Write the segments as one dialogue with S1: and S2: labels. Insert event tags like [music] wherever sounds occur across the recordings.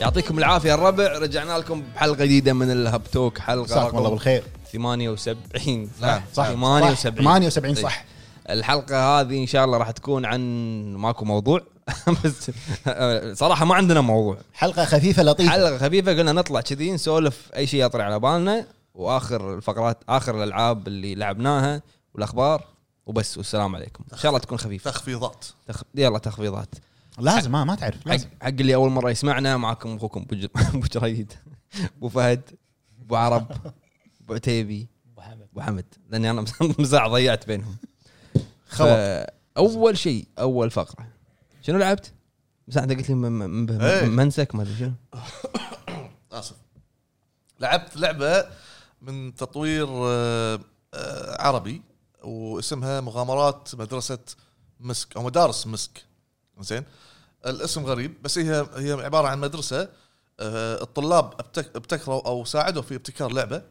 S1: يعطيكم العافيه الربع رجعنا لكم بحلقه جديده من الهب توك حلقه
S2: مساكم الله آه،
S1: رقم
S2: بالخير
S1: 78
S2: لا، صح.
S1: 78
S2: 78 صح
S1: الحلقه هذه ان شاء الله راح تكون عن ماكو موضوع [laughs] بس صراحه ما عندنا موضوع
S2: حلقه خفيفه لطيفه
S1: حلقه خفيفه قلنا نطلع كذي نسولف اي شيء يطري على بالنا واخر الفقرات اخر الالعاب اللي لعبناها والاخبار وبس والسلام عليكم ان شاء الله تكون خفيفه
S3: تخفيضات
S1: تخ... يلا تخفيضات
S2: لازم ما ما تعرف
S1: حق,
S2: لازم
S1: حق اللي اول مره يسمعنا معاكم اخوكم [laughs] أبو ج- ابو جريد ابو فهد ابو عرب ابو عتيبي
S4: ابو حمد
S1: ابو حمد لاني [laughs] انا مزاع ضيعت [laughs] بينهم
S2: خبر
S1: اول شيء اول فقره شنو لعبت؟ بس انت قلت لي م- م- م-
S3: إيه.
S1: منسك ما ادري شنو
S3: اسف لعبت لعبه من تطوير آه، آه، عربي واسمها مغامرات مدرسه مسك او مدارس مسك زين الاسم غريب بس هي هي عباره عن مدرسه آه، الطلاب ابتك- ابتكروا او ساعدوا في ابتكار لعبه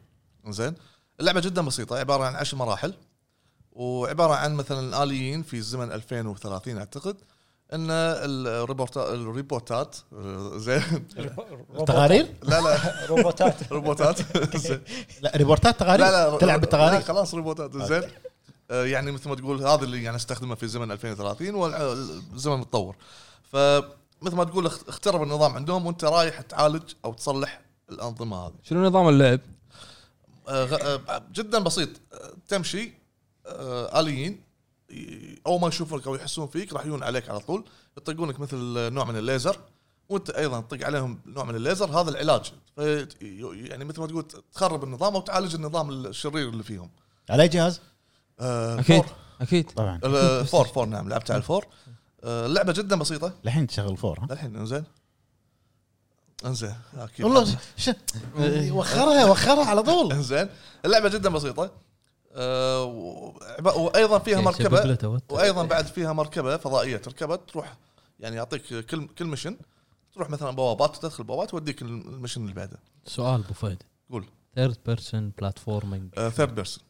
S3: زين اللعبه جدا بسيطه عباره عن عشر مراحل وعباره عن مثلا الاليين في الزمن 2030 اعتقد ان الريبورتا- الريبورتات آه، زين
S2: تقارير؟
S3: لا لا
S4: روبوتات
S3: [laughs] روبوتات
S2: لا ريبورتات تقارير؟
S3: لا لا
S2: تلعب
S3: لا،
S2: بالتقارير؟
S3: خلاص روبوتات زين آه، يعني مثل ما تقول هذا اللي يعني استخدمه في زمن 2030 والزمن متطور فمثل ما تقول اخت- اخترب النظام عندهم وانت رايح تعالج او تصلح الانظمه هذه
S1: شنو نظام اللعب؟
S3: آه، غ- آه، جدا بسيط آه، تمشي آه، اليين ي- اول ما يشوفونك او يحسون فيك راح يجون عليك على طول يطقونك مثل نوع من الليزر وانت ايضا تطق عليهم نوع من الليزر هذا العلاج في يعني مثل ما تقول تخرب النظام او تعالج النظام الشرير اللي فيهم
S2: على أي جهاز؟
S3: آه،
S1: اكيد
S3: فور
S1: اكيد
S2: طبعا
S3: آه، فور فور نعم لعبت على الفور آه، اللعبه جدا بسيطه
S2: الحين تشغل فور ها؟
S3: للحين انزين انزين أكيد.
S2: والله ش... وخرها وخرها على طول
S3: انزين اللعبه جدا بسيطه آه، و- عب- وايضا فيها
S4: يعني
S3: مركبه وايضا بعد فيها مركبه فضائيه تركبها تروح يعني يعطيك كل كل مشن تروح مثلا بوابات تدخل بوابات توديك المشن اللي بعده
S4: سؤال ابو فهد
S3: قول.
S4: ثيرد بيرسون بلاتفورمينج
S3: ثيرد بيرسون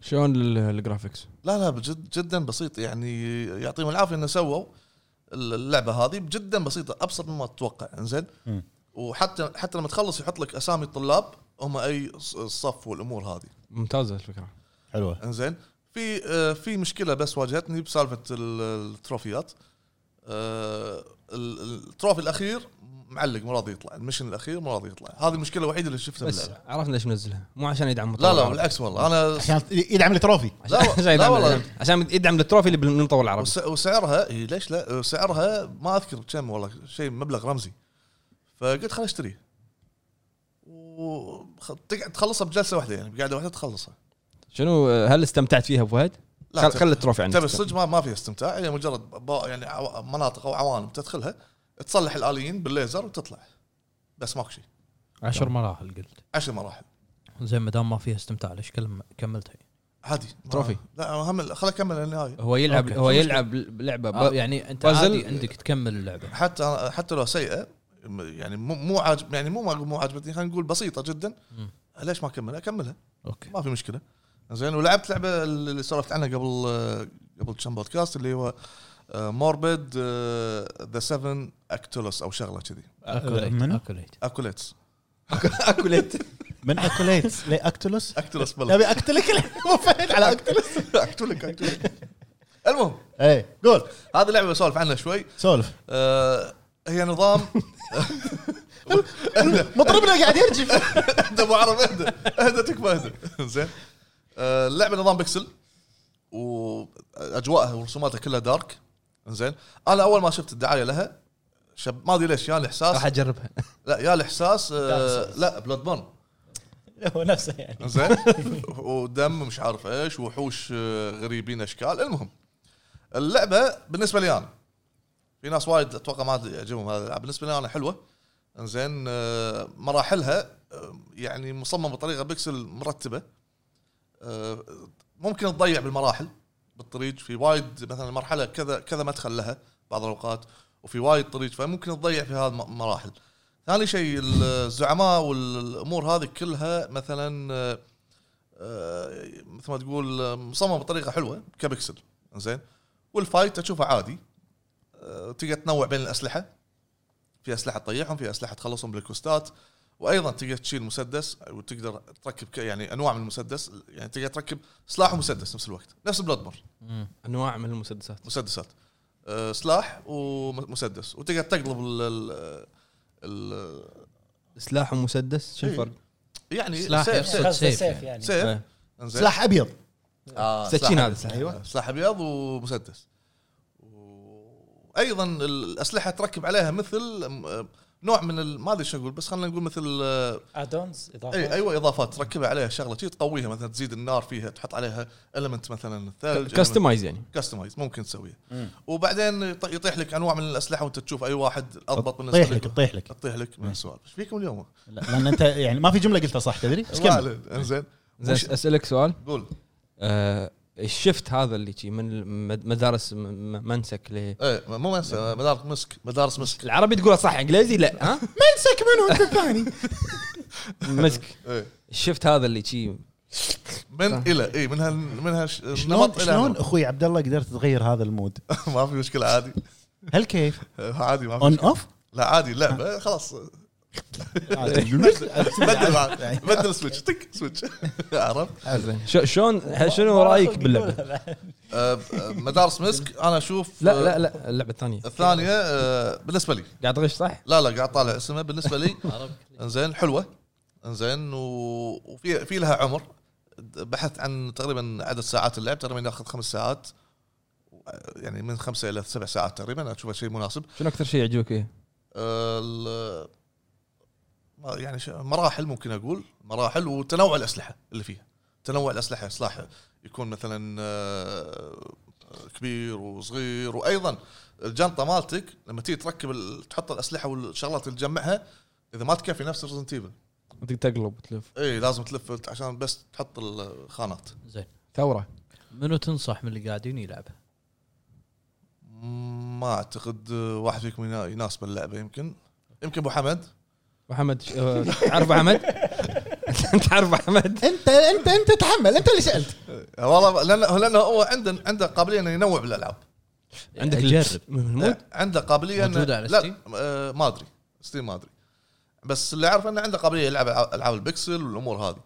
S1: شلون الجرافكس؟
S3: لا لا بجد جدا بسيط يعني يعطيهم العافيه انه سووا اللعبه هذه جدا بسيطه ابسط مما تتوقع انزين
S2: مم.
S3: وحتى حتى لما تخلص يحط لك اسامي الطلاب هم اي ص- صف والامور هذه
S1: ممتازه الفكره
S2: حلوه
S3: انزين في آه، في مشكله بس واجهتني بسالفه ال- التروفيات آه، ال- ال- التروفي الاخير معلق مو راضي يطلع المشن الاخير مو راضي يطلع هذه المشكله الوحيده اللي شفتها
S1: بس
S3: باللعبه
S1: عرفنا ليش منزلها مو عشان يدعم
S3: لا
S1: مطور
S3: لا
S1: العربي.
S3: بالعكس والله انا
S2: عشان يدعم التروفي
S3: لا
S1: [laughs] عشان
S3: لا
S1: يدعم-
S3: والله.
S1: عشان يدعم التروفي اللي بالمطور العربي
S3: وس- وسعرها إي ليش لا سعرها ما اذكر كم والله شيء مبلغ رمزي فقلت خل اشتريه وتقعد تخلصها بجلسه واحده يعني بقعده واحده تخلصها
S1: شنو آه، هل استمتعت فيها ابو فهد؟
S3: لا
S1: خل
S3: ت-
S1: خل التروفي عندك
S3: تبي الصدق ما, ما فيها استمتاع هي مجرد با- يعني عو- مناطق او عوالم تدخلها تصلح الاليين بالليزر وتطلع بس ماكو شيء
S4: عشر مراحل قلت
S3: عشر مراحل
S4: زين ما دام ما فيها استمتاع ليش كلم- كملتها
S3: عادي ما-
S1: تروفي.
S3: لا هم خل اكمل النهايه
S4: هو يلعب
S1: هو يلعب لعبه
S4: آه
S1: [laughs]
S3: [laughs]
S4: يعني انت
S1: بازل.
S4: عادي عندك تكمل اللعبه
S3: حتى حتى لو سيئه م- يعني مو مو عاجب يعني مو مو عاجبتني خلينا نقول بسيطه جدا
S4: مم.
S3: ليش ما اكملها؟ اكملها
S4: اوكي
S3: ما في مشكله زين ولعبت لعبه اللي سولفت عنها قبل قبل كم بودكاست اللي هو آه، موربد ذا 7 اكتولوس او شغله كذي
S2: منو؟
S4: اكوليت
S3: اكوليتس
S1: اكلت
S2: من اكوليت [laughs] لاكتولوس
S3: اكتولوس بلا
S2: نبي اقتلك [laughs] مو فهد على
S3: [laughs]
S2: اكتولوس
S3: اكتولك اكتولك المهم
S2: اي إيه، قول
S3: هذه لعبه بسولف عنها شوي
S2: سولف
S3: آه، هي نظام [laughs]
S2: مطربنا قاعد [laughs] يرجف
S3: اهدى ابو عرب اهدى اهدى تكفى اهدى [laughs] زين آه، اللعبه نظام بكسل واجواءها ورسوماتها كلها دارك زين انا اول ما شفت الدعايه لها شب ما ادري ليش يا
S1: راح
S3: الاحساس
S1: اجربها
S3: لا يا الاحساس آه،
S5: Dark Souls.
S3: لا بلاد بون
S5: هو نفسه يعني
S3: زين ودم مش عارف ايش وحوش آه، غريبين اشكال المهم اللعبه بالنسبه لي انا في ناس وايد اتوقع ما يعجبهم هذا الالعاب بالنسبه لي انا حلوه زين آه، مراحلها آه، يعني مصمم بطريقه بكسل مرتبه آه، ممكن تضيع بالمراحل بالطريق في وايد مثلا مرحله كذا كذا مدخل لها بعض الاوقات وفي وايد طريق فممكن تضيع في هذه المراحل ثاني شيء الزعماء والامور هذه كلها مثلا آه، آه، مثل ما تقول آه، مصمم بطريقه حلوه كبكسل زين والفايت اشوفه عادي آه، تقدر تنوع بين الاسلحه في اسلحه تطيحهم في اسلحه تخلصهم بالكوستات وايضا تقدر تشيل مسدس وتقدر تركب ك- يعني انواع من المسدس يعني تقدر تركب سلاح ومسدس نفس الوقت نفس بلاد بور
S1: انواع من المسدسات
S3: مسدسات أه، سلاح ومسدس وتقدر تقلب ال- ال- ال-
S1: سلاح ومسدس شو
S3: إيه.
S1: الفرق؟
S3: يعني
S4: سلاح
S3: سيف
S4: يقصد
S5: قصده
S4: سيف
S5: سيف
S4: يعني.
S5: يعني
S3: سيف
S1: إيه.
S3: إنزين.
S2: سلاح ابيض
S3: آه،
S1: سكين
S3: سلاح
S1: هذا سلاح
S2: ايوه
S3: سلاح ابيض ومسدس وايضا الاسلحه تركب عليها مثل م- نوع من ال- ما ادري شو اقول بس خلينا نقول مثل آه،
S5: ادونز
S3: أي
S5: اضافه
S3: ايوه اضافات تركبها عليها شغله شي تقويها مثلا تزيد النار فيها تحط عليها المنت مثلا الثلج
S1: كستمايز يعني
S3: كستمايز ممكن تسويه وبعدين يط- يطيح لك انواع من الاسلحه وانت تشوف اي واحد اضبط بالنسبه
S2: طيح لك
S3: لك
S2: طيح لك
S3: تطيح لك من السوالف ايش فيكم اليوم؟
S2: لا، لان انت يعني ما في جمله قلتها صح تدري ايش
S3: ما
S2: كمل
S3: علينا، انزين
S1: زين
S3: وش-
S1: اسالك سؤال
S3: قول
S1: آه، الشفت هذا اللي شي من المد- مدارس م- م- منسك ل
S3: ايه مو منسى مدارس مسك مدارس مسك
S1: العربي تقولها صح انجليزي [laughs] لا ها
S2: منسك منو انت الثاني
S1: [laughs] مسك
S3: ايه
S1: الشفت هذا اللي شي
S3: من
S1: صح.
S3: الى اي من هال من
S2: شلون
S3: هالنمط
S2: شلون اخوي عبد الله قدرت تغير هذا المود
S3: [laughs] ما في مشكله عادي إيه،
S2: هل [laughs] كيف
S3: عادي ما في
S2: اون [laughs]
S3: مشكلة.
S2: اوف
S3: لا عادي اللعبه خلاص بدل بعد. بدل سويتش تك سويتش
S1: [laughs]
S3: [laughs] عرفت
S1: زين شو- شلون شنو رايك باللعبه؟
S3: آه، ب- آه، مدارس مسك انا اشوف
S1: لا لا
S3: آه،
S1: لا اللعبه الثانيه
S3: الثانيه آه، بالنسبه لي
S1: قاعد تغش صح؟
S3: لا لا قاعد طالع اسمها بالنسبه لي انزين حلوه انزين و... وفي في لها عمر بحثت عن تقريبا عدد ساعات اللعب تقريبا ياخذ خمس ساعات يعني من خمسة الى سبع ساعات تقريبا اشوفها شيء مناسب
S1: شنو اكثر شيء يعجبك فيها؟
S3: ال- ما- يعني ش- مراحل ممكن اقول مراحل وتنوع الاسلحه اللي فيها تنوع الاسلحه سلاح يكون مثلا آه، كبير وصغير وايضا الجنطه مالتك لما تيجي تركب ال- تحط الاسلحه والشغلات اللي تجمعها اذا ما تكفي نفس ريزنت ايفل
S1: تقلب تلف
S3: اي لازم تلف عشان بس تحط الخانات
S4: زين
S1: ثوره
S4: منو تنصح من اللي قاعدين يلعبه؟
S3: ما اعتقد واحد فيكم ينا- يناسب اللعبه يمكن يمكن ابو حمد
S1: محمد ش- آه، تعرف احمد؟ [laughs] تعرف احمد؟
S2: انت انت انت تحمل انت اللي سالت
S3: والله لانه لانه هو عنده عنده قابليه انه ينوع بالالعاب
S1: عندك
S4: جرب
S1: المود؟
S3: إيه، عنده قابليه إنه-
S4: موجودة على
S3: لا،
S4: ستيم؟
S3: آه، ما ادري ستيم ما ادري بس اللي اعرف انه عنده قابليه يلعب ألعاب- العاب البكسل والامور هذه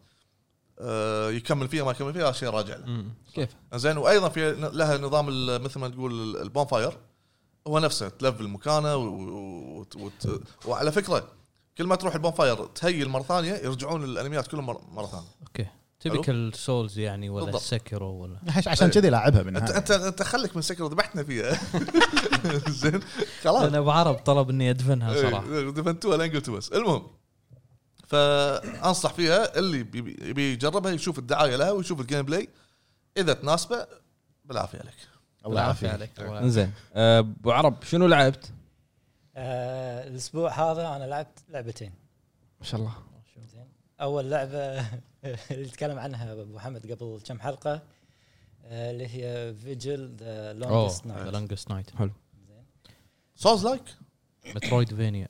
S3: آه، يكمل فيها ما يكمل فيها هذا شيء راجع له
S1: مم. كيف؟
S3: زين وايضا في لها نظام ال- مثل ما تقول البون فاير هو نفسه تلفل مكانه و- و- وت- وت- وعلى فكره كل ما تروح البون فاير تهيل مره ثانيه يرجعون الانميات كلهم مره مرة ثانيه
S4: اوكي
S3: ألو؟
S4: تبيك السولز يعني ولا
S3: بالضبط.
S4: السكرو ولا
S2: عشان كذي لاعبها من
S4: آه.
S3: انت
S2: هاي.
S3: انت انت خليك من سكر ذبحتنا فيها [laughs] زين خلاص
S4: انا ابو عرب طلب اني ادفنها صراحه
S3: إيه، دفنتوها لين قلت بس المهم فانصح فيها اللي بيبي يبي يجربها يشوف الدعايه لها ويشوف الجيم بلاي اذا تناسبه بالعافيه عليك
S2: [laughs] الله يعافيك
S4: عليك
S1: انزين آه، ابو عرب شنو لعبت؟
S5: آه، الاسبوع هذا انا لعبت لعبتين
S1: ما شاء الله
S5: زين اول لعبه [laughs] اللي تكلم عنها ابو محمد قبل كم حلقه آه، اللي هي فيجل ذا لونجست
S4: اوه
S5: نايت
S4: لونجست نايت
S3: سولز لايك
S4: مترويد فينيا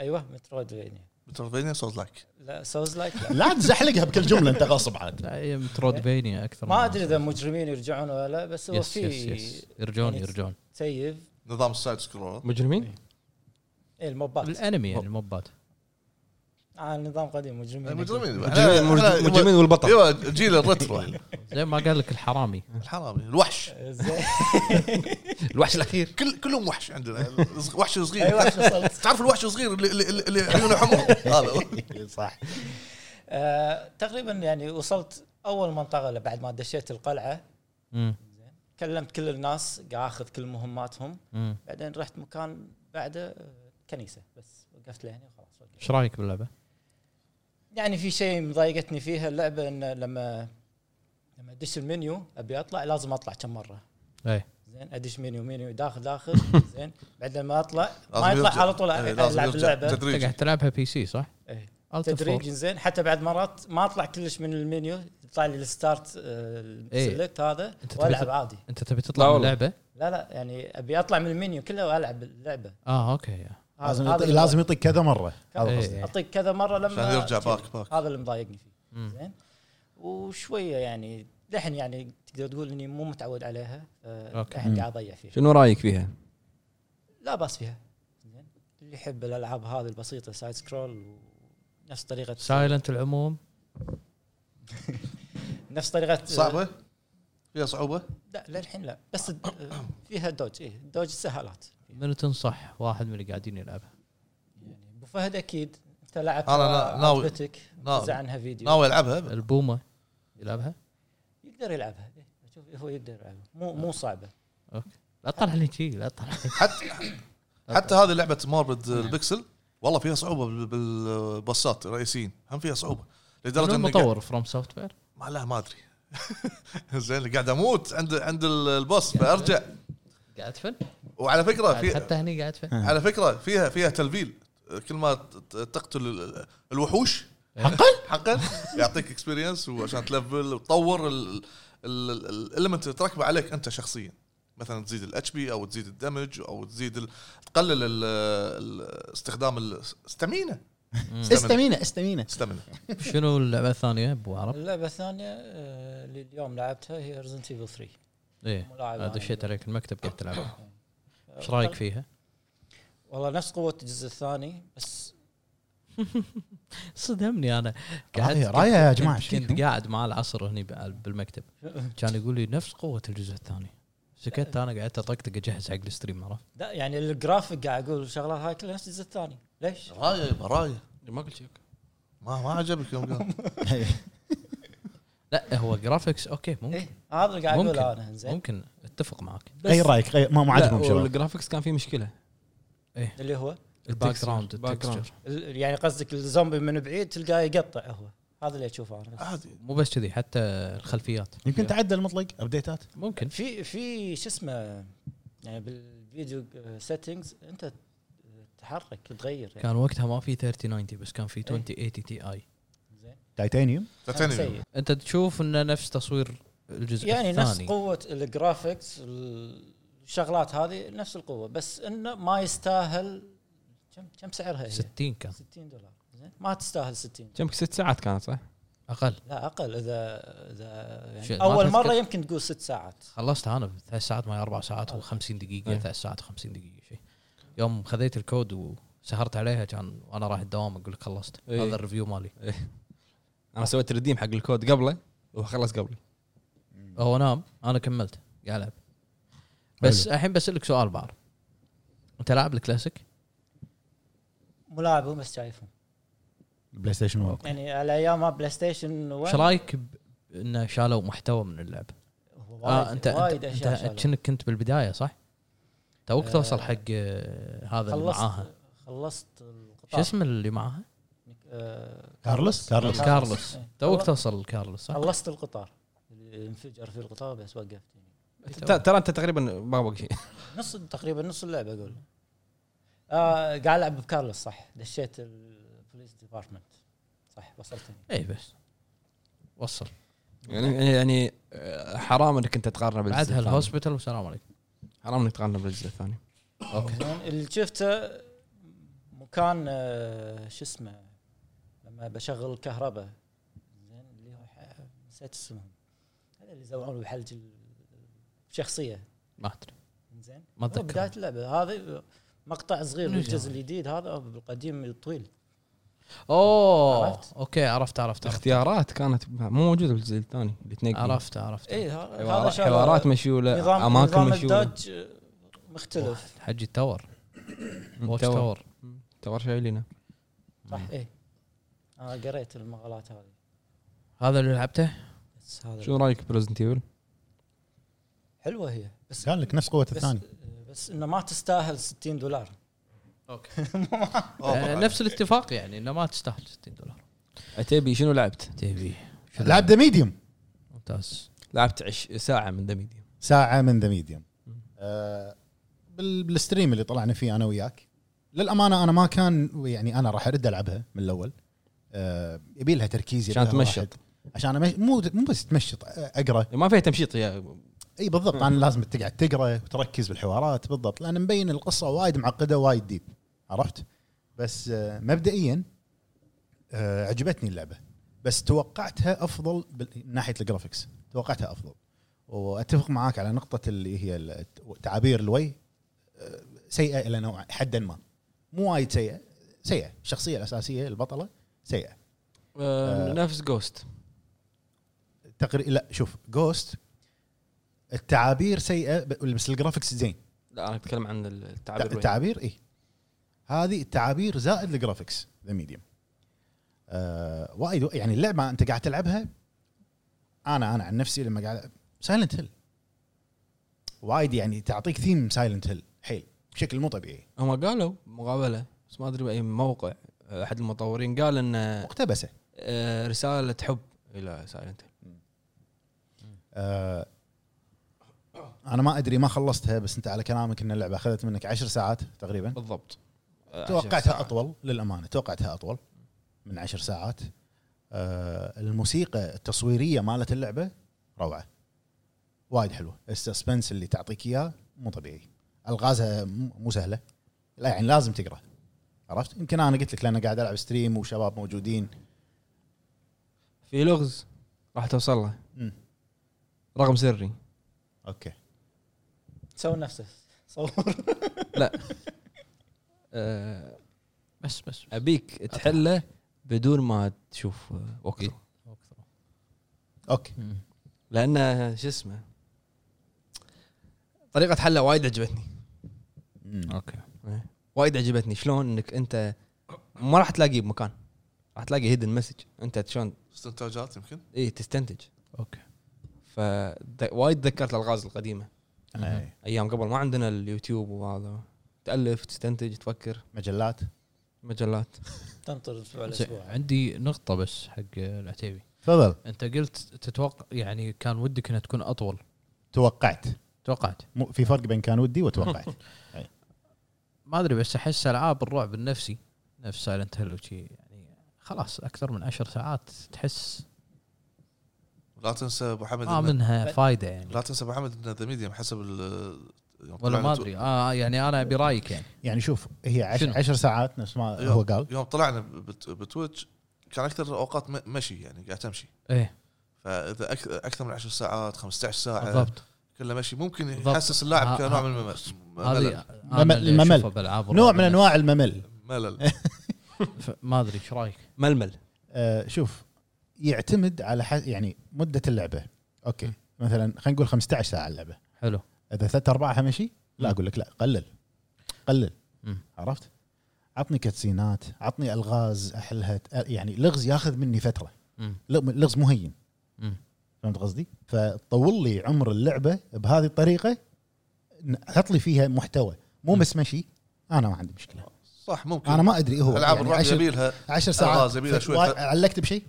S5: ايوه مترويدفينيا
S3: متروفينيا سولز لايك
S5: لا سوز لايك لا
S2: لا تزحلقها بكل جمله انت غصب عاد
S4: لا هي مترويد فينيا اكثر
S5: ما ادري اذا مجرمين يرجعون ولا لا بس هو
S4: يس يس
S5: في
S4: يس يرجعون
S5: يعني
S4: يرجعون
S5: سيف
S3: نظام السايد سكرول
S1: مجرمين؟
S5: إيه، الموبات
S4: الانمي يعني الموبات
S5: آه نظام قديم مجرمين
S3: مجرمين
S1: مجرمين مجرمين- مجرمين والبطل
S3: ايوه جيل الريترو إحنا.
S4: زي ما قال لك الحرامي
S3: الحرامي الوحش
S5: آه، زين
S1: [laughs] الوحش الاخير
S3: كل كلهم وحش عندنا [laughs] وحش صغير
S5: ايوه وصلت
S3: تعرف الوحش الصغير اللي اللي- اللي اللي عيونه حمر هذا هو.
S2: صح
S5: آه، تقريبا يعني وصلت اول منطقه اللي بعد ما دشيت القلعه
S4: مم.
S5: كلمت كل الناس قاعد اخذ كل مهماتهم
S4: مم.
S5: بعدين رحت مكان بعده آه، كنيسه بس وقفت لهني وخلاص وقفت.
S4: ايش رايك باللعبه؟
S5: يعني في شيء مضايقتني فيها اللعبه ان لما لما ادش المنيو ابي اطلع لازم اطلع كم مره
S4: اي
S5: زين ادش منيو منيو داخل داخل زين بعدين ما اطلع
S3: لازم
S5: ما يطلع
S3: يرجع.
S5: على طول
S3: إيه، لازم
S5: العب
S3: يرجع
S5: اللعبه
S4: انت
S3: تدريج
S4: قاعد تلعبها بي سي صح؟
S5: إيه.
S4: Alt
S5: تدريج
S4: F4.
S5: زين حتى بعد مرات ما اطلع كلش من المنيو يطلع لي الستارت
S4: إيه.
S5: السلكت هذا
S4: أنت تبي
S5: والعب
S4: تط-
S5: عادي
S4: انت تبي
S1: لا
S4: تطلع من
S1: والله.
S4: اللعبه؟
S5: لا لا يعني ابي اطلع من المنيو كله والعب اللعبه
S4: اه اوكي
S5: هذا-
S2: لازم
S5: هذا
S2: يعطي-
S5: اللي-
S2: لازم يعطيك كذا مره هذا
S4: إيه.
S2: قصدي
S5: اعطيك كذا مره لما
S3: عشان يرجع باك باك
S5: هذا اللي مضايقني فيه
S4: مم.
S5: زين وشويه يعني لحن يعني تقدر تقول اني مو متعود عليها آه،
S4: أوكي.
S5: لحن قاعد اضيع فيها
S1: شنو رايك فيها؟
S5: لا باس فيها زين اللي يحب الالعاب هذه البسيطه سايد سكرول نفس طريقه
S4: سايلنت العموم
S5: نفس طريقه
S3: صعبه فيها صعوبه
S5: لا للحين لا بس الد- فيها دوج ايه دوج سهالات
S4: منو تنصح واحد من اللي قاعدين يلعبها
S5: يعني ابو فهد اكيد انت لعبت
S3: أنا نا- آه، ناوي.
S5: عجبتك
S3: ناوي.
S5: وزع عنها فيديو
S3: ناوي العبها
S4: البومه يلعبها
S5: يقدر يلعبها إيه، شوف هو يقدر يلعبها مو مو صعبه
S4: لا تطلع لي شي
S1: [laughs]
S4: لا تطلع
S3: حتى حتى هذه لعبه ماربد
S4: نعم.
S3: البكسل والله فيها صعوبه بال- بالبصات الرئيسيين هم فيها صعوبه لدرجه
S4: منو
S3: اني
S4: المطور فروم سوفت وير
S3: ما لا ما ادري [laughs] زين قاعد اموت عند عند ال- البوس فارجع
S4: قاعد تفن
S1: طيب،
S3: وعلى فكره
S4: قاعد-
S3: في
S4: حتى هني
S1: [laughs]
S4: قاعد تفن
S3: على فكره فيها فيها تلفيل كل ما ت- ت- تقتل ال- الوحوش
S4: حقا؟
S3: [laughs] حقا يعطيك اكسبيرينس وعشان تلفل وتطور الاليمنت اللي تركبه عليك انت شخصيا مثلا تزيد الاتش بي او تزيد الدمج او تزيد ال- تقلل ال- ال- استخدام الستامينا
S2: استمينه استمينه
S3: استامينا
S4: شنو اللعبه الثانيه ابو عرب؟
S5: اللعبه الثانيه آه، اللي اليوم لعبتها هي ريزنت ايفل 3
S4: ايه
S1: [laughs]
S5: ملاعب
S4: أنا دشيت عليك المكتب قاعد تلعبها ايش رايك فيها؟
S5: والله نفس قوه الجزء الثاني بس
S4: صدمني انا
S2: هذه رايه يا جماعه
S4: كنت- كنت
S2: شنو؟
S4: قاعد مع العصر هني بال- بالمكتب كان يقول لي نفس قوه الجزء الثاني سكت انا قعدت اطقطق اجهز حق الستريم عرفت؟
S5: لا يعني الجرافيك قاعد اقول شغلات هاي كلها نفس الجزء الثاني ليش؟
S3: رايه يبا رايه
S6: ما قلت شيك
S3: ما ما عجبك يوم قال
S4: لا هو جرافيكس اوكي ممكن
S5: ايه هذا اللي قاعد
S4: ممكن.
S5: اقوله انا زين
S4: ممكن اتفق معك
S2: غير رايك غير ما ما عجبهم شباب
S1: الجرافكس كان فيه مشكله
S5: اللي هو
S4: الباك جراوند
S6: باك جراوند.
S4: التكستشر
S5: ال- يعني قصدك الزومبي من بعيد تلقاه يقطع هو هذا اللي اشوفه انا
S4: [laughs]
S3: عادي
S4: مو بس كذي حتى الخلفيات
S2: يمكن تعدل المطلق ابديتات
S4: ممكن
S5: في في شو اسمه يعني بالفيديو سيتنجز انت تحرك تغير يعني
S4: كان وقتها ما في 3090 بس كان في
S5: إيه.
S4: 2080 تي اي
S5: زين
S2: تايتانيوم
S3: تعتني
S5: سيء.
S4: انت تشوف انه نفس تصوير الجزء
S5: يعني نفس
S4: الثاني
S5: قوه الجرافيكس الشغلات هذه نفس القوه بس انه ما يستاهل كم كم سعرها هي؟
S4: 60 كان
S5: 60 دولار زين ما تستاهل 60
S1: كم ست ساعات كانت صح؟
S4: اقل
S5: لا اقل اذا اذا
S4: شيء،
S5: يعني
S4: ما
S5: اول مره
S4: تذكر.
S5: يمكن تقول ست ساعات
S4: خلصت انا ثلاث ساعات ما هي اربع ساعات و50 دقيقه
S5: إيه.
S1: أي.
S4: ثلاث ساعات و50 دقيقه شيء يوم خذيت الكود وسهرت عليها كان وانا رايح الدوام اقول لك خلصت
S1: أي.
S5: إيه.
S4: هذا الريفيو مالي
S1: انا سويت ريديم حق الكود قبله وخلص قبلي
S4: هو نام انا كملت قاعد العب بس الحين بسالك سؤال بعرف انت لاعب الكلاسيك؟
S5: ملاعبهم بس شايفهم
S2: بلاي ستيشن 1
S5: يعني على ايام بلاي ستيشن
S4: ايش رايك ب- انه شالوا محتوى من اللعب؟
S5: آه انت
S4: انت,
S5: وايد اشياء
S4: انت
S5: شالوها.
S4: كأنك كنت بالبدايه صح؟ توك
S5: آه،
S4: توصل حق آه، هذا اللي معاها
S5: خلصت خلصت القطار
S4: شو اسم اللي معاها؟
S5: آه،
S2: كارلوس؟ كارلوس.
S4: كارلوس
S5: إيه.
S4: توك
S5: خلص-
S4: توصل كارلوس صح؟
S5: خلصت القطار اللي انفجر في القطار بس وقفت يعني
S1: ت- ترى انت تقريبا ما بقى شيء [laughs]
S5: نص تقريبا نص اللعبه اقول آه قاعد العب بكارلوس صح دشيت البوليس ديبارتمنت صح وصلتني
S4: اي إيه بس وصل
S1: يعني يعني آه، حرام انك انت تقارنه بالجزء
S4: بعدها
S1: الثاني.
S4: الهوسبيتال والسلام عليكم
S1: حرام انك تقارنه بالجزء الثاني
S5: زين، اللي شفته مكان آه، شو اسمه لما بشغل الكهرباء زين اللي هو ح- نسيت اسمهم هذا اللي يزرعون بحلج ال- الشخصيه
S4: ما ادري
S5: زين
S4: ما
S5: هو بدايه
S4: اتذكر
S5: اللعبه هذا مقطع صغير
S4: منو
S5: من الجزء
S4: جاب؟
S5: الجديد هذا بالقديم طويل
S4: اوه
S5: عرفت؟
S4: اوكي عرفت عرفت عرفت
S1: الاختيارات كانت مو موجوده بالجزء الثاني اللي تنقي
S4: عرفت عرفت
S5: اي
S1: حوارات-
S5: هذا شغله.
S1: حوارات مشيوله
S5: نظام
S1: اماكن
S5: نظام
S1: مشيوله
S5: الدوج آه، مختلف
S4: حجي التاور
S1: تور
S4: واتش تاور
S1: تور شايلينه
S5: صح اي انا قريت المقالات هذه
S4: هذا اللي لعبته
S5: بس هذا
S1: شو رايك بريزنت ايفل؟
S5: حلوه هي بس
S2: كان لك نفس قوه
S5: بس,
S2: الثاني
S5: بس انه ما تستاهل 60 دولار
S4: اوكي
S3: أوه،
S4: آه، نفس الاتفاق يعني انه ما تستاهل 60 دولار
S1: عتيبي شنو لعبت؟
S4: تبي
S2: لعب ذا ميديوم
S4: ممتاز
S1: لعبت عش ساعه من ذا ميديا
S2: ساعه من ذا ميديوم بالستريم اللي طلعنا فيه انا وياك للامانه انا ما كان يعني انا راح ارد العبها من الاول آه، يبي لها تركيز يبي
S1: عشان
S2: لها
S1: تمشط.
S2: واحد. عشان أمش... مو مو بس تمشط آه، اقرا
S1: يعني ما فيها تمشيط يا
S2: اي بالضبط انا لازم تقعد تقرا وتركز بالحوارات بالضبط لان مبين القصه وايد معقده وايد ديب عرفت بس آه، مبدئيا آه، عجبتني اللعبه بس توقعتها افضل بال- من ناحيه الجرافكس توقعتها افضل واتفق معاك على نقطه اللي هي ال- تعابير الوجه آه، سيئه الى نوع حدا ما مو وايد سيئه سيئه الشخصيه الاساسيه البطله سيئه
S1: آه،
S2: آه.
S1: نفس جوست
S2: تقريبا لا شوف جوست التعابير سيئه ب- بس الجرافكس زين
S1: لا انا اتكلم عن التعابير التعب.
S2: التعابير اي هذه التعابير زائد الجرافكس ذا ميديوم آه وايد يعني اللعبه انت قاعد تلعبها انا انا عن نفسي لما قاعد سايلنت هيل وايد يعني تعطيك ثيم سايلنت هيل حيل بشكل مو طبيعي
S1: هم قالوا مقابله بس ما ادري باي موقع آه، احد المطورين قال ان
S2: مقتبسه
S1: آه، رساله حب الى سايلنت
S2: آه انا ما ادري ما خلصتها بس انت على كلامك ان اللعبه اخذت منك عشر ساعات تقريبا
S1: بالضبط آه، عشر
S2: توقعتها
S1: ساعات.
S2: اطول للامانه توقعتها اطول من عشر ساعات آه الموسيقى التصويريه مالت اللعبه روعه وايد حلوه السسبنس اللي تعطيك اياه مو طبيعي الغازها م- مو سهله لا يعني لازم تقرا عرفت يمكن انا قلت لك لان قاعد العب ستريم وشباب موجودين
S1: في لغز راح توصل له
S2: مم.
S1: رقم سري
S2: اوكي
S5: سوي نفسه صور
S1: [laughs] آه،
S4: بس بس
S1: ابيك تحله بدون ما تشوف وقت
S2: اوكي
S4: مم.
S1: لان شو اسمه طريقه حله وايد عجبتني
S2: مم.
S4: اوكي
S1: إيه. وايد عجبتني شلون انك انت ما راح تلاقيه بمكان راح تلاقي هيدن مسج انت شلون
S3: استنتاجات يمكن
S1: اي تستنتج
S4: اوكي
S1: ف وايد تذكرت الالغاز القديمه
S2: أي.
S1: ايام قبل ما عندنا اليوتيوب وهذا تالف تستنتج تفكر
S2: مجلات
S1: مجلات
S5: تنطر
S4: زين،
S5: اسبوع لاسبوع
S4: عندي نقطه بس حق العتيبي
S2: تفضل
S4: انت قلت تتوقع يعني كان ودك انها تكون اطول
S2: توقعت
S4: توقعت
S2: مو في فرق بين كان ودي وتوقعت
S4: ما ادري بس احس العاب الرعب النفسي نفس سايلنت هيل وشي يعني خلاص اكثر من عشر ساعات تحس
S3: لا تنسى ابو حمد
S4: ما
S3: إن-
S4: منها فايده يعني
S3: لا تنسى ابو حمد ان ذا ميديم حسب ال يوم
S4: ولا
S3: طلعنا
S4: ما
S3: تو-
S4: ادري آه يعني انا ابي رايك يعني
S2: يعني شوف هي عش-
S4: شنو؟
S2: عشر ساعات نفس ما
S3: يوم-
S2: هو قال
S3: يوم طلعنا بت- بتويتش كان اكثر اوقات م- مشي يعني قاعد تمشي
S4: ايه
S3: فاذا أك- اكثر من 10 ساعات 15 ساعه
S4: بالضبط
S3: كله مشي ممكن
S4: بالضبط.
S3: يحسس اللاعب
S4: ها-
S3: كنوع
S4: ها-
S3: من الممل ملل.
S4: هذه أنا
S2: ممل-
S4: اللي
S2: الممل.
S4: أشوفه بالألعاب
S2: نوع
S4: الرعب
S2: من انواع الممل
S3: ملل
S4: ف- ما ادري ايش رايك
S1: ململ
S2: آه شوف يعتمد على ح... يعني مده اللعبه اوكي مثلا خلينا نقول 15 ساعه اللعبه
S4: حلو
S2: اذا ثلاث ارباعها مشي لا
S4: مم.
S2: اقول لك لا قلل قلل
S4: مم.
S2: عرفت؟ عطني كاتسينات عطني الغاز احلها ت- يعني لغز ياخذ مني فتره
S4: مم.
S2: لغ- لغز مو هين
S4: مم.
S2: فهمت قصدي؟ فطول لي عمر اللعبه بهذه الطريقه ن- حط لي فيها محتوى مو
S4: مم.
S2: بس مشي انا ما عندي مشكله
S3: صح ممكن
S2: انا ما ادري هو يعني
S3: العاب الرعب
S2: عشر-
S3: يبيلها
S2: عشر
S3: آه،
S2: ساعات
S3: زميلة
S2: ف-
S3: شوي.
S2: واي- علقت بشيء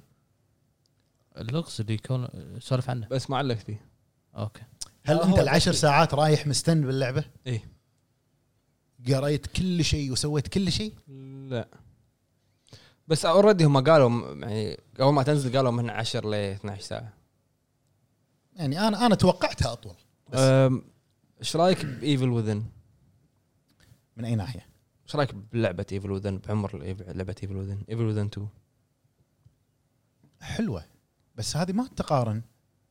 S4: اللغز اللي يكون سولف عنه
S1: بس ما علقت فيه
S4: اوكي
S2: هل
S5: آه،
S2: انت
S5: هو
S2: العشر
S5: أكيد.
S2: ساعات رايح مستن باللعبه؟
S1: إيه.
S2: قريت كل شيء وسويت كل شيء؟
S1: لا بس اوريدي هم قالوا م- يعني اول ما تنزل قالوا من 10 ل 12 ساعه
S2: يعني انا انا توقعتها اطول بس.
S1: أم، ايش رايك بايفل وذن؟
S2: من اي ناحيه؟
S1: ايش رايك بلعبه ايفل وذن بعمر الإيف- لعبه ايفل وذن؟ ايفل وذن 2
S2: حلوه بس هذه ما تقارن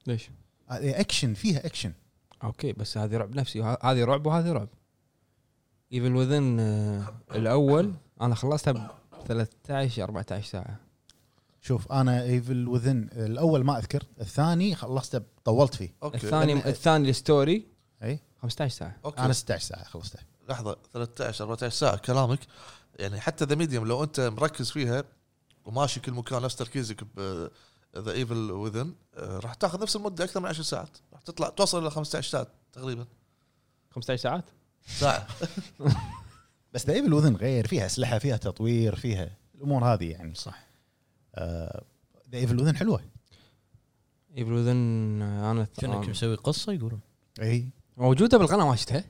S1: ليش؟
S2: هذه اكشن فيها اكشن
S1: اوكي بس هذه رعب نفسي وه- هذه رعب وهذه رعب ايفل وذن الاول انا خلصتها ب 13 14 ساعه
S2: شوف انا ايفل وذن الاول ما اذكر الثاني خلصته طولت فيه
S3: اوكي
S1: الثاني
S2: لأن-
S1: الثاني الستوري
S2: اي
S1: 15 ساعه
S2: انا
S3: اوكي
S2: 16 ساعه خلصته
S3: لحظه 13 14 ساعه كلامك يعني حتى ذا ميديوم لو انت مركز فيها وماشي كل مكان نفس تركيزك ب ذا ايفل وذن آه، راح تاخذ نفس المده اكثر من 10 ساعات راح تطلع توصل الى 15 ساعه تقريبا
S1: 15 ساعات؟
S3: ساعه
S2: بس ذا ايفل وذن غير فيها اسلحه فيها تطوير فيها الامور هذه يعني آه،
S4: صح.
S2: ذا ايفل وذن حلوه
S1: ايفل وذن انا الث-
S4: كانك مسوي قصه يقولون
S2: اي
S1: موجوده بالقناه ما شفتها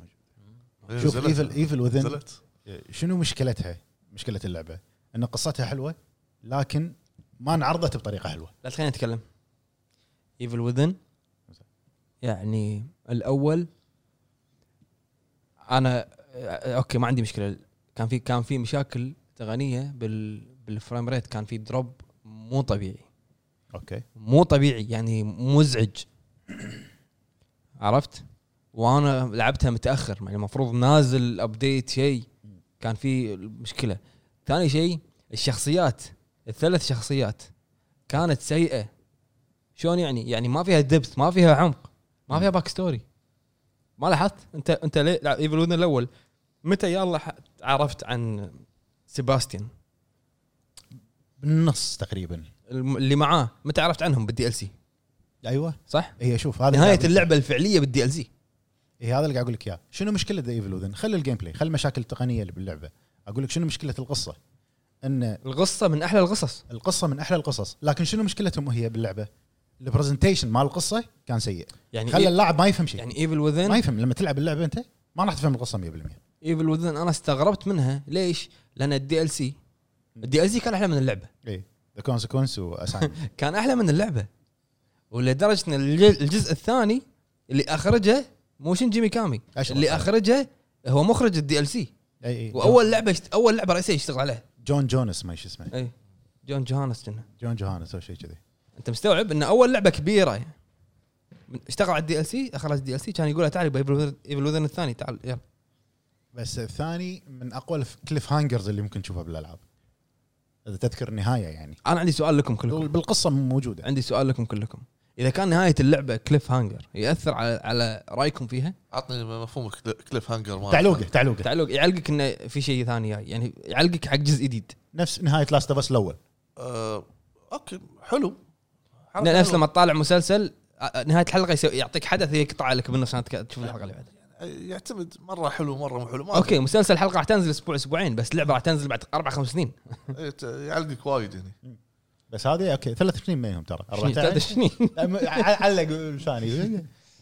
S2: شوف ايفل ايفل وذن
S3: إيه، نزلت
S2: شنو مشكلتها؟ مشكله اللعبه ان قصتها حلوه لكن ما انعرضت بطريقه حلوه
S1: لا خلينا نتكلم ايفل وذن يعني الاول انا آه، اوكي ما عندي مشكله كان في كان في مشاكل تقنيه بال بالفريم ريت كان في دروب مو طبيعي
S2: اوكي
S1: مو طبيعي يعني مزعج عرفت وانا لعبتها متاخر يعني المفروض نازل ابديت شيء كان في مشكله ثاني شيء الشخصيات الثلاث شخصيات كانت سيئه شلون يعني يعني ما فيها دبث ما فيها عمق ما فيها باك ستوري ما لاحظت انت انت ليه لا، ايفل وذن الاول متى يلا ح- عرفت عن سيباستيان
S2: بالنص تقريبا
S1: الم- اللي معاه متى عرفت عنهم بالدي ال سي
S2: ايوه
S1: صح
S2: هي شوف هذا
S1: نهايه
S2: اللي-
S1: اللعبه الفعليه بالدي ال سي
S2: اي هذا اللي قاعد اقول لك اياه شنو مشكله ذا ايفل وذن خلي الجيم بلاي خلي المشاكل التقنيه اللي باللعبه اقول لك شنو مشكله القصه ان
S1: القصه من احلى القصص
S2: القصه من احلى القصص لكن شنو مشكلتهم هي باللعبه البرزنتيشن مال القصه كان سيء
S1: يعني
S2: خلى
S1: إيه
S2: اللاعب ما يفهم شيء
S1: يعني ايفل
S2: ما
S1: وذن
S2: يفهم لما تلعب اللعبه انت ما راح تفهم القصه 100%
S1: ايفل وذن انا استغربت منها ليش؟ لان الدي ال سي الدي ال سي كان احلى من اللعبه
S2: اي ذا كونسيكونس
S1: [laughs] كان احلى من اللعبه ولدرجه ان الج- الجزء الثاني اللي اخرجه مو جيمي كامي
S2: أشرف
S1: اللي
S2: صالح.
S1: اخرجه هو مخرج الدي ال سي
S2: اي
S1: واول لعبه يشت... اول لعبه رئيسيه يشتغل عليها
S2: جون جونس ما شو اسمه
S1: اي جون جوهانس جنة.
S2: جون جوهانس او شيء كذي
S1: انت مستوعب ان اول لعبه كبيره من- اشتغل على الدي ال سي اخرج الدي ال سي كان يقول له تعال ايفل وذن الثاني تعال يلا
S2: بس الثاني من اقوى الكليف هانجرز اللي ممكن تشوفها بالالعاب اذا تذكر النهايه يعني
S1: انا عندي سؤال لكم كلكم
S2: بالقصه موجوده
S1: عندي سؤال لكم كلكم اذا كان نهايه اللعبه كليف هانجر ياثر على على رايكم فيها
S3: عطني مفهوم كل- كليف هانجر مال
S2: تعلوقه تعلوقه
S1: تعلق يعلقك انه في شيء ثاني جاي يعني يعلقك حق جزء جديد
S2: نفس نهايه لاست اوف اس الاول
S3: آه، اوكي حلو حركة
S1: نفس
S3: حلوة.
S1: لما تطالع مسلسل آه، نهايه الحلقه يسوي يعطيك حدث يقطع لك بالنص عشان تك- تشوف الحلقه اللي بعدها
S3: يعتمد مره حلو مره مو حلو ما
S1: اوكي مسلسل حلقه راح تنزل اسبوع اسبوعين بس لعبه راح تنزل بعد اربع خمس سنين
S3: أدري. إيه، ت- يعلقك وايد يعني. هنا
S2: بس هذه اوكي ثلاث سنين بينهم
S1: [laughs]
S2: ترى
S1: ثلاث
S2: 14
S1: سنين
S2: لا، م- ع- علق
S1: [laughs]
S2: ثاني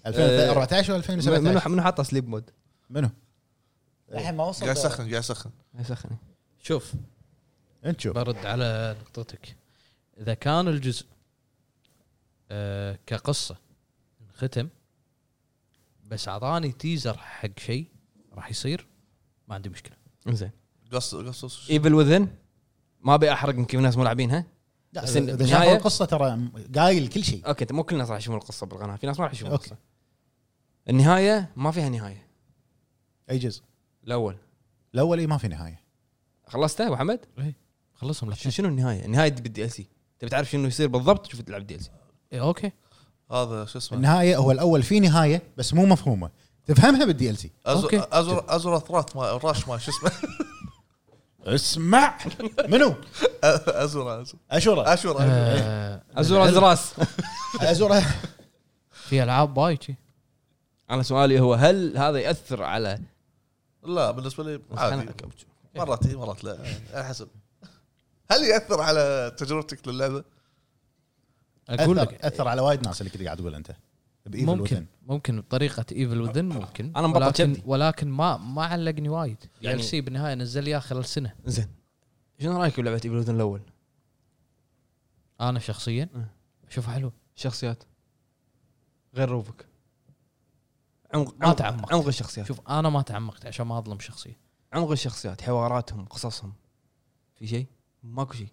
S2: 2014 و 2017
S1: آه، منو منو حاطه سليب مود؟
S2: منو؟
S5: الحين ما وصل
S3: قاعد يسخن قاعد يسخن
S1: يسخني
S4: شوف
S2: انت شوف
S4: برد على نقطتك اذا كان الجزء آه كقصه ختم بس اعطاني تيزر حق شيء راح يصير ما عندي مشكله
S1: زين
S3: قص
S4: إيه.
S3: قصص
S1: ايفل وذن ما ابي احرق يمكن في ناس مو لاعبينها
S2: لا،
S1: بس
S2: اذا
S1: النهاية- آه.
S2: شافوا القصه ترى م- قايل كل شيء
S1: اوكي انت مو كل الناس راح يشوفون القصه بالقناه في ناس ما راح يشوفون
S2: أوكي.
S1: القصه النهايه ما فيها نهايه
S2: اي جزء
S1: الاول
S2: الاول إي ما في نهايه
S1: خلصته ابو حمد؟
S4: خلصهم
S1: شنو-
S4: لك
S1: شنو النهايه؟ النهايه بالدي ال سي تبي تعرف شنو يصير بالضبط شوف تلعب دي ال سي
S4: إيه اوكي
S3: هذا شو
S1: آه.
S3: اسمه
S2: النهايه هو الاول في نهايه بس مو مفهومه تفهمها بالدي ال سي
S3: ازر
S4: أوكي.
S3: ازر ازر اثرات ما راش ما شو اسمه
S1: [laughs]
S3: [laughs]
S2: اسمع منو؟
S3: ازر ازر
S2: اشوره
S3: اشور
S4: آه
S1: ازور ازراس
S2: ازوره
S4: في العاب وايد شي.
S1: انا سؤالي هو هل هذا ياثر على
S3: لا بالنسبه لي عادي
S1: خلنا-
S3: مرات اي مرات لا على حسب هل ياثر على تجربتك للعبه؟
S4: اقول
S2: أثر-
S4: لك
S2: اثر على وايد ناس اللي كنت قاعد تقول انت بإيفل
S4: ممكن
S2: وذن.
S4: ممكن بطريقه ايفل وذن ممكن
S1: أنا مبطل
S4: ولكن
S1: شبدي.
S4: ولكن ما ما علقني وايد
S1: يعني-
S4: يعني سي بالنهايه نزل لي إياه خلال سنه
S1: زين شنو رايك بلعبه ايفل وذن الاول؟
S4: انا شخصيا
S1: أه.
S4: اشوفها حلوه
S1: شخصيات غير روبك عمق
S4: ما
S1: عمق-
S4: تعمقت.
S1: عمق الشخصيات شوف
S4: شوف انا ما تعمقت عشان ما اظلم شخصيه
S1: عمق الشخصيات حواراتهم قصصهم في شيء؟ ماكو شيء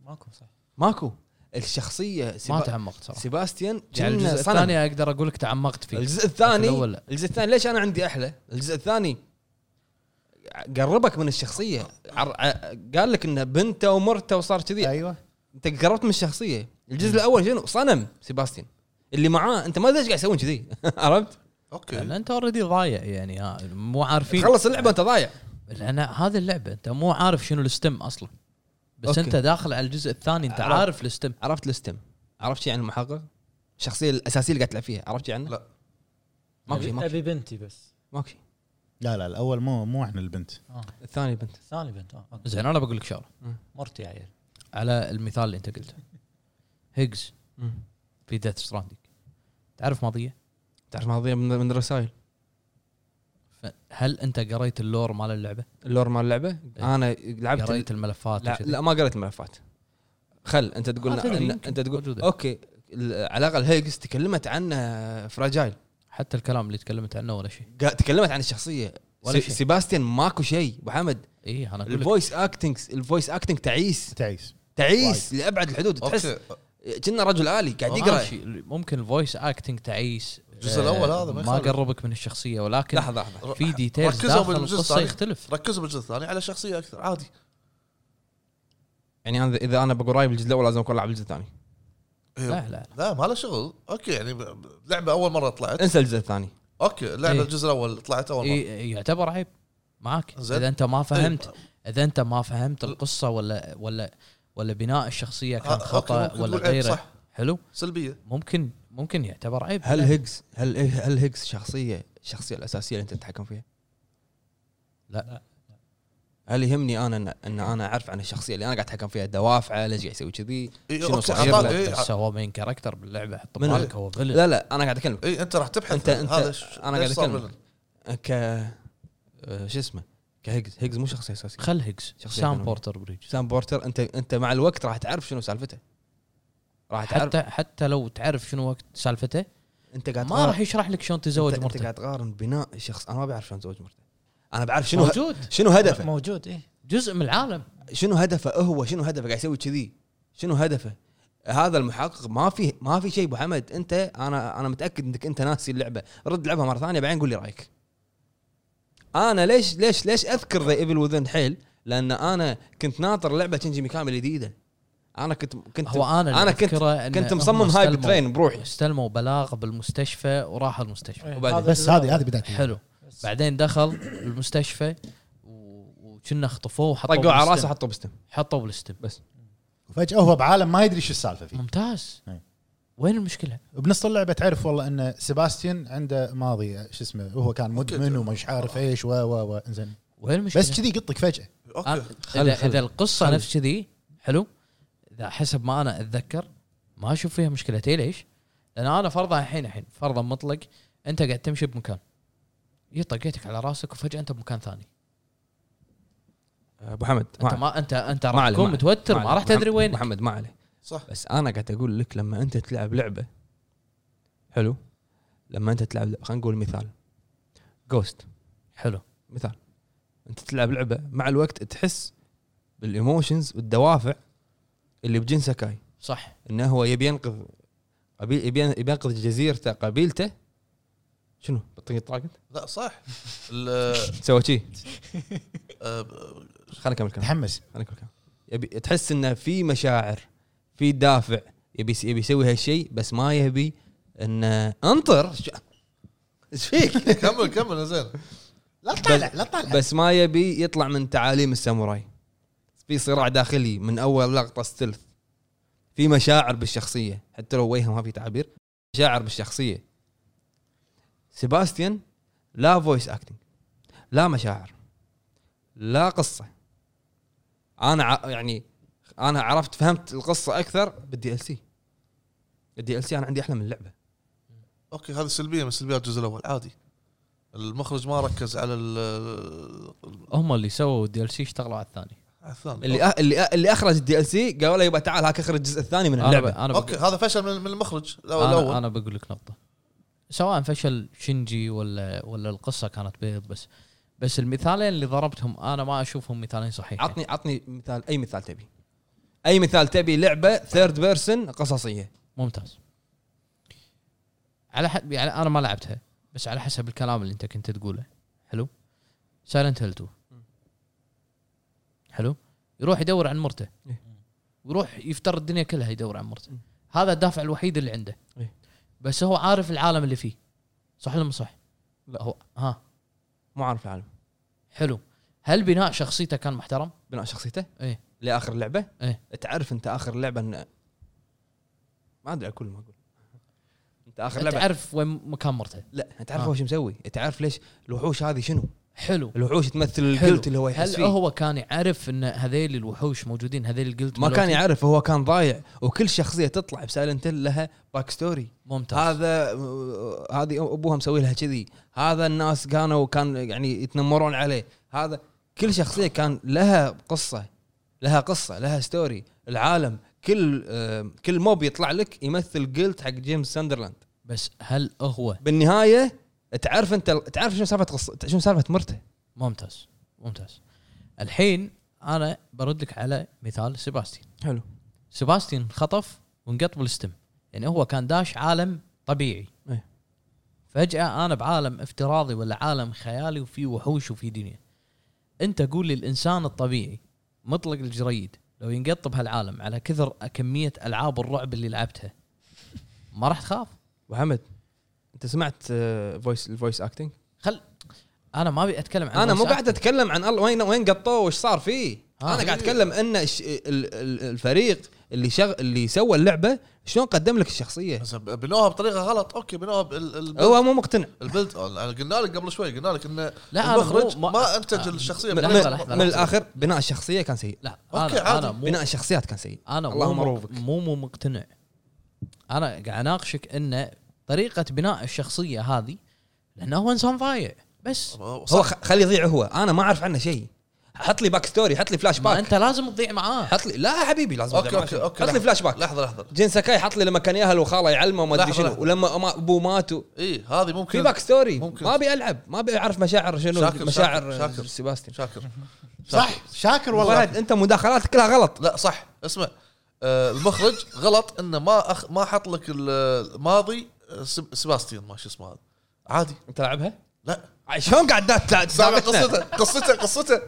S5: ماكو صح
S1: ماكو الشخصيه سبا...
S4: ما تعمقت صراحه
S1: سباستيان
S4: يعني
S1: جنة
S4: الجزء
S1: صنم.
S4: الثاني اقدر اقول لك تعمقت فيه
S1: الجزء الثاني
S4: الأول لا.
S1: الجزء الثاني ليش انا عندي احلى؟ الجزء الثاني قربك من الشخصيه عر... ع- قال لك انه بنته ومرته وصار كذي
S2: ايوه
S1: انت قربت من الشخصيه الجزء الاول شنو صنم سيباستيان اللي معاه انت ما ادري ايش قاعد يسوون كذي [laughs] عرفت؟
S4: لان
S3: اوكي
S4: انت اوريدي ضايع يعني ها مو عارفين
S1: خلص اللعبه انت ضايع
S4: لان هذه اللعبه انت مو عارف شنو الستم اصلا بس
S1: أوكي. أه.
S4: أوكي. انت داخل على الجزء الثاني انت
S1: عرفت.
S4: عارف الستم
S1: عرفت الستم عرفت شيء عن المحقق؟ الشخصيه الاساسيه اللي قاعد تلعب فيها عرفت شيء عنها؟
S3: لا.
S1: ماكو شيء إيه، ماكو شيء
S5: ابي بنتي بس
S1: ماكو شيء
S2: لا لا الاول مو مو عن البنت
S1: الثاني بنت
S5: ثاني بنت اه أوكي.
S4: زين انا بقول لك شغله
S5: مرتي يا عيل
S4: على المثال اللي انت قلته هيجز في ديث ستراندنج تعرف ماضيه
S1: تعرف ماضيه من من الرسائل
S4: هل انت قريت اللور مال اللعبه
S1: اللور مال اللعبه انا لعبت
S4: قريت الملفات
S1: لا,
S4: وكذي؟
S1: لا ما قريت الملفات خل انت تقول
S4: آه، تدري،
S1: إن-
S4: يمكن
S1: انت تقول
S4: موجودة.
S1: اوكي ال- على الاقل هيجز تكلمت عنه فراجايل
S4: حتى الكلام اللي تكلمت عنه ولا شيء
S1: قا- تكلمت عن الشخصيه
S4: ولا
S1: ولا
S4: شيء.
S1: سيباستيان ماكو شيء ابو حمد
S4: اي انا اقول إيه، لك
S1: الفويس اكتنج الفويس اكتنج تعيس
S2: تعيس
S1: تعيس لابعد الحدود تحس آه،
S3: اوكي
S1: كنا رجل الي قاعد يقرا
S4: ماشي، ممكن الفويس اكتنج تعيس
S3: الجزء الاول
S4: آه،
S3: هذا ما
S4: ما
S3: يخالف.
S4: قربك من الشخصيه ولكن
S1: لحظه لحظه
S4: في ديتيلز
S3: ركزوا
S4: داخل
S3: بالجزء
S4: القصه
S3: الثاني.
S4: يختلف
S3: ركزوا بالجزء الثاني على شخصيه اكثر عادي
S1: يعني انا اذا انا بقول رايي بالجزء الاول لازم اكون لاعب الجزء الثاني
S3: هي-
S4: لا لا
S3: لا ما له شغل اوكي يعني ب- ب- لعبه اول مره طلعت
S1: انسى الجزء الثاني
S3: اوكي لعبه
S4: إيه.
S3: الجزء الاول طلعت اول مره
S4: إي- إيه، يعتبر عيب معك
S3: زين.
S4: اذا انت ما فهمت
S3: طيب،
S4: اذا انت ما فهمت القصه ولا ولا ولا بناء الشخصيه
S3: ها-
S4: كان
S3: آه، أوكي،
S4: خطا
S3: ممكن
S4: ولا
S3: تقول عيب،
S4: غيره
S3: صح
S4: حلو
S3: سلبيه
S4: ممكن ممكن يعتبر عيب
S1: هل
S4: لا.
S1: هيجز هل إيه، هل هيجز شخصيه الشخصيه الاساسيه اللي انت تتحكم فيها؟
S4: لا
S3: آه.
S1: هل يهمني انا ان, ان انا اعرف عن الشخصيه اللي انا قاعد اتحكم فيها دوافعه ليش قاعد يسوي كذي؟
S3: اي
S1: شنو
S3: اوكي
S1: صاير
S3: أعطاك-
S1: له؟
S3: إيه،
S4: بس هو مين كاركتر باللعبه حط
S1: منو؟
S4: بالك هو فيلن
S1: لا لا انا قاعد اكلمك
S3: اي انت إيه، راح تبحث
S1: أنت- أنت-
S3: هذا ش-
S1: أنا قاعد
S3: ليش صار
S1: أكلمك.
S3: villain؟
S1: ك آه، شو اسمه كهيجز هيجز مو شخصيه اساسيه
S4: خل هيجز
S1: شخصية
S4: سام
S1: ثانوية.
S4: بورتر بريج
S1: سام بورتر انت انت مع الوقت راح تعرف شنو سالفته راح تعرف
S4: حتى حتى لو تعرف شنو وقت سالفته
S1: انت قاعد
S4: ما
S1: تقارن-
S4: راح يشرح لك شلون تزوج
S1: أنت- انت
S4: مرته
S1: قاعد تقارن بناء شخص انا ما بعرف شلون زوج مرته انا بعرف شنو ه...
S4: موجود
S1: شنو هدفه
S5: موجود إيه. اي
S4: جزء من العالم
S1: شنو هدفه هو شنو هدفه قاعد يسوي كذي شنو هدفه هذا المحقق ما في ما في شيء ابو حمد انت انا انا متاكد انك انت ناسي اللعبه رد لعبها مره ثانيه بعدين قول لي رايك انا ليش ليش ليش اذكر ذا ايفل وذن حيل لان انا كنت ناطر لعبه شنجي ميكامي الجديده انا كنت كنت
S4: هو انا اللي
S1: انا كنت
S4: أذكره إن
S1: كنت
S4: هم
S1: مصمم هاي
S4: استلموا-
S1: بالترين بروحي
S4: استلموا بلاغ بالمستشفى وراح المستشفى
S1: وبعدين؟
S2: بس هذه هذه بدايه
S4: حلو
S5: بس.
S4: بعدين دخل المستشفى و- وكنا خطفوه وحطوه
S1: طقوا على
S4: بالستم.
S1: راسه حطوا بستم
S4: حطوه بالستم
S2: وفجاه هو بعالم ما يدري شو السالفه فيه
S4: ممتاز
S1: نعم.
S2: إيه.
S4: وين المشكله؟
S2: بنص اللعبه تعرف والله ان سيباستيان عنده ماضي آه، شو اسمه هو كان مدمن ومش عارف ايش و و و زين
S4: وين المشكله؟
S2: بس كذي قطك فجاه
S3: اوكي
S4: أنا-
S1: خل-
S4: اذا
S1: خل-
S4: اذا القصه
S1: خل.
S4: نفس كذي حلو اذا حسب ما انا اتذكر ما اشوف فيها مشكلتي ليش؟ لان انا فرضا الحين الحين فرضا مطلق انت قاعد تمشي بمكان يطقيتك على راسك وفجاه انت بمكان ثاني
S1: ابو حمد ما
S4: انت
S1: عليه.
S4: ما انت انت
S1: ما
S4: راح
S1: عليه،
S4: تكون
S1: ما
S4: متوتر
S1: عليه.
S4: ما راح تدري
S1: محمد-
S4: وين
S1: محمد ما عليه
S3: صح
S1: بس انا قاعد اقول لك لما انت تلعب لعبه حلو لما انت تلعب لعبة- خلينا نقول مثال جوست
S4: حلو
S1: مثال انت تلعب لعبه مع الوقت تحس بالايموشنز والدوافع اللي بجين ساكاي
S4: صح
S1: انه هو يبي ينقذ قبيل يبي يبي ينقذ جزيرته قبيلته شنو بطيق طاقت
S3: لا صح
S4: [laughs]
S3: ال-
S1: سوى شي
S3: آه،
S1: خليني اكمل كلام
S2: تحمس
S1: خليني اكمل كلام يبي تحس انه في مشاعر في دافع يبي يبي يسوي هالشيء بس ما يبي انه انطر ايش فيك
S3: كمل كمل زين
S2: لا تطالع لا تطالع
S1: بس ما يبي يطلع من تعاليم الساموراي في صراع داخلي من اول لقطه ستلث في مشاعر بالشخصيه حتى لو وجهه ما في تعابير مشاعر بالشخصيه سيباستيان لا فويس اكتنج لا مشاعر لا قصه انا ع- يعني انا عرفت فهمت القصه اكثر بالدي ال سي الدي ال سي انا عندي احلى من اللعبه
S3: اوكي هذه سلبيه من سلبيات الجزء الاول عادي المخرج ما ركز على ال-
S4: هم اللي سووا الدي ال سي اشتغلوا على الثاني
S3: على الثاني
S1: اللي أ... اللي أ... اللي اخرج الدي ال سي قالوا له يبا تعال هاك اخرج الجزء الثاني من
S4: انا ب...
S1: اللعبه
S4: انا بقول-
S3: اوكي هذا فشل من من المخرج الاول
S4: انا,
S3: الاول
S4: أنا بقول لك نقطه سواء فشل شينجي ولا ولا القصه كانت بيض بس بس المثالين اللي ضربتهم انا ما اشوفهم مثالين صحيحين
S1: عطني عطني مثال اي مثال تبي اي مثال تبي لعبه ثيرد بيرسون قصصيه
S4: ممتاز على حد يعني انا ما لعبتها بس على حسب الكلام اللي انت كنت تقوله حلو سايلنت هيل 2 حلو يروح يدور عن مرته
S1: إيه.
S4: ويروح يفتر الدنيا كلها يدور عن مرته
S1: م.
S4: هذا الدافع الوحيد اللي عنده
S1: إيه.
S4: بس هو عارف العالم اللي فيه صح ولا مو صح؟
S1: لا.
S4: هو ها
S1: مو عارف العالم
S4: حلو هل بناء شخصيته كان محترم؟
S1: بناء شخصيته
S4: إيه.
S1: لاخر لعبه
S4: إيه.
S1: تعرف انت اخر لعبه إن... ما ادري اقول ما اقول انت اخر لعبه
S4: تعرف وين مكان مرته
S1: لا تعرف
S4: آه.
S1: هو شو مسوي تعرف ليش الوحوش هذه شنو
S4: حلو
S1: الوحوش تمثل
S4: حلو.
S1: الجلد اللي هو يحس
S4: هل
S1: فيه
S4: هو كان يعرف ان هذيل الوحوش موجودين هذيل الجلد
S1: ما كان
S4: موجودين؟
S1: يعرف هو كان ضايع وكل شخصيه تطلع بسايلنت لها باك ستوري
S4: ممتاز
S1: هذا آه، هذه ابوها مسوي لها كذي هذا الناس كانوا كان يعني يتنمرون عليه هذا كل شخصيه كان لها قصه لها قصه لها ستوري العالم كل آه، كل موب يطلع لك يمثل جلد حق جيمس ساندرلاند
S4: بس هل هو
S1: بالنهايه تعرف انت تعرف شنو سالفه قصه شنو سالفه مرته
S4: ممتاز ممتاز الحين انا برد لك على مثال سيباستيان
S1: حلو
S4: سيباستيان خطف وانقط بالستم يعني هو كان داش عالم طبيعي
S1: إيه.
S4: فجاه انا بعالم افتراضي ولا عالم خيالي وفي وحوش وفي دنيا انت قول لي الانسان الطبيعي مطلق الجريد لو ينقط بهالعالم على كثر كميه العاب الرعب اللي لعبتها ما راح تخاف
S1: وحمد انت سمعت آه، فويس الفويس اكتنج
S4: خل انا ما ابي اتكلم عن
S1: انا مو
S4: voice
S1: قاعد اتكلم عن الله وين وين قطوه وايش صار فيه
S4: آه.
S1: انا قاعد اتكلم ان الش- ال- ال- الفريق اللي شغ... اللي سوى اللعبه شلون قدم لك الشخصيه
S3: بس ب- بنوها بطريقه غلط اوكي بنوها بال- ال-
S1: هو مو مقتنع
S3: البلد آه، أنا قلنا لك قبل شوي قلنا لك انه
S4: لا، أنا
S3: المخرج
S4: مو- ما-
S3: ما انتج الشخصيه
S1: من,
S4: لحظة،
S3: بالضبط.
S1: من,
S4: لحظة،
S1: من
S4: لحظة.
S1: الاخر بناء الشخصيه كان سيء
S4: لا
S3: أوكي،
S4: أنا,
S3: عادي.
S4: انا مو
S1: بناء الشخصيات كان
S3: آه،
S1: سيء
S4: انا
S1: اللهم
S4: مو
S1: روفك.
S4: مو مو مقتنع انا قاعد اناقشك ان طريقه بناء الشخصيه هذه لانه هو انسان ضايع بس
S1: هو
S3: صح
S1: خ- خليه يضيع هو انا ما اعرف عنه شيء حط لي باك ستوري حط لي فلاش
S4: ما
S1: باك
S4: انت لازم تضيع معاه
S1: حط لي لا حبيبي لازم
S3: اوكي
S1: أضيع
S3: اوكي
S1: معك.
S3: اوكي
S1: حط لي
S3: لحظة.
S1: فلاش باك
S3: لحظه لحظه
S1: جين ساكاي حط لي لما كان ياهل وخاله يعلمه وما ادري
S3: لحظة،
S1: شنو
S3: لحظة.
S1: ولما أما- ابوه ماتوا
S3: اي هذه
S1: في
S3: ممكن
S1: باك ستوري
S3: ممكن.
S1: ما ابي العب ما ابي اعرف مشاعر شنو
S3: شاكر،
S1: مشاعر
S3: شاكر، شاكر.
S1: سيباستيان
S3: شاكر
S2: صح شاكر والله
S1: بعد انت مداخلاتك كلها غلط
S3: لا صح اسمع آه، المخرج غلط انه ما أخ... ما حط لك ال- الماضي آه، سب- سباستيان ما شو اسمه هذا عادي
S1: انت لعبها
S3: لا
S1: شلون قاعد دا- دا-
S3: سامع
S1: تسابقنا
S3: قصته قصته قصته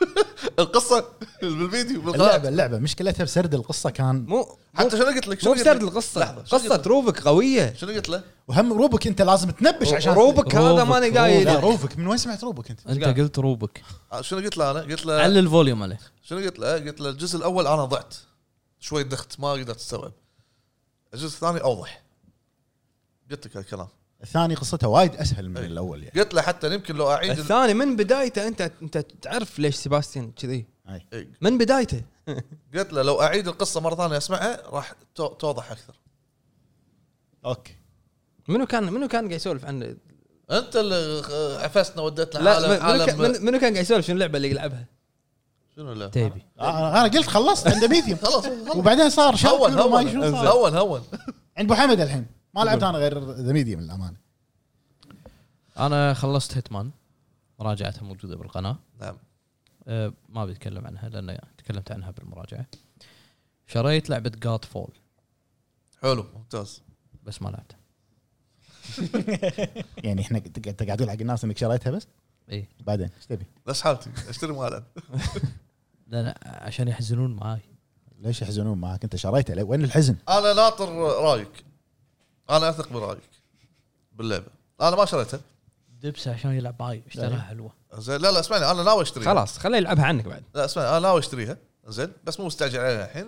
S3: [laughs] القصه بالفيديو بالقناه
S2: اللعبه اللعبه مشكلتها بسرد القصه كان
S1: مو
S3: حتى شنو قلت لك شنو
S1: مو
S3: قلت
S1: بسرد
S3: لك؟
S1: القصه
S3: لحظة، شنو
S1: قصه
S3: قلت لك؟
S1: روفك قويه
S3: شنو قلت له؟
S2: وهم روبك انت لازم تنبش عشان
S1: روبك هذا
S4: روبك،
S1: ماني
S2: لا
S1: قايل
S2: روبك من وين سمعت روبك انت؟
S4: انت قلت روبك
S3: آه، شنو قلت له انا؟ قلت له
S4: علي الفوليوم عليه
S3: شنو قلت له؟ قلت له الجزء الاول انا ضعت شوي دخت ما قدرت استوعب الجزء الثاني اوضح قلت لك هالكلام
S2: الثاني قصتها وايد اسهل
S1: إيه.
S2: من الاول يعني
S3: قلت له حتى يمكن لو اعيد ال-
S1: الثاني من بدايته انت انت تعرف ليش سيباستيان كذي
S2: أي.
S3: إيه،
S1: من بدايته
S3: قلت له لو اعيد القصه مره ثانيه اسمعها راح تو- توضح اكثر
S2: اوكي
S1: منو كان منو كان قاعد يسولف عن
S3: انت اللي خ- عفستنا ودتنا
S1: لا
S3: عالم
S1: منو كان-
S3: عالم
S1: منو- منو كان قاعد يسولف شنو اللعبه اللي يلعبها
S3: شنو لا
S4: تيبي
S2: انا آه، أنا قلت خلصت عند ميديوم
S3: [laughs] خلاص خلاص.
S2: وبعدين صار
S3: هون
S2: شاكر وما
S3: هون
S2: أدري شنو صار.
S3: هون هون
S2: عند ابو حمد الحين ما لعبت انا غير ذا ميديوم للامانه
S4: انا خلصت هيتمان مراجعتها موجوده بالقناه
S3: نعم
S4: أه ما بتكلم عنها لان تكلمت عنها بالمراجعه شريت لعبه جاد فول
S3: حلو ممتاز
S4: بس ما لعبتها
S2: يعني احنا قد- قد- قاعد تقول حق الناس انك شريتها بس
S4: اي
S2: بعدين ايش تبي؟
S3: نفس حالتي اشتري مالا
S4: لان عشان يحزنون معاي
S2: ليش يحزنون معك انت شريتها ليه؟ وين الحزن؟
S3: انا ناطر رايك انا اثق برايك باللعبه انا ما شريتها
S4: دبسه عشان يلعب معاي
S1: إيه.
S4: اشتراها حلوه
S3: زين لا لا اسمعني انا ناوي اشتريها
S1: خلاص خليه يلعبها عنك بعد
S3: لا اسمعني انا ناوي اشتريها زين بس مو مستعجل عليها الحين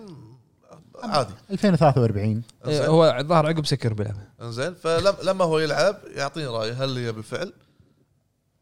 S3: عادي
S2: 2043
S1: إيه،
S3: زين
S1: هو الظاهر عقب سكر بيلعبها
S3: زين فلما هو يلعب يعطيني رايه هل هي بالفعل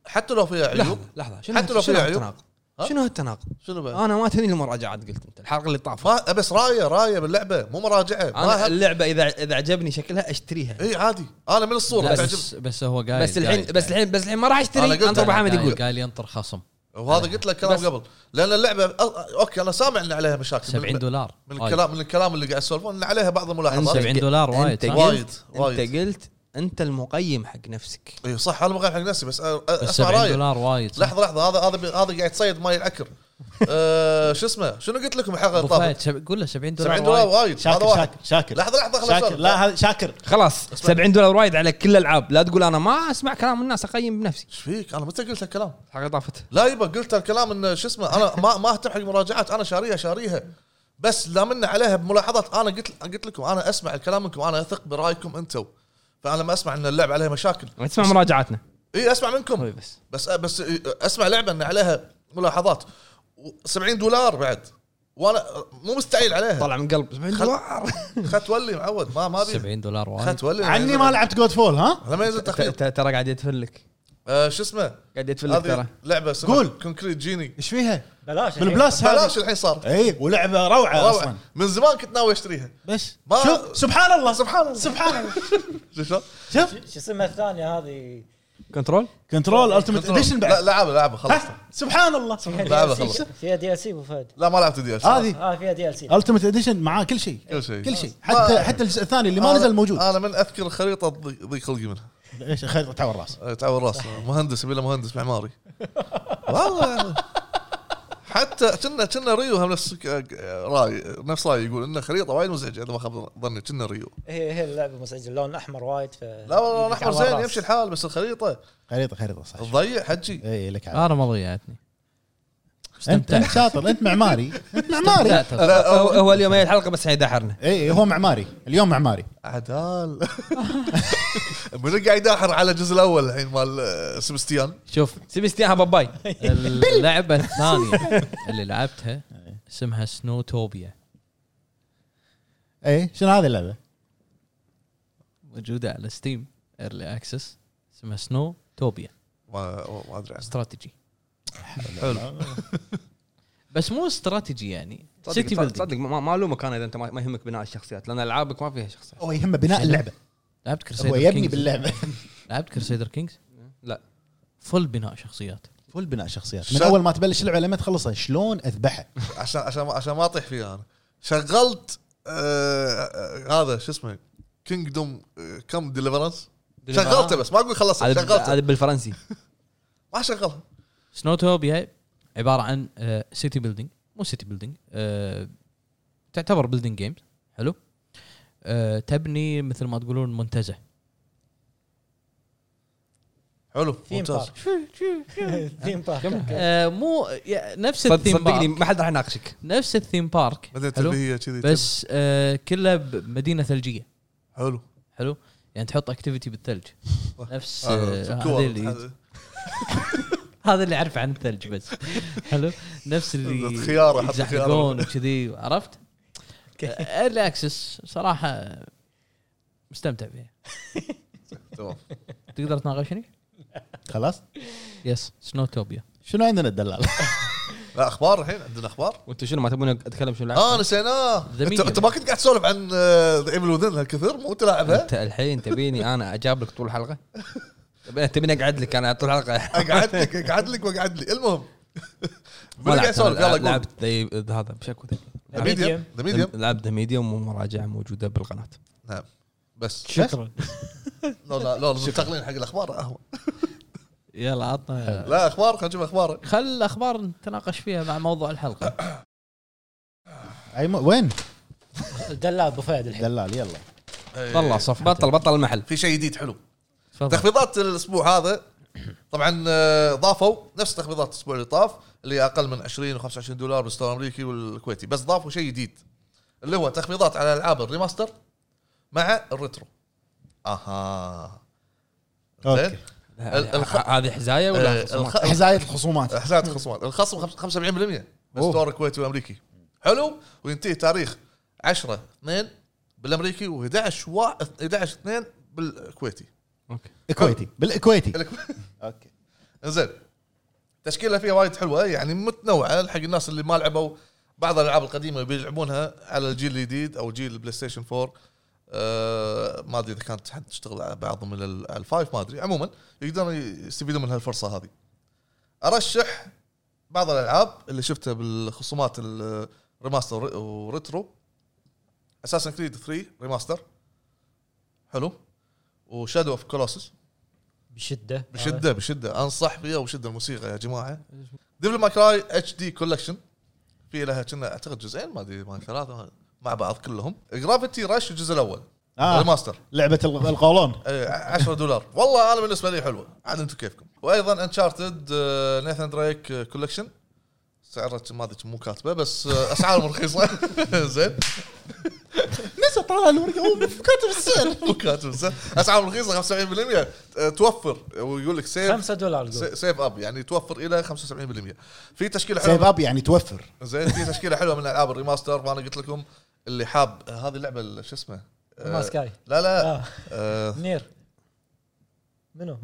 S3: حتى لو فيها عيوب
S1: لحظه لحظه شنو
S3: حتى
S1: هت-
S3: لو
S1: شنو
S3: فيها عيوب؟
S1: هالتناقض؟
S3: ها؟ طيب.
S1: شنو هالتناقض؟
S3: شنو
S4: آه.
S3: بعد؟
S1: انا ما تهني المراجعات قلت انت الحلقه اللي طافت
S3: ما بس رايه رايه باللعبه مو مراجعه
S1: انا
S3: ما
S1: اللعبه اذا اذا عجبني شكلها اشتريها
S3: اي عادي انا من الصوره تعجب
S4: بس بس هو قايل
S1: بس الحين
S4: قايل-
S1: بس الحين بس الحين ما راح اشتري
S3: أنا قلت
S1: انت ابو
S3: أنا
S1: حامد
S4: قايل-
S1: يقول
S4: قايل ينطر خصم
S3: وهذا قلت لك
S1: بس-
S3: كلام قبل لان اللعبه أ- اوكي انا سامع ان عليها مشاكل
S4: 70
S3: من,
S4: دولار
S3: من
S4: وايد.
S3: الكلام من الكلام اللي قاعد يسولفون ان عليها بعض الملاحظات
S4: 70 دولار
S1: انت
S4: وايد صح؟
S3: وايد
S1: قلت انت
S3: وايد
S1: قلت انت المقيم حق نفسك
S3: اي صح انا مغير حق نفسي بس أ- أ-
S4: بس
S3: اسمع
S4: 70
S3: رايك
S4: دولار وايد صح؟
S3: لحظه لحظه هذا هذا بي- هذا قاعد يتصيد ماي العكر [laughs] آه، شو اسمه شنو قلت لكم الحلقه اللي
S4: أبو فهد،
S3: طافت
S4: سب- قول له 70 دولار
S3: 70 دولار
S4: وايد.
S3: وايد هذا
S6: شاكر
S3: واحد
S6: شاكر شاكر
S3: لحظه لحظه خلنا
S6: شاكر
S3: نسولف.
S6: لا هذا شاكر
S1: خلاص 70 دولار وايد على كل الالعاب لا تقول انا ما اسمع كلام الناس اقيم بنفسي
S3: ايش فيك انا متى قلت الكلام
S1: الحلقه طافت
S3: لا يبا قلت الكلام ان شو اسمه انا ما ما اهتم حق مراجعات انا شاريها شاريها بس لا من عليها بملاحظات انا قلت قلت لكم انا اسمع الكلام منكم انا اثق برايكم انتم فانا ما اسمع ان اللعبه عليها مشاكل
S1: ما تسمع مراجعاتنا
S3: اي اسمع منكم
S1: طيب بس
S3: بس بس اسمع لعبه ان عليها ملاحظات و- 70 دولار بعد وانا مو مستعيل عليها
S1: طلع من قلب 70 [laughs] دولار
S3: خت ولي معود ما ما ابي
S4: 70 دولار وايد
S3: خت ولي يعني
S2: عني ما لعبت جود فول ها؟
S3: لما ينزل تخفيض
S1: ت- ت- ترى قاعد يدفن لك
S3: آه، شو اسمه
S1: قاعد يدفن لك ترى
S3: هذه لعبه اسمها
S2: قول.
S3: كونكريت جيني
S2: ايش فيها؟
S5: بلاش
S2: بالبلس هذا
S3: بلاش الحين صار
S2: اي
S6: ولعبه روعه
S3: روعة. آه.
S6: اصلا
S3: من زمان كنت ناوي اشتريها
S6: بس
S3: ما-
S6: شوف سبحان الله سبحان الله سبحان الله
S3: شو شلون؟
S6: شوف
S5: إيه. شو اسمها الثانيه هذه
S1: كنترول
S6: كنترول التيمت اديشن
S3: لا
S6: بعد
S3: لعبه لعبه خلاص
S6: ها، سبحان الله
S5: فيها
S3: لا، لا،
S5: DLC.
S3: خلاص.
S5: فيها دي ال سي ابو فهد
S3: لا ما لعبت دي اس
S2: هذه
S5: اه فيها دي ال سي
S2: التيمت اديشن معاه كل شيء
S3: كل شيء
S2: كل شيء حتى حتى الجزء الثاني اللي ما
S3: أنا-
S2: نزل موجود
S3: انا من اذكر خريطه ضي ضي خلقي منها
S2: ايش خير تعور راس [laughs]
S3: أه، تعور راس مهندس يبي له مهندس معماري والله حتى كنا كنا ريو هم نفس ك- راي نفس راي يقول انه خريطه وايد مزعجه اذا ما خاب ظني كنا ريو
S5: هي هي اللعبه مزعجه اللون الاحمر وايد ف
S3: لا والله الاحمر زين يمشي الحال بس الخريطه
S2: خريطه خريطه صح
S3: تضيع حجي
S2: اي لك على
S4: انا ما ضيعتني
S2: انت انت
S4: [laughs] استمتعت
S2: شاطر انت معماري انت معماري
S4: استمتعت.
S1: هو هو اليوم هي الحلقه بس يدحرنا
S2: اي هو معماري اليوم معماري
S3: عدال [laughs] من قاعد يداحر على الجزء الاول الحين مال آه، سبستيان
S4: شوف
S1: سيبستيان باباي
S4: [laughs] اللعبه الثانيه اللي لعبتها اسمها سنوتوبيا
S2: اي شنو هذه اللعبه؟
S4: موجوده على ستيم ايرلي اكسس اسمها سنوتوبيا
S3: ما ما ادري عنه
S4: استراتيجي [laughs] بس مو استراتيجي يعني سيتي
S1: صدق
S4: بيلدينج
S1: صدق ما ما الومك انا اذا انت ما ما يهمك بناء الشخصيات لان العابك ما فيها شخصيات
S2: هو يهمه بناء اللعبه
S4: لعبت
S2: هو
S4: كرسيدر
S2: يبني
S4: كينجز
S2: [laughs] باللعبه
S4: لعبت كرسيدر كينجز
S1: لا
S4: فل بناء شخصيات
S2: فل بناء شخصيات
S3: شد.
S2: من اول ما تبلش اللعبه لما تخلصها شلون اذبحه
S3: عشان عشان ما- عشان ما اطيح فيها انا شغلت آه، آه، هذا شو اسمه كينجدوم كم ديليفرنس شغلته بس ما اقول خلصت
S1: هذا
S3: شغلته
S1: هذا بالفرنسي
S3: ما شغلها
S4: سنوتوبيا عباره عن سيتي بيلدينج مو سيتي بيلدينج تعتبر بيلدينج جيمز حلو آه، تبني مثل ما تقولون منتزه
S3: حلو
S5: ثيم
S3: ممتاز
S5: بارك ثيم بارك [laughs]
S4: آه، مو يا- نفس
S1: صد-
S4: الثيم
S1: صدقني
S4: بارك
S1: ما حد راح يناقشك
S4: نفس الثيم
S1: [laughs]
S4: بارك
S3: بدات
S4: حلو؟
S3: اللي هي كذي
S4: بس آه، كله بمدينه ثلجيه
S3: حلو
S4: حلو يعني تحط
S1: [laughs]
S4: اكتيفيتي بالثلج نفس
S3: آه،
S4: آه،
S3: سكور.
S4: هذا اللي هذا اللي اعرفه عن الثلج
S1: [laughs]
S4: بس حلو نفس اللي
S3: خيار، أحط خيار.
S4: يتزحلقون وكذي عرفت؟ آه، ايرلي اكسس صراحه مستمتع فيها
S3: تمام
S4: تقدر تناقشني؟
S2: خلاص
S4: يس سنوتوبيا
S2: شنو عندنا الدلال؟
S3: لا اخبار الحين عندنا اخبار
S1: وانتم شنو ما تبون اتكلم شنو لعبت؟
S3: اه نسيناه
S4: The
S3: انت
S4: Medium.
S3: انت ما كنت قاعد تسولف عن آه، ذا ايفل وذن هالكثر مو انت لاعبها
S1: انت الحين تبيني انا اجاب لك طول [laughs] الحلقه تبي- تبيني اقعد لك انا طول الحلقه
S3: اقعد لك اقعد لك واقعد لي المهم من
S1: [laughs] ما
S3: قاعد
S1: لعبت
S3: يسولف
S1: أنا
S3: يلا قول
S1: لعبت ذي- هذا بشكو ذي.
S3: ذا ميديوم ذا ميديوم
S1: لعبت ميديوم ومراجعه موجوده بالقناه
S3: نعم بس
S5: شكرا
S3: لا لا لا مستقلين حق الاخبار اهون
S4: يلا عطنا
S3: لا اخبار خلينا نشوف اخبارك
S4: خل الاخبار نتناقش فيها مع موضوع الحلقه
S2: أي م- وين
S5: الدلال ابو فهد الحين
S2: الدلال يلا
S1: والله صفحه إيه. بطل بطل المحل
S3: في شيء جديد حلو
S4: تفضل
S3: تخفيضات الاسبوع هذا طبعا آه، ضافوا نفس تخفيضات الاسبوع اللي طاف اللي هي اقل من 20 و25 دولار بالستور الامريكي والكويتي بس ضافوا شيء جديد اللي هو تخفيضات على العاب الريماستر مع الريترو اها
S2: اوكي
S3: ال- إيه، الخ-
S1: هذه حزايه ولا خصومات؟
S2: حزايه الخصومات
S3: حساب الخصومات الخصم خمس- 75% بالستور الكويتي والامريكي حلو وينتهي تاريخ 10 2 بالامريكي و11 11 2 بالكويتي
S1: اوكي
S2: الكويتي بالكويتي
S3: الك-
S2: اوكي
S3: زين تشكيله فيها وايد حلوه يعني متنوعه حق الناس اللي ما لعبوا بعض الالعاب القديمه بيلعبونها على الجيل الجديد او جيل البلاي ستيشن 4 آه ما ادري اذا كانت حد تشتغل على بعض من ال- على الفايف ما ادري عموما يقدرون يستفيدون من هالفرصه هذه ارشح بعض الالعاب اللي شفتها بالخصومات الريماستر وريترو اساسن كريد 3 ريماستر حلو وشادو اوف كولوسس
S5: بشده
S3: بشده بشده انصح فيها وبشده الموسيقى يا جماعه ديفل ماي كراي اتش دي كولكشن في لها كنا اعتقد جزئين ما ادري ما ثلاثه مع بعض كلهم جرافيتي رش الجزء الاول
S2: اه
S3: ريماستر
S2: لعبه الغ- القولون
S3: 10 دولار والله انا بالنسبه لي حلوه عاد انتم كيفكم آه، وايضا انشارتد نيثان دريك كولكشن سعرها ما ادري مو كاتبه بس آه، اسعارهم رخيصه [laughs] زين
S2: نسى طالع الورقه هو كاتب السعر
S3: [laughs] مو كاتب زين. اسعارهم رخيصه 75% آه، توفر ويقول لك سيف
S5: 5 آه. دولار قول
S3: سي- سيف اب يعني توفر الى 75% في تشكيله
S2: سيف
S3: حلوه
S2: اب يعني توفر
S3: زين في تشكيله حلوه من العاب الريماستر وانا قلت لكم اللي حاب هذه اللعبه ال- شو اسمه آه،
S5: ما سكاي
S3: لا لا
S5: آه،
S3: آه،
S5: نير منو؟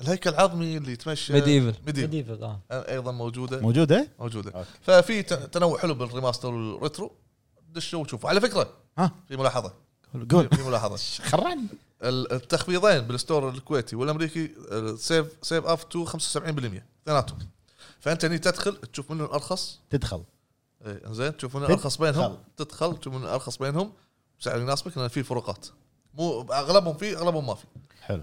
S3: الهيكل العظمي اللي آه، يتمشى
S1: Medieval.
S3: ميديفل
S5: ميديفل اه
S3: ايضا موجوده
S2: موجوده؟
S3: موجوده
S2: أوكي.
S3: ففي ت- تنوع حلو بالريماستر والريترو دشوا وشوفوا على فكره
S2: ها.
S3: في ملاحظه
S2: قول
S3: في ملاحظه
S2: [laughs] خرعني
S3: ال- التخفيضين بالستور الكويتي والامريكي آه، سيف سيف اب تو 75% اثنيناتهم فانت هني تدخل تشوف منو الارخص
S2: تدخل
S3: ايه زين تشوف من
S2: تدخل.
S3: الارخص بينهم تدخل تشوف من الارخص بينهم بسعر يناسبك لان في فروقات مو اغلبهم في اغلبهم ما في
S2: حلو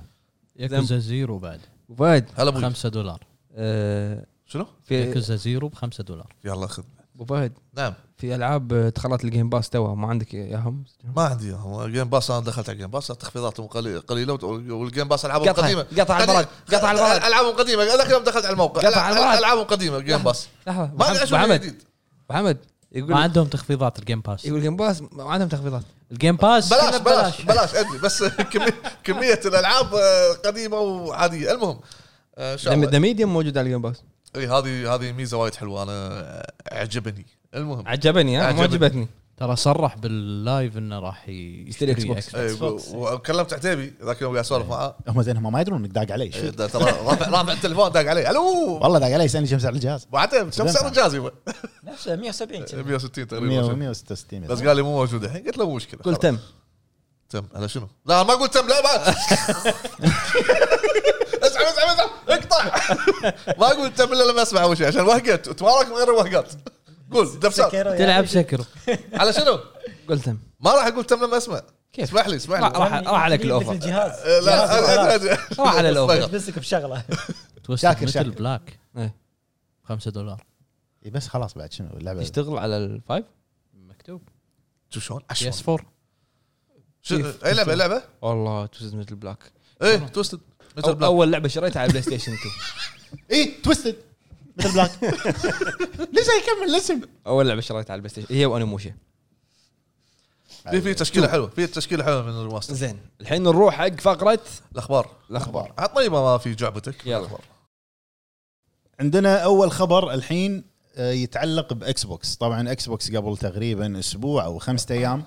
S4: ياكوزا زيرو بعد
S1: وفهد
S3: هلا ابوي
S4: خمسة دولار
S1: آه،
S3: شنو؟
S1: في
S4: ياكوزا زيرو بخمسة دولار
S3: يلا خذ
S1: ابو فهد
S3: نعم
S1: في العاب دخلت الجيم باس توا ما عندك اياهم
S3: ما عندي اياهم جيم باس انا دخلت على جيم باس تخفيضاتهم قليله قليله والجيم باس العابهم
S1: قطع
S3: قديمه
S1: قطع البرد قطع البرد
S3: العابهم قديمه ذاك اليوم دخلت على الموقع
S1: قطع على البرد.
S3: العابهم قديمه جيم باس
S1: لحظه
S3: ما ادري
S1: ابو
S3: شو
S1: حمد
S3: جديد
S1: ابو حمد يقول
S4: ما عندهم تخفيضات الجيم باس
S1: يقول جيم باس ما عندهم تخفيضات
S4: الجيم باس
S3: بلاش
S4: كله
S3: بلاش بلاش ادري بس [laughs] كمية, كميه الالعاب آه، قديمه وعاديه المهم آه، ان شاء الله
S1: ذا ميديم موجود على الجيم باس
S3: اي إيه، هذه هذه ميزه وايد حلوه انا عجبني المهم
S1: عجبني ها مو
S3: عجبني.
S1: عجبتني
S4: ترى صرح باللايف انه راح يشتري
S1: إكس بوكس.
S3: إي، إيه، و- وكلمت عتيبي ذاك اليوم قاعد
S1: إيه.
S3: اسولف معاه
S2: هم زين هم ما يدرون انك داق علي
S3: إيه،
S2: شو
S3: ده ترى
S1: [laughs]
S3: رافع رافع التليفون داق علي الو
S2: والله داق علي يسالني كم سعر الجهاز
S3: ابو عتيب كم
S1: [laughs]
S3: سعر [laughs] الجهاز يبا؟
S5: نفسه 170 كنا.
S3: 160 تقريبا
S2: 166
S3: بس قال لي مو موجود الحين قلت له مو مشكله
S1: قول
S3: خلاص.
S1: تم
S3: تم انا شنو؟ لا أنا ما قلت تم لا ما [laughs] اسحب اسحب اسحب اقطع ما اقول تم الا لما اسمع اول شيء عشان وهقت وتبارك من غير وهقات قول دبسات
S5: سكيرو يا
S4: تلعب
S5: أخي.
S4: سكر
S3: على شنو؟
S1: قول تم
S3: ما راح اقول تم لما اسمع
S1: كيف؟
S3: اسمح لي اسمح لي
S1: راح- راح عليك
S5: مثل
S1: الأوفر.
S5: الجهاز
S3: أه، لا أدري- أدري- أدري.
S1: راح على الأوفر.
S5: بسك بشغله
S4: توستد
S2: شاكر،
S4: مثل
S2: شاكر.
S4: بلاك
S1: إيه.
S4: 5 دولار
S2: إي إيه، بس خلاص بعد شنو اللعبه
S1: يشتغل على الفايف
S4: مكتوب
S3: شوف شلون
S4: بي
S3: عشان
S4: اس 4
S3: شو- إيه، اي لعبه لعبه
S1: والله توستد مثل بلاك
S3: ايه توستد مثل
S1: أو-
S3: بلاك
S1: اول لعبه شريتها على بلاي ستيشن 2 [laughs]
S2: اي إيه، توستد مثل
S3: [laughs]
S2: بلاك ليش يكمل الاسم
S1: اول لعبه شريتها على البلاي ستيشن هي وانيموشا
S3: في
S1: أيوة.
S3: في تشكيله حلوه في تشكيله حلوه من الريماستر
S1: زين الحين نروح حق فقره
S3: الاخبار
S1: الاخبار
S3: عطني أه، ما ما في جعبتك
S1: يلا.
S3: الأخبار.
S2: عندنا اول خبر الحين آه، يتعلق باكس بوكس طبعا اكس بوكس قبل تقريبا اسبوع او خمسة ايام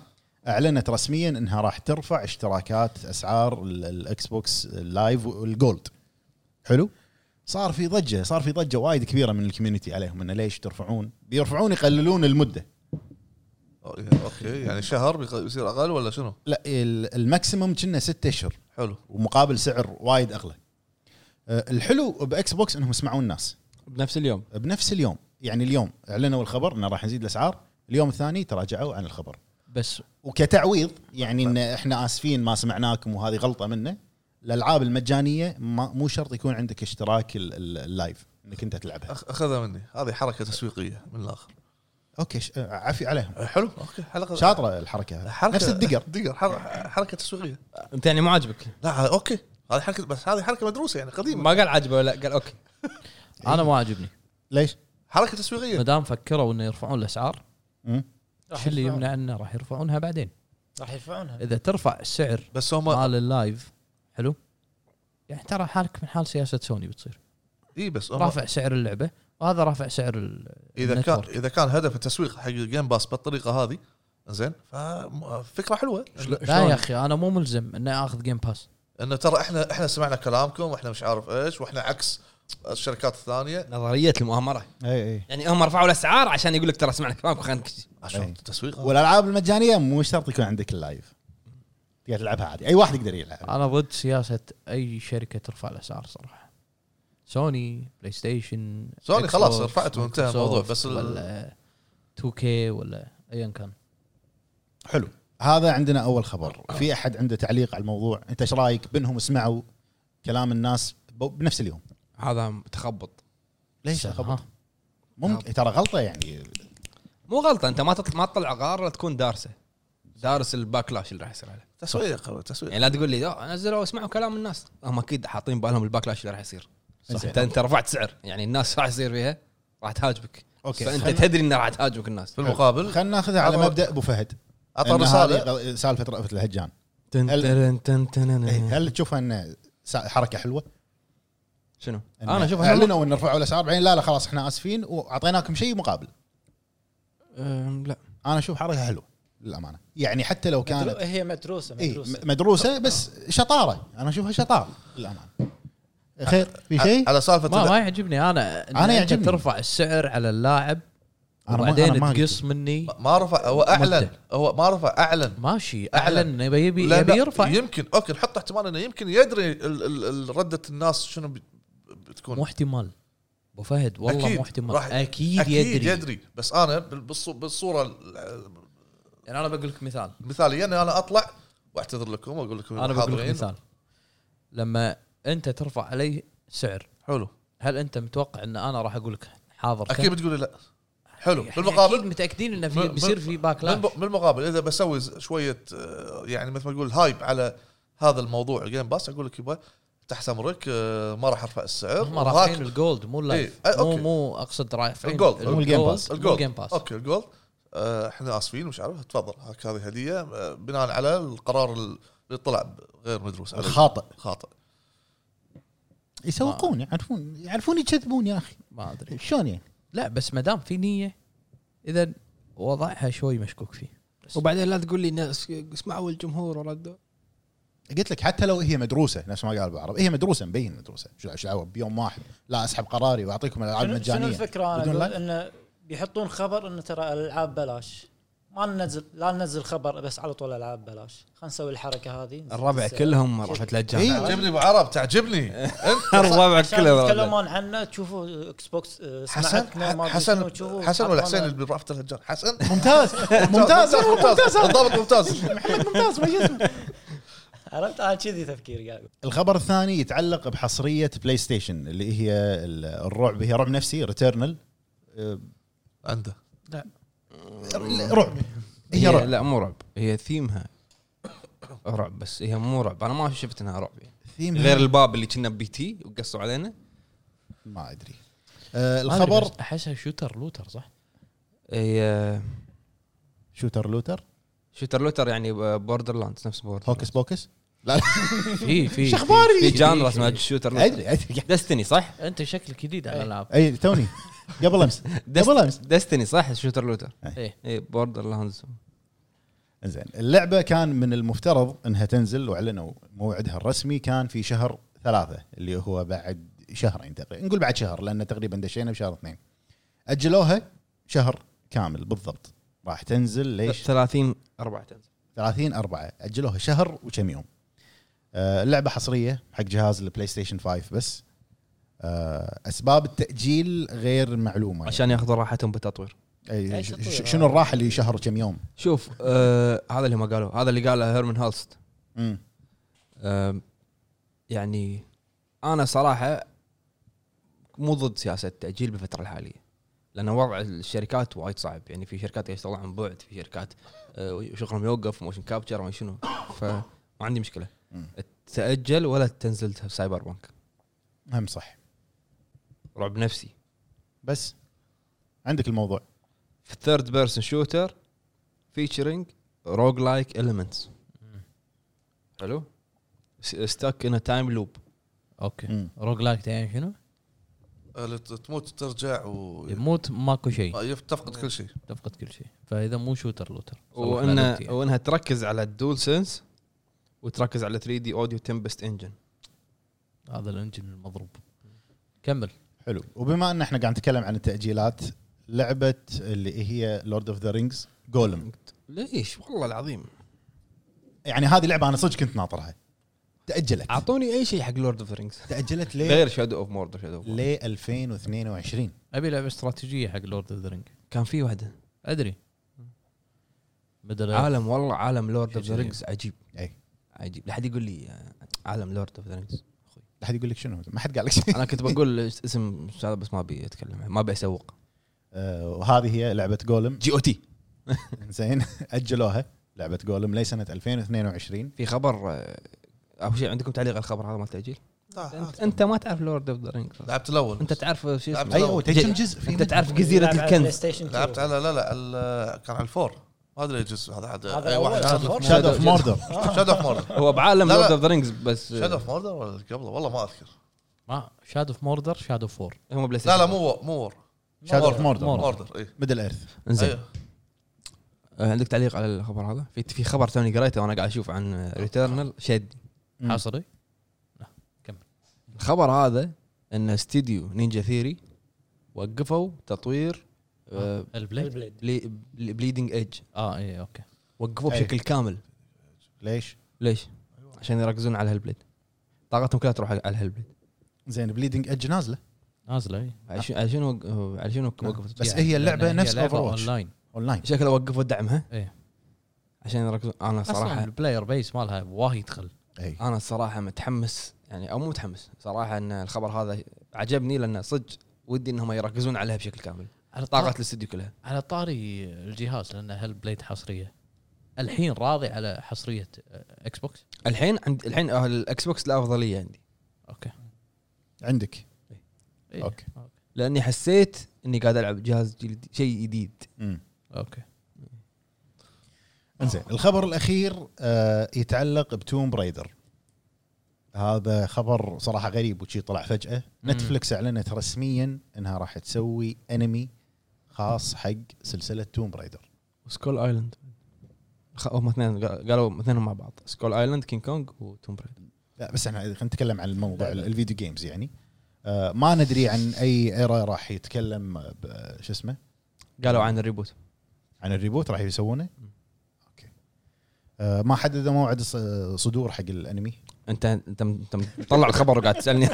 S2: اعلنت رسميا انها راح ترفع اشتراكات اسعار ال- الاكس بوكس اللايف والجولد حلو صار في ضجه صار في ضجه وايد كبيره من الكوميونتي عليهم انه ليش ترفعون بيرفعون يقللون المده
S3: أوكي، اوكي يعني شهر بيق- بيصير اقل ولا شنو؟
S2: لا ال- الماكسيمم كنا ستة اشهر
S3: حلو
S2: ومقابل سعر وايد اغلى آه، الحلو باكس بوكس انهم سمعوا الناس
S1: بنفس اليوم
S2: بنفس اليوم يعني اليوم اعلنوا الخبر انه راح نزيد الاسعار اليوم الثاني تراجعوا عن الخبر
S4: بس
S2: وكتعويض يعني ان احنا اسفين ما سمعناكم وهذه غلطه منا الالعاب المجانيه ما مو شرط يكون عندك اشتراك ال- ال- اللايف انك انت تلعبها
S3: أخ- اخذها مني هذه حركه تسويقيه من الاخر
S2: اوكي ش- آه، عافي عليهم
S3: حلو اوكي حلقه
S2: شاطره الحركه
S3: حركة
S2: نفس الدقر
S3: دقر حر- حركه تسويقيه
S1: انت يعني مو عاجبك
S3: لا اوكي هذه حركه بس هذه حركه مدروسه يعني قديمه
S1: ما قال عاجبه ولا قال اوكي
S3: إيه.
S4: انا ما عاجبني
S2: ليش؟
S3: حركه
S4: ما
S3: تسويقيه
S4: دام فكروا انه يرفعون الاسعار
S2: مم.
S4: شو اللي يمنع انه راح يرفعونها بعدين
S5: راح يرفعونها
S4: اذا ترفع السعر
S3: بس هم
S4: مال اللايف حلو يعني ترى حالك من حال سياسه سوني بتصير
S3: اي بس هم
S4: رافع سعر اللعبه وهذا رافع سعر ال-
S3: اذا كان
S4: النتورك.
S3: اذا كان هدف التسويق حق الجيم باس بالطريقه هذه زين ففكره حلوه
S4: لا يا اخي انا مو ملزم اني اخذ جيم باس
S3: انه ترى احنا احنا سمعنا كلامكم واحنا مش عارف ايش واحنا عكس الشركات الثانيه
S1: نظريه المؤامره
S2: اي اي
S1: يعني هم رفعوا الاسعار عشان يقول لك ترى سمعنا كلامك خلينا نكشف
S3: عشان
S2: أي.
S3: التسويق
S2: والالعاب المجانيه مو شرط يكون عندك اللايف تقدر تلعبها عادي اي واحد يقدر يلعبها
S4: انا ضد سياسه اي شركه ترفع الاسعار صراحه سوني بلاي ستيشن
S3: سوني
S4: إكس
S3: خلاص
S4: بوكس،
S3: رفعت وانتهى الموضوع،
S4: مايكروسوفت
S3: بس ال-
S4: ولا 2 كي ولا ايا كان
S2: حلو هذا عندنا اول خبر في احد عنده تعليق على الموضوع انت ايش رايك بينهم سمعوا كلام الناس ب- بنفس اليوم
S1: هذا تخبط
S2: ليش
S4: سلام.
S2: خبر ممكن ترى غلطه يعني
S1: مو غلطه انت ما تطلع ما تطلع غار لا تكون دارسه دارس الباكلاش اللي راح يصير عليه
S3: تسويق تسويق
S1: يعني لا تقول لي "آه، نزلوا اسمعوا كلام الناس هم اكيد حاطين بالهم الباكلاش اللي راح يصير
S2: صح.
S1: انت انت رفعت سعر يعني الناس راح يصير فيها راح تهاجمك
S2: أوكي.
S1: فانت
S2: خل-
S1: تدري انه راح تهاجمك الناس
S3: في المقابل
S2: خلينا ناخذها على
S3: عطوا-
S2: مبدا ابو فهد
S3: عطى
S2: إن
S3: رسالة.
S2: هذه غ- سالفه رأفت الهجان
S1: تن
S2: هل-
S1: ترن تن تنن.
S2: إيه، هل تشوفها ان سا- حركه حلوه؟
S1: شنو؟
S2: إن
S1: انا اشوف إنه-
S2: اعلنوا ان رفعوا الاسعار بعدين لا لا خلاص احنا اسفين واعطيناكم شيء مقابل
S1: أم، لا
S2: انا اشوف حركه حلوه للامانه يعني حتى لو كانت
S5: مدرو- هي متروسه
S2: إيه
S5: متروسه
S2: م- مدروسه بس شطاره انا اشوفها شطاره للامانه خير في شيء؟
S3: على سالفه
S4: ما
S3: ال-
S4: ما يعجبني انا إن
S2: أنا
S4: أنت
S2: يعجبني.
S4: ترفع السعر على اللاعب
S2: أنا ما- أنا
S4: وبعدين
S2: ما
S4: تقص مني
S3: ما رفع هو اعلن هو ما رفع اعلن
S4: ماشي
S3: أعلن.
S4: اعلن يبي يبي
S3: لأن
S4: يبي يرفع
S3: يمكن اوكي نحط احتمال انه يمكن يدري ال- ال- ال- رده الناس شنو بي- بتكون
S4: مو احتمال ابو فهد والله
S3: أكيد.
S4: مو احتمال
S3: راح-
S4: اكيد, يدري,
S3: يدري بس انا بال- بالصو- بالصوره ال-
S4: يعني انا بقول لك مثال
S3: المثاليه اني انا اطلع واعتذر لكم واقول لكم
S4: انا بقول لك
S3: حاضرين.
S4: مثال لما انت ترفع علي سعر
S3: حلو
S4: هل انت متوقع ان انا راح اقول لك حاضر
S3: اكيد بتقولي لا حلو
S4: يعني
S3: بالمقابل
S4: اكيد متاكدين انه
S3: بال-
S4: في
S3: بال-
S4: بيصير في باك لاش
S3: بالم- بالمقابل اذا بسوي ز- شويه آه، يعني مثل ما تقول هايب على هذا الموضوع الجيم باس اقول لك يبا تحت امرك آه، ما راح ارفع السعر
S4: هم
S3: وهاك-
S4: رافعين الجولد مو اللايف
S3: إيه، أي،
S4: مو
S3: أوكي.
S4: مو اقصد رافعين
S3: الجولد،
S2: مو الجيم باس.
S4: مو الجيم
S3: الجولد
S4: باس
S3: اوكي الجولد آه، احنا اسفين مش عارف تفضل هاك هذه هديه آه، بناء على القرار ال- اللي طلع ب- غير مدروس عليه.
S2: الخاطئ
S3: خاطئ
S2: يسوقون يعرفون يعرفون يكذبون يا اخي
S4: ما ادري
S2: شلون يعني
S4: لا بس ما دام في نيه اذا وضعها شوي مشكوك فيه
S1: وبعدين لا تقول لي ناس اسمعوا الجمهور وردوا
S2: قلت لك حتى لو هي مدروسه نفس ما قال بالعرب هي مدروسه مبين مدروسه شو شو دعوه بيوم واحد لا اسحب قراري واعطيكم الالعاب
S5: شنو, شنو
S2: مجانيه
S5: الفكره انا
S2: بدون
S5: اقول
S2: لايف؟
S5: انه بيحطون خبر انه ترى الالعاب بلاش ما ننزل لا ننزل خبر بس على طول العاب بلاش خلينا نسوي الحركه هذه نزيد
S1: الربع
S5: السعر.
S1: كلهم رفت للجامعه
S2: إيه.
S3: تعجبني ابو عرب تعجبني
S1: [laughs] الربع
S5: عشان
S1: كلهم
S5: يتكلمون عنه تشوفوا اكس بوكس آه،
S3: حسن
S2: نعم،
S5: سمعتنا ما أدري شنو،
S3: حسن
S5: تشوفوا
S3: حسن ولا
S5: حطونا-
S3: حسين اللي برافت الهجان حسن
S2: [laughs] ممتاز
S3: [laughs]
S2: ممتاز
S3: ممتاز بالضبط ممتاز
S2: ممتاز ما شو اسمه.
S5: عرفت انا كذي تفكيري قاعد
S2: الخبر الثاني يتعلق بحصريه بلاي ستيشن اللي هي ال- الرعب هي رعب نفسي ريتيرنال
S3: عنده
S2: رعب هي
S1: هي
S2: رعب
S1: لا مو رعب هي ثيمها رعب بس هي مو رعب انا ما شفت انها رعب يعني.
S2: ثيم
S1: غير الباب اللي كنا بي تي وقصوا علينا
S2: ما ادري آه،
S4: ما أدري،
S2: الخبر
S4: بس احسها شوتر لوتر صح؟
S1: هي
S2: شوتر لوتر
S1: شوتر لوتر يعني بوردر لاندز نفس بوردر
S2: هوكس بوكس
S4: في في
S2: شو أخباري؟
S1: في جانرا اسمها شوتر لوتر
S2: ادري [laughs] ادري
S1: دستني صح؟
S4: انت شكلك جديد
S2: إيه.
S4: على الالعاب
S2: اي توني قبل امس قبل امس
S1: دستني صح شوتر لوتر إيه،
S4: ايه
S1: اي بوردر لاندز
S2: زين اللعبه كان من المفترض انها تنزل واعلنوا موعدها الرسمي كان في شهر ثلاثة اللي هو بعد شهرين تقريبا نقول بعد شهر لان تقريبا دشينا بشهر اثنين اجلوها شهر كامل بالضبط راح تنزل ليش
S1: 30 4
S2: 30 أربعة اجلوها شهر وكم يوم آه، اللعبه حصريه حق جهاز البلاي ستيشن 5 بس آه، اسباب التاجيل غير معلومه
S1: عشان ياخذوا راحتهم بالتطوير
S2: أي
S5: أي
S2: ش-
S5: تطوير؟
S2: ش- شنو الراحه اللي شهر كم يوم
S1: شوف آه هذا اللي ما قالوا هذا اللي قاله هيرمن هالست
S2: مم.
S1: آه يعني انا صراحه مو ضد سياسه التاجيل بالفتره الحاليه لان وضع الشركات وايد صعب يعني في شركات قاعدة تشتغل عن بعد في شركات آه شغلهم يوقف موشن كابتشر ما شنو فما عندي مشكله
S2: مم.
S1: تاجل ولا تنزل سايبر بانك
S2: هم صح
S1: رعب نفسي
S2: بس عندك الموضوع
S1: في ثيرد بيرسون شوتر فيتشرنج روج لايك المنتس حلو ستاك ان تايم لوب
S4: اوكي
S2: مم.
S4: روج لايك يعني شنو؟
S3: اللي ت- تموت ترجع و
S4: يموت ماكو
S3: يف-
S4: شيء
S2: نعم.
S3: تفقد كل شيء
S4: تفقد كل شيء فاذا مو شوتر لوتر
S1: وانها
S2: يعني.
S4: صلح
S1: وانها تركز على الدول سنس وتركز على 3 دي اوديو تمبست انجن
S4: هذا الانجن المضروب كمل
S2: حلو وبما ان احنا قاعد نتكلم عن التاجيلات لعبه اللي هي لورد اوف ذا رينجز جولم
S1: ليش والله العظيم
S2: يعني هذه لعبه انا صدق كنت ناطرها تاجلت
S1: اعطوني اي شيء حق لورد اوف رينجز
S2: تاجلت ليه
S1: غير شادو اوف موردر شادو اوف
S2: ليه 2022
S4: ابي لعبه استراتيجيه حق لورد اوف ذا رينج
S1: كان في واحده
S4: ادري بدل
S1: عالم والله عالم لورد اوف ذا رينجز عجيب
S2: أي.
S1: عجيب لا حد يقول لي آه، عالم لورد اوف ذا رينجز
S2: لا حد يقول لك شنو ما حد قال لك شيء
S1: انا كنت بقول [laughs] اسم هذا بس ما ابي اتكلم عنه، ما ابي اسوق
S2: [laughs] آه، وهذه هي لعبه جولم
S1: جي او تي
S2: زين [laughs] اجلوها لعبه جولم لسنه 2022
S1: في خبر آه، اول شيء عندكم تعليق على الخبر هذا مال التاجيل؟
S3: آه،
S1: انت, انت ما تعرف لورد اوف ذا رينجز
S3: لعبت الاول
S1: انت تعرف شو اسمه
S3: لعبت
S2: اي هو تجي أيوة، جزء
S1: انت
S2: في منها.
S1: أيوة، تعرف جزيره
S5: بلاي
S1: الكنز
S5: ستيشن
S3: لعبت
S5: 2.
S3: على لا لا على كان على الفور ما ادري جزء هذا حد
S5: هذا
S3: اي
S5: أول،
S3: واحد
S5: هذا
S3: أيوة، شادو
S5: الفور.
S3: اوف
S2: شادو آه. اوف موردر
S3: موردر
S1: هو بعالم
S3: لا، لا.
S1: لورد اوف ذا رينجز بس
S3: شادو
S1: آه،
S3: اوف موردر ولا قبله والله ما اذكر
S4: ما شادو اوف موردر شادو فور
S1: هم بلاي
S3: لا
S1: ستيشن
S3: لا مو وور- مو وور
S2: شادو اوف موردر
S4: موردر.
S3: موردر اي
S2: ميدل ايرث
S1: انزين
S3: أيوه.
S1: آه، عندك تعليق على الخبر هذا؟ في في خبر توني قريته وانا قاعد اشوف عن ريتيرنال شد
S4: حصري
S1: الخبر هذا ان استديو نينجا ثيري وقفوا تطوير آه،
S4: البليد
S5: البليد.
S1: بلي بليدنج ايدج
S4: اه اي اوكي
S1: وقفوه
S3: أيوه.
S2: أي.
S1: بشكل كامل
S2: ليش؟
S1: ليش؟ عشان يركزون على الهلبليد طاقتهم كلها تروح على الهلبليد
S2: زين بليدنج اج نازله
S4: نازله اي
S1: على شنو على شنو- على
S3: نعم.
S1: شنو وقفوا
S2: بس هي اللعبه
S4: لأن يعني هي
S2: نفس
S4: لعبة
S2: اوفر واتش
S4: اونلاين
S2: اونلاين
S1: شكله وقفوا دعمها
S4: إيه.
S1: عشان يركزون انا
S4: صراحه
S1: صراحه
S4: البلاير بيس مالها وايد خل
S2: اي
S1: انا صراحه متحمس يعني او مو متحمس صراحه ان الخبر هذا عجبني لانه صدق ودي انهم يركزون عليها بشكل كامل
S4: على
S1: طاقه
S4: طاري
S1: الاستديو كلها
S4: على طاري الجهاز لان هالبليد حصريه الحين راضي على حصريه آه، اكس بوكس
S1: الحين عند الحين أهل الاكس بوكس لا افضليه عندي
S4: اوكي
S2: عندك
S4: إيه.
S2: أوكي.
S1: لاني حسيت اني قاعد العب جهاز جلد- شيء جديد
S2: امم
S4: اوكي
S2: انزين الخبر الاخير آه، يتعلق بتوم برايدر هذا خبر صراحه غريب وشي طلع فجاه
S4: مم.
S2: نتفلكس اعلنت رسميا انها راح تسوي انمي خاص حق سلسله توم برايدر
S1: وسكول ايلاند خ- هم اثنين قا- قالوا اثنينهم مع بعض سكول ايلاند كينج كونج وتوم برايدر
S2: لا بس احنا خلينا نتكلم عن الموضوع
S1: لا، لا.
S2: الفيديو جيمز يعني آه، ما ندري عن اي ايرا راح يتكلم آه، ب- شو اسمه
S1: قالوا عن الريبوت
S2: عن الريبوت راح يسوونه
S1: مم.
S2: اوكي آه، ما حددوا موعد الص- صدور حق الانمي
S1: انت انت انت مطلع الخبر وقاعد تسالني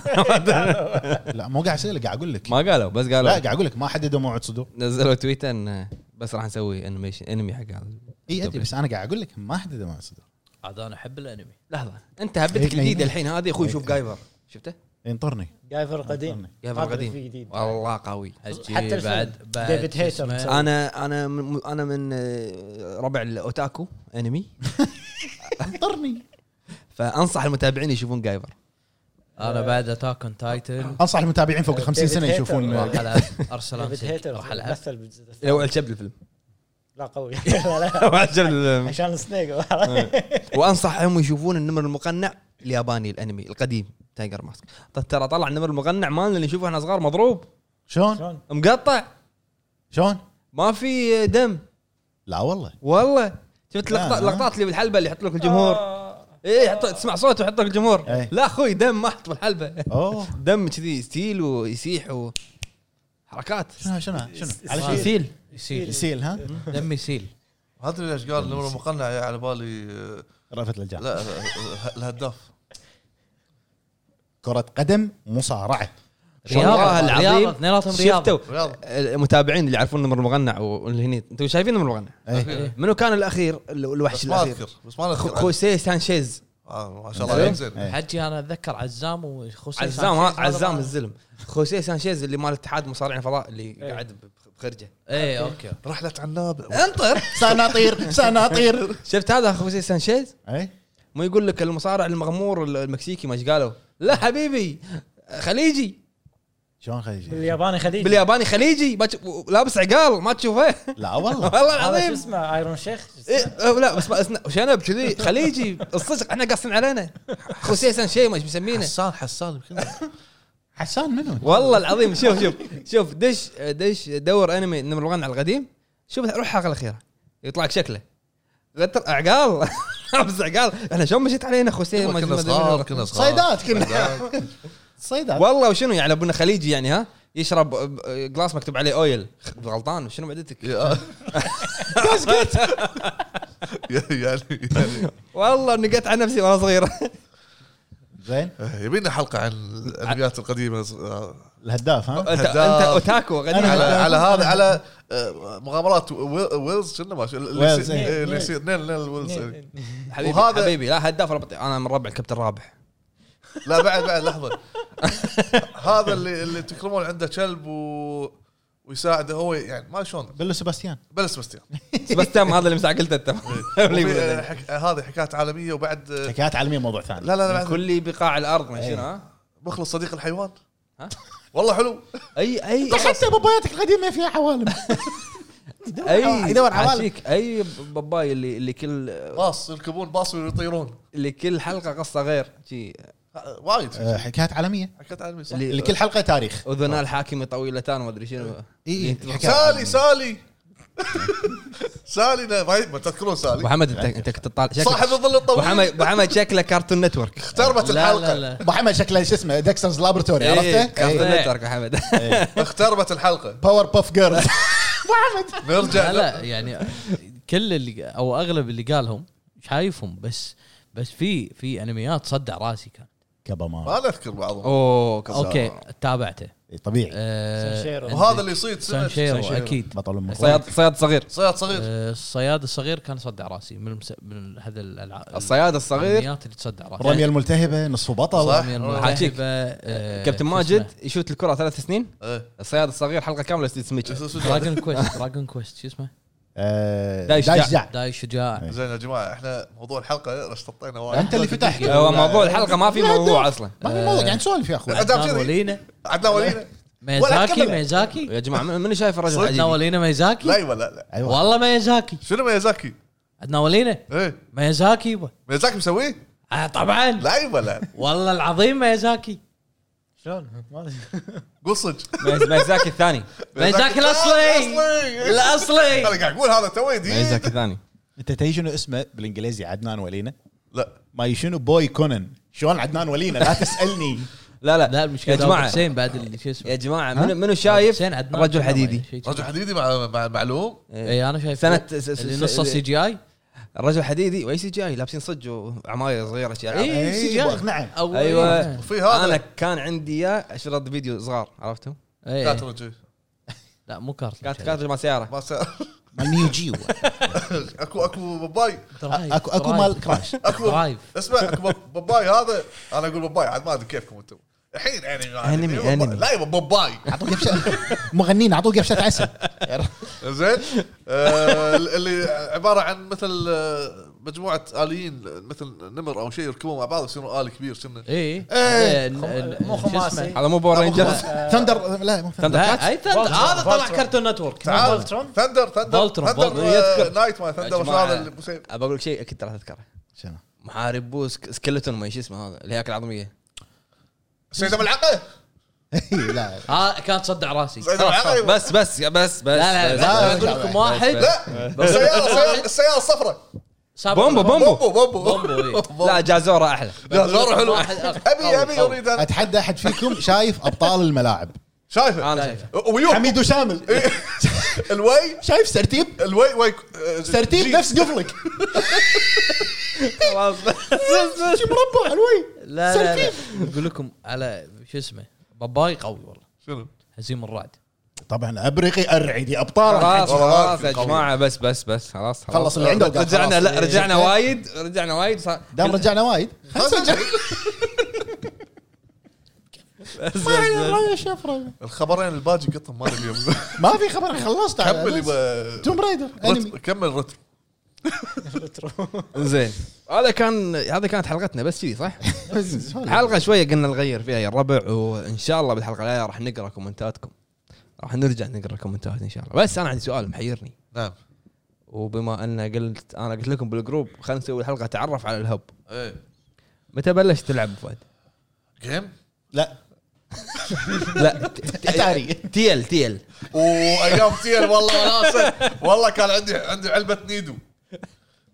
S2: لا مو قاعد اسالك قاعد اقول
S1: [laughs]
S2: لك
S1: ما قالوا بس
S2: لا
S1: قالوا
S2: قاعد اقول لك ما حددوا موعد صدور
S1: نزلوا تويتر ان بس راح نسوي انيميشن انمي حق هذا
S2: اي ادري
S1: طبيعي.
S2: إيه، بس انا قاعد اقول لك ما حددوا موعد صدور
S4: عاد انا احب الانمي
S1: لحظه انت هبتك
S2: إيه، إيه.
S1: جديده الحين هذه اخوي
S2: إيه،
S1: شوف
S2: إيه.
S1: جايفر شفته؟
S2: ينطرني
S5: جايفر قديم
S1: جايفر
S5: ما أدري
S1: قديم
S5: في جديد
S1: والله قوي
S4: أجي
S5: حتى الفيلم.
S4: بعد بعد
S5: ديفيد
S4: شو
S5: هيتر
S4: اسمه؟
S5: مسوي.
S1: انا انا من انا من آه، ربع الاوتاكو انمي
S2: انطرني
S1: فانصح المتابعين يشوفون جايفر
S4: انا بعد اتاك اون تايتن
S2: انصح المتابعين فوق ال 50
S5: ديفيد
S2: سنه
S5: هيتر.
S2: يشوفون
S5: والله.
S4: راح العب ارسلان
S5: ديفيد هيتر
S4: راح العب
S5: مثل بجزء
S1: لو عجب [laughs] الفيلم
S5: لا قوي [laughs] لا لا
S1: لو عجب الفيلم.
S5: عشان سنيك
S1: وانصحهم يشوفون النمر المقنع الياباني الانمي القديم تايجر ماسك ترى طلع النمر المقنع مالنا اللي نشوفه احنا صغار مضروب
S2: شلون
S5: [laughs] شلون
S1: مقطع
S2: شلون
S1: ما في دم
S2: لا والله
S1: والله شفت
S2: لا،
S1: لقطات
S2: ها؟
S1: لقطات اللي بالحلبه اللي يحط لك الجمهور ايه يحط تسمع صوت ويحط لك الجمهور
S2: إيه.
S1: لا اخوي دم ما حط بالحلبه
S2: اوه
S1: دم كذي يسيل ويسيح وحركات
S2: شنو شنو شنو على
S4: آه.
S2: شيء
S1: يسيل
S4: يسيل
S2: يسيل ها
S4: دمي يسيل
S3: ما ادري ليش قال نمر المقنع يا على بالي آه،
S2: رأفت الجان
S3: لا آه، آه، الهداف
S2: كرة قدم مصارعة
S1: والله العظيم
S4: رياضة، اثنيناتهم رياضه
S1: شفتوا
S3: رياض
S1: المتابعين اللي يعرفون النمر المقنع واللي هني انتم شايفين النمر المقنع
S2: إيه.
S1: منو كان الاخير ال- الوحش
S3: بس ما
S1: الاخير
S3: اذكر بس ما
S1: خو-
S3: اذكر
S1: خوسيه سانشيز
S3: آه، ما شاء الله عليك زين
S2: إيه.
S4: حجي انا اتذكر عزام وخصوصا
S1: عزام ها- عزام الزلم خوسيه سانشيز اللي مال اتحاد مصارعين الفضاء اللي قاعد ب- بخرجه
S4: ايه اوكي
S3: رحله عناب
S1: انطر
S2: سناطير سناطير
S1: [laughs] شفت هذا خوسيه سانشيز
S2: اي
S1: ما يقول لك المصارع المغمور المكسيكي ما إيش قالوا لا حبيبي خليجي
S2: شلون خليجي
S5: الياباني خليجي
S1: بالياباني خليجي ما تش- لابس عقال ما تشوفه [laughs]
S2: لا والله
S1: والله
S5: هذا شو
S1: العظيم
S5: اسمه ايرون شيخ
S1: إيه أو لا بس ما اسنا- شنب كذي خليجي الصدق احنا قاصين علينا خصيصا شيء ما مسمينه
S3: حسان حسان يمكن
S2: حسان منو
S1: والله العظيم شوف شوف شوف دش دش دور انمي نمر الغنى على القديم شوف روح الحلقه الاخيره يطلع لك شكله غتر [laughs] عقال لابس عقال احنا شلون مشيت علينا خوسيه ما- ما-
S3: كنا
S1: ما-
S3: صغار كنا صغار
S2: صيدات كنا صيدات
S1: والله وشنو يعني ابونا خليجي يعني ها يشرب آه، آه، جلاس مكتوب عليه اويل غلطان شنو معدتك [laughs]
S3: يا- [laughs] يعني يعني
S1: والله نقيت على نفسي وانا صغير
S2: زين
S3: يعني. يبينا حلقه عن الانميات القديمه ص- آه،
S2: الهداف ها
S1: انت انت اوتاكو
S2: أنا-
S1: غني
S3: على على هذا على آه، مغامرات وي- ويلز شنو ما شو- اللي
S2: ويلز،
S3: يصير-
S2: إيه.
S3: إيه، اللي يصير نيل نيل ويلز إيه.
S1: حبيبي
S3: وهذا-
S1: حبيبي لا هداف ربط انا من ربع الكابتن رابح
S3: لا بعد بعد لحظه هذا اللي اللي تكرمون عنده كلب و ويساعده هو يعني ما شلون
S2: بلو سباستيان
S3: بلا سبستيان
S1: سبستام هذا اللي مساع [laughs] قلته انت
S3: وفي، آه، حك- هذه حكايات عالميه وبعد آه،
S2: حكايات عالمية موضوع ثاني
S3: لا لا لا بعد
S1: كل بقاع الارض ما شنو ها؟
S3: مخلص صديق الحيوان
S1: ها؟
S3: والله حلو
S1: اي اي
S2: حتى باباياتك القديمة فيها عوالم
S1: اي
S2: يدور على عوالم.
S1: عاشيك، اي باباي اللي اللي كل
S3: باص يركبون باص ويطيرون
S1: اللي كل حلقه قصه غير شي
S3: آه، وايد
S2: آه، حكايات عالمية
S3: حكايات عالميه صح
S1: اللي
S2: اللي كل حلقة تاريخ
S1: اذنا الحاكمه طويلتان ما ادري شنو إيه.
S2: اي اي
S3: سالي سالي [laughs] سالي نا- ما ما تذكرون
S1: ابو
S3: سالي
S1: حمد انت انت كنت تطالع
S3: صاحب
S1: شكلك
S3: الظل
S1: ابو
S3: الطويل
S1: حمد ابو حمد شكله كارتون نتورك
S3: اختربت
S4: لا لا
S3: الحلقه
S4: لا
S2: ابو حمد شكله شو اسمه ديكسترز لابراتوري
S1: إيه،
S2: عرفته؟
S1: كارتون
S4: إيه.
S1: نتورك ابو حمد [laughs]
S3: اختربت الحلقه
S2: باور باف جيرلز [laughs]
S3: نرجع
S4: لا, لا يعني كل اللي او اغلب اللي قالهم شايفهم بس بس في في انميات صدع راسي كان
S2: كبا ما
S3: ما نذكر بعضهم
S1: اوه كفو.
S4: اوكي تابعته
S2: إي، إيه، طبيعي
S4: آه
S5: سانشيرو.
S3: وهذا اللي يصيد سنة
S4: سانشيرو اكيد
S2: بطل المقاطع
S1: صياد صياد صغير
S3: صياد صغير
S4: آه، الصياد الصغير كان صدع راسي من المس... من هذا الالعاب
S1: الصياد الصغير
S4: الانميات اللي تصدع
S2: الرميه
S4: راسي
S2: الملتهبه نصف بطل
S3: صح.
S4: الرمية
S3: والله.
S4: الملعبة،
S1: حاجيك.
S4: آه،
S1: كابتن
S4: شو اسمه؟
S1: ماجد يشوت الكره ثلاث سنين
S3: إيه.
S1: الصياد الصغير حلقه كامله تسميك
S4: أه، دراجون كويست دراجون كويست شو اسمه
S2: آه،
S1: دايش
S2: دايش
S1: جاع.
S2: جاع
S4: داي شجاع
S3: زين يا جماعه احنا موضوع الحلقه رشططينا
S2: انت
S3: وايد
S2: اللي فتحت
S1: هو موضوع الحلقه ما في
S2: لا،
S1: موضوع
S2: لا.
S1: اصلا
S2: ما في موضوع قاعد نسولف يا اخوي
S3: عدنان
S4: عدنان ولينا
S3: عدنان ولينا
S4: ميزاكي
S3: أكمل.
S4: ميزاكي
S1: يا جماعه من من شايف الرجل
S4: عدنان
S1: العجيب
S4: ولينا ميزاكي
S3: لا ولا لا
S2: ايوه
S4: والله ميزاكي
S3: شنو ميازاكي؟
S4: عدنان ولينا
S3: ايه
S4: ميزاكي يبا
S3: ميازاكي مسويه؟
S4: آه، طبعا
S3: لا ولا لا
S4: والله العظيم ميزاكي
S5: شلون؟ ما أدري.
S3: قول
S4: [laughs]
S3: صدق
S1: ميز- ميزاكي الثاني
S4: ميزاكي الأصلي. الاصلي
S3: انا قاعد اقول هذا تو
S1: ميزاكي
S3: جديد
S1: الثاني
S2: انت تدري شنو اسمه بالانجليزي عدنان ولينا
S3: لا
S2: ما شنو بوي كونن شلون عدنان ولينا لا تسالني
S1: لا لا
S4: لا المشكله
S1: يا جماعه
S4: حسين بعد اللي شو
S1: يا
S4: اسمه
S1: جماعه منو منو شايف
S4: حسين عدنان
S1: رجل
S4: كان
S1: حديدي
S4: معي، شيء كذي.
S3: رجل حديدي مع مع معلوم
S4: اي انا إيه، شايف
S1: سنة-
S4: اللي
S1: س- س- س-
S4: نصه سي جي اي
S1: الرجل حديدي واي سي جي اي لابسين صج وعماير صغيره شي ألعاب.
S4: اي إيه، سي جي
S1: أيوة.
S4: أيوة. اي
S2: نعم
S4: أو-
S1: ايوه
S3: وفي هذا
S1: انا كان عندي اياه اشرط فيديو صغار عرفتوا
S4: إي.
S3: كاتب شي.
S4: إيه. لا مو كارت
S1: كانت كانت مال سياره
S3: ما سأ-
S2: مال نيوجيو
S3: اكو اكو باباي
S2: اكو اكو مال
S4: [laughs]
S2: كراش
S3: اكو
S4: درايف.
S3: اسمع اكو باب- باباي هذا انا اقول باباي عاد ما ادري كيفكم انتم الحين انمي
S1: أنمي، أنمي.
S3: لا يبا باباي
S2: عطوه قفشه مغنين عطوه قفشه عسل
S3: زين آه، اللي عباره عن مثل آه، مجموعه اليين مثل نمر او شيء يركبون مع بعض يصيرون الي كبير سنه
S4: اي
S3: إيه.
S5: مو خماسي
S1: هذا مو باور رينجرز
S2: ثندر لا مو ثندر
S4: اي ثندر
S5: فولترون.
S4: هذا طلع
S5: فولترون.
S4: كارتون نتورك نعم.
S3: تعال
S5: فولترون؟
S3: ثندر ثندر
S4: فولترون،
S3: ثندر
S4: فولترون.
S3: آه،
S1: يذكر.
S3: نايت ما ثندر وش
S1: جماعة.
S3: هذا اللي أبو سيف؟
S1: ابى اقول لك شيء اكيد راح اذكره
S2: شنو [laughs]
S1: محارب بو سك- سكلتون ما شو اسمه هذا اللي هياكل عظميه
S3: سيد ابو العقه
S2: إيه، لا
S4: ها آه، كان تصدع
S1: [laughs]
S4: راسي
S3: سيد ابو العقه
S1: بس بس بس بس
S4: لا لا
S1: بس.
S4: لا
S2: لا،
S4: اقول
S2: لا،
S4: لكم
S2: لا.
S4: واحد
S3: لا السياره السيارة- السياره الصفراء
S4: سابق
S1: بومبو بومبو
S3: بومبو بومبو
S4: بومبو، إيه.
S1: لا جازورا احلى
S3: لا زوره حلو
S4: واحد أخ-
S3: ابي
S4: قوي،
S3: ابي
S4: قوي.
S3: اريد أنا.
S2: اتحدى احد فيكم شايف ابطال الملاعب
S3: شايفه
S2: طيب.
S1: انا شايفه
S3: ويوم
S2: حميد وشامل
S3: الوي
S2: شايف سرتيب
S3: الوي وي آه،
S2: سرتيب
S3: جيت.
S2: نفس قفلك
S1: خلاص
S2: شي مربع الوي
S4: لا لا لا اقول لكم على شو اسمه باباي قوي والله
S3: شنو
S4: هزيم الرعد
S2: طبعا ابرقي ارعدي ابطال
S1: خلاص خلاص يا جماعه بس بس بس خلاص خلاص
S2: خلص اللي عنده وقال
S1: رجعنا
S2: خلاص.
S1: لا رجعنا وايد رجعنا وايد صار-
S2: دام رجعنا وايد
S3: خلاص.
S1: بس- بس-
S2: راي شفرة
S3: الخبرين الباجي قطهم ما نبيهم
S2: ما في خبر خلصت
S3: كمل يبا-
S2: توم رايدر
S3: رتم-
S2: انمي
S3: كمل رتم
S1: زين هذا كان هذا كانت حلقتنا بس كذي صح؟ حلقه شويه قلنا نغير فيها يا الربع وان شاء الله بالحلقه الجايه راح نقرا كومنتاتكم راح نرجع نقرا كومنتات ان شاء الله بس انا عندي سؤال محيرني
S3: نعم
S1: وبما ان قلت انا قلت لكم بالجروب خلينا نسوي حلقه تعرف على الهب
S3: ايه
S1: متى بلشت تلعب أبو فهد؟
S3: جيم
S2: لا
S1: [laughs] لا
S2: اتاري
S1: تيل تيل
S3: وايام تير والله وناسه والله كان عندي عندي علبه نيدو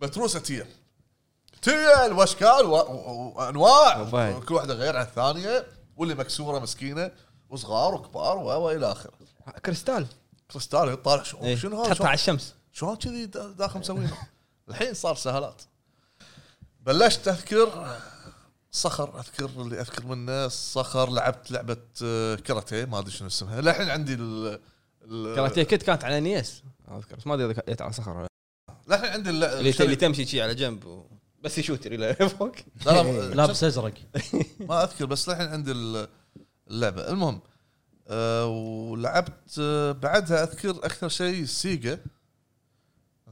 S3: بتروسه تير تير واشكال و- و- وانواع
S1: وفايد.
S3: كل واحده غير عن الثانيه واللي مكسوره مسكينه وصغار وكبار و- والى اخره
S1: كريستال
S3: كريستال يطالع شو
S1: إيه.
S3: شنو هذا
S1: تحطها على
S3: شلون-
S1: الشمس
S3: شلون كذي دا- داخل مسوينه [laughs] الحين صار سهالات بلشت اذكر صخر اذكر اللي اذكر منه صخر لعبت لعبه آه، كاراتيه ما ادري شنو اسمها للحين عندي ال ال-
S1: كاراتيه كيت كانت على E نيس اذكر بس ما ادري اذا كانت على صخر ولا
S3: للحين عندي الل-
S1: لا. اللي
S3: الشريط.
S1: اللي تمشي شي على جنب و... بس يشوتر الى [laughs] فوق
S3: لا
S1: إيه،
S3: لا
S4: لابس ازرق
S3: ما اذكر بس للحين عندي ال- اللعبه المهم أه ولعبت أه بعدها اذكر اكثر شيء سيجا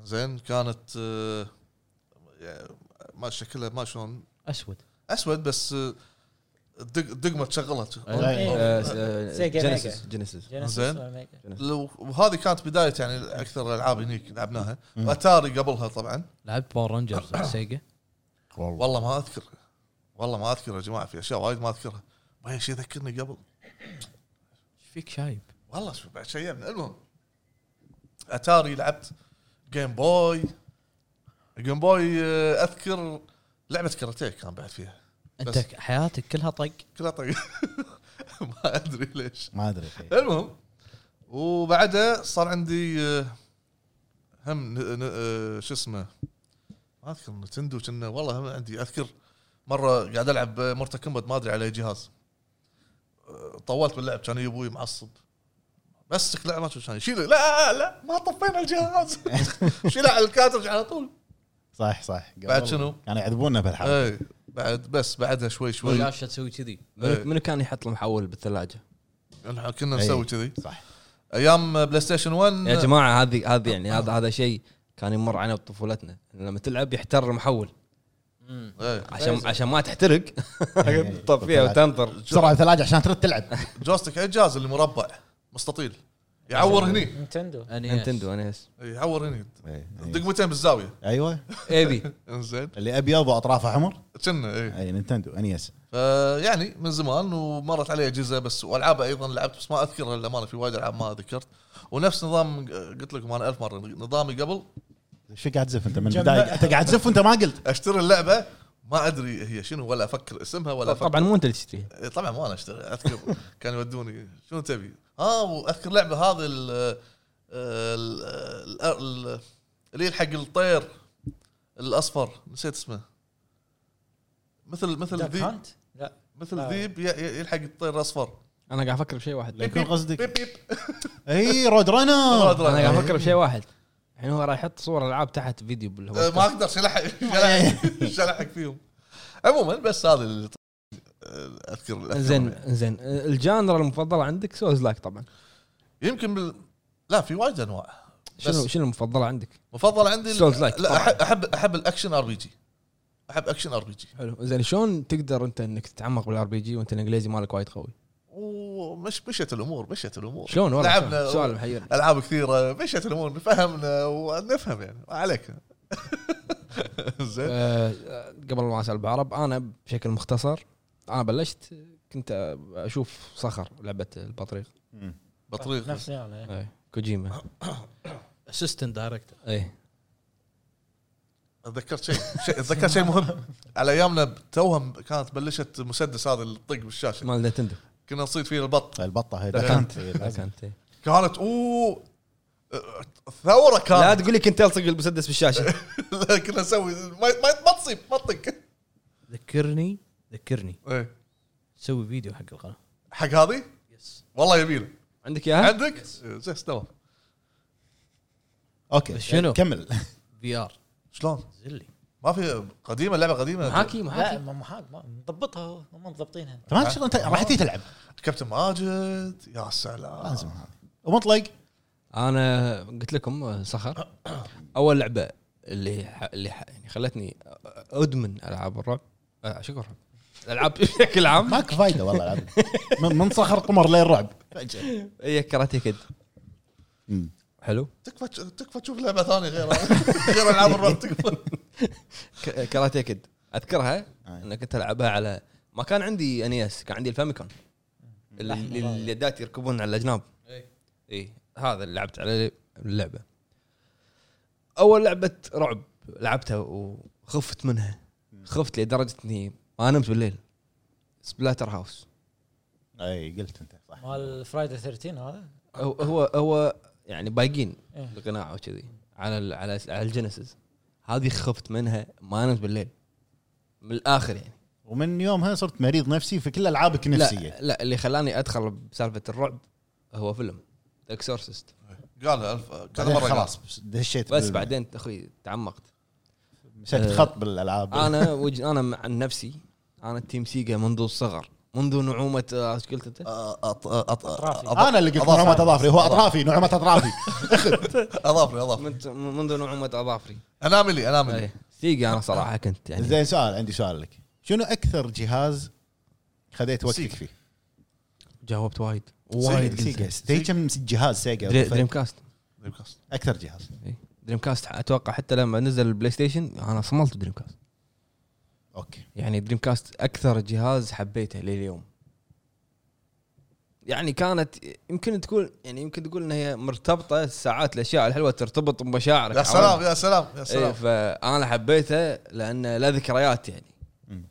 S3: زين كانت أه يعني ما شكلها ما شلون
S4: اسود
S3: اسود بس أه، الدق- الدقمه تشغلت
S2: إيه.
S1: آه،
S5: سيجا
S1: جينيسيس جينيسيس
S5: جينيسيس
S3: زين.
S5: ولا ميجا؟
S3: لو- وهذه كانت بدايه يعني اكثر الالعاب هنيك لعبناها واتاري قبلها طبعا
S4: لعبت باور
S3: [coughs]
S4: رانجرز على سيجا
S2: والله
S3: والله ما اذكر والله ما اذكر يا جماعه في اشياء وايد ما اذكرها ما شيء ذكرني قبل
S4: ايش فيك شايب؟
S3: والله شو بعد شيبنا المهم اتاري لعبت جيم بوي جيم بوي آه، اذكر لعبه كاراتيه كان بعد فيها
S4: انت
S3: بس.
S4: ك- حياتك كلها طق
S3: كلها طيب [laughs] ما ادري ليش
S2: ما ادري
S3: المهم وبعدها صار عندي آه، هم ن- ن- آه، شو اسمه ما اذكر نتندو كنا والله هم عندي اذكر مره قاعد العب مورتا كومبات ما ادري على أي جهاز آه، طولت باللعب كان يبوي معصب مسك لعبه كان يشيل لا لا ما طفينا الجهاز [laughs] شيله على الكاترج على طول
S2: صح صح قبل
S3: بعد شنو؟ أه.
S2: كانوا يعذبونا بهالحرب
S3: اي إيه، بعد بس بعدها شوي شوي
S4: الشاشه تسوي كذي
S3: إيه.
S1: منو منو كان يحط المحول بالثلاجه؟
S3: نحن كنا نسوي كذي
S2: صح
S3: ايام بلاي ستيشن 1
S1: يا جماعه هذه هذه يعني هذا هذا شيء كان يمر علينا بطفولتنا لما تلعب يحتر المحول
S3: إيه.
S1: عشان عشان ما [laughs] تحترق
S2: إيه.
S1: تطفيها وتنطر
S2: بسرعه الثلاجه عشان ترد تلعب
S3: أه. جوستيك عجاز اللي مربع مستطيل يعور هني
S5: نينتندو
S1: نينتندو E انا اس
S3: يعور هني
S2: إيه.
S3: دقمتين بالزاويه
S2: ايوه
S1: [laughs] ايبي
S3: انزين
S2: اللي ابيض واطرافه حمر
S3: كنا اي
S2: اي نينتندو E انيس
S3: فيعني من زمان ومرت علي اجهزه بس والعاب ايضا لعبت بس ما اذكرها للامانه في وايد العاب ما ذكرت ونفس نظام قلت لكم انا ألف مره نظامي قبل
S2: شو قاعد تزف انت من
S5: جمع-
S2: البدايه انت قاعد تزف وانت ما قلت
S3: اشتري اللعبه ما ادري هي شنو ولا افكر اسمها ولا افكر
S1: طبعا مو انت اللي تشتريها
S3: إيه طبعا ما انا اشتري [laughs] اذكر كانوا يودوني شنو تبي؟ اه واذكر لعبه هذه ال- ال- ال- ال- اللي حق الطير الاصفر نسيت اسمه مثل مثل
S5: داك
S3: الذيب
S5: هانت لا
S3: مثل
S5: آه.
S3: الذيب ي- ي- يلحق الطير الاصفر
S1: انا قاعد افكر بشيء واحد
S2: يكون قصدك
S3: بيب بيب
S2: اي رود رانر
S1: انا
S3: يعني.
S1: قاعد افكر بشيء واحد الحين هو راح يحط صور العاب تحت فيديو
S3: آه، ما
S1: بالهواء
S3: اقدر
S5: [laughs]
S3: شلحق شلحق- شلحق فيهم عموما بس هذا اللي آه، اذكر الأفكار.
S1: زين زين الجانرا المفضله عندك سولز لايك طبعا
S3: يمكن بال... لا في وايد انواع
S1: شنو شنو المفضله عندك؟
S3: مفضل عندي ال-
S1: Souls like
S3: لا
S1: طبعاً.
S3: أحب- احب احب الاكشن ار بي جي احب اكشن ار بي جي
S1: حلو زين شلون تقدر انت انك تتعمق بالار بي جي وانت الانجليزي مالك وايد قوي؟
S3: ومش مشت الامور مشت الامور
S1: شلون والله
S3: لعبنا
S1: شلون؟ سؤال محيرني
S3: العاب كثيره مشت الامور فهمنا ونفهم يعني ما عليك [laughs] زين
S1: آه، آه، قبل ما اسال بعرب انا بشكل مختصر انا بلشت كنت اشوف صخر لعبه البطريق
S3: بطريق
S5: نفس يعني
S1: أي، كوجيما إيه.
S4: اسيستنت دايركتور
S1: اي
S3: تذكرت شيء شيء- تذكرت شيء مهم على ايامنا توهم كانت بلشت مسدس هذا اللي يطق بالشاشه
S1: مال نتندو
S3: كنا نصيد فيه البط
S2: البطه هاي
S1: دكانت
S2: إي، لازم.
S1: دكانت إي.
S3: كانت اوه أه، ثوره
S1: لا
S3: كانت
S1: تقول لي كنت الصق المسدس بالشاشه
S3: [laughs] كنا نسوي ما ما- ما تصيب ما تطق
S4: ذكرني ذكرني
S3: إيه.
S4: سوي فيديو حق القناه
S3: حق هذه
S4: يس
S3: والله يبيله
S1: عندك اياها؟
S3: عندك زين تمام
S2: اوكي
S4: بس شنو؟
S2: كمل [laughs]
S4: في ار
S3: شلون
S4: زلي
S3: ما في قديمه لعبه قديمه
S1: محاكي
S5: لا
S1: محاكي
S5: ما محاك ما مضبطها هو، هم مضبطينها
S2: تمام شنو انت راح تجي تلعب
S3: كابتن ماجد يا سلام
S2: لازم هذا ومطلق
S1: انا قلت لكم آه، صخر اول لعبه اللي ح... اللي ح... يعني خلتني ادمن العاب الرعب آه، شكرا الالعاب [laughs] بشكل عام
S2: ماك فايده والله العظيم من- من صخر قمر للرعب فجاه
S1: هي كراتي كد
S2: مم.
S1: حلو
S3: تكفى تكفى تشوف لعبه ثانيه غير [laughs] غير العاب الرعب تكفى
S1: ك- كراتي كد اذكرها
S2: أي.
S1: انا كنت العبها على ما كان عندي انيس كان عندي الفاميكون اللي اللي يدات يركبون على الاجناب
S4: إي.
S1: اي هذا اللي لعبت عليه اللعبه اول لعبه رعب لعبتها وخفت منها خفت لدرجه اني ما نمت بالليل سبلاتر هاوس
S2: اي قلت انت صح
S5: مال فرايدي 13 هذا
S1: هو هو, هو يعني بايقين
S5: إيه.
S1: القناع وكذي على ال على على الجينيسيس هذه خفت منها ما نمت بالليل من الاخر يعني
S2: ومن يومها صرت مريض نفسي في كل العابك
S1: لا
S2: النفسيه
S1: لا اللي خلاني ادخل بسالفه الرعب هو فيلم اكسورسيست
S3: قالها الف كذا
S2: بعدين
S3: مره قال.
S2: خلاص بس دشيت
S1: بس
S2: بال-
S1: بعدين اخوي
S2: [laughs]
S1: تعمقت
S2: مسكت خط بالالعاب
S1: انا وج... انا عن نفسي انا التيم سيجا منذ الصغر منذ نعومه آه، ايش قلت انت؟
S3: آه، أط- أط-
S5: أطرافي.
S3: أض-
S2: انا اللي قلت
S3: أضاف-
S2: نعومه اظافري هو اطرافي نعومه اطرافي
S3: اضافري اضافري
S1: منت- منذ نعومه اظافري
S3: اناملي اناملي
S1: إيه. سيجا انا صراحه كنت يعني
S2: زين سؤال عندي سؤال لك شنو اكثر جهاز خذيت وقتك
S3: سيجا.
S2: فيه؟
S1: جاوبت وايد
S2: وايد
S1: وايد
S2: سيجا
S1: قلت.
S2: سيجا كم جهاز
S1: دري-
S2: سيجا
S1: دريم كاست
S3: دريمكاست.
S2: اكثر جهاز
S1: دريم كاست اتوقع إيه. حتى لما نزل البلاي ستيشن انا صملت دريم كاست
S2: اوكي
S1: يعني دريم كاست اكثر جهاز حبيته لليوم يعني كانت يمكن تقول يعني يمكن تقول ان هي مرتبطه ساعات الاشياء الحلوه ترتبط بمشاعرك
S3: يا سلام يا سلام يا
S1: إيه
S3: سلام
S1: فانا حبيته لان له ذكريات يعني
S2: مم.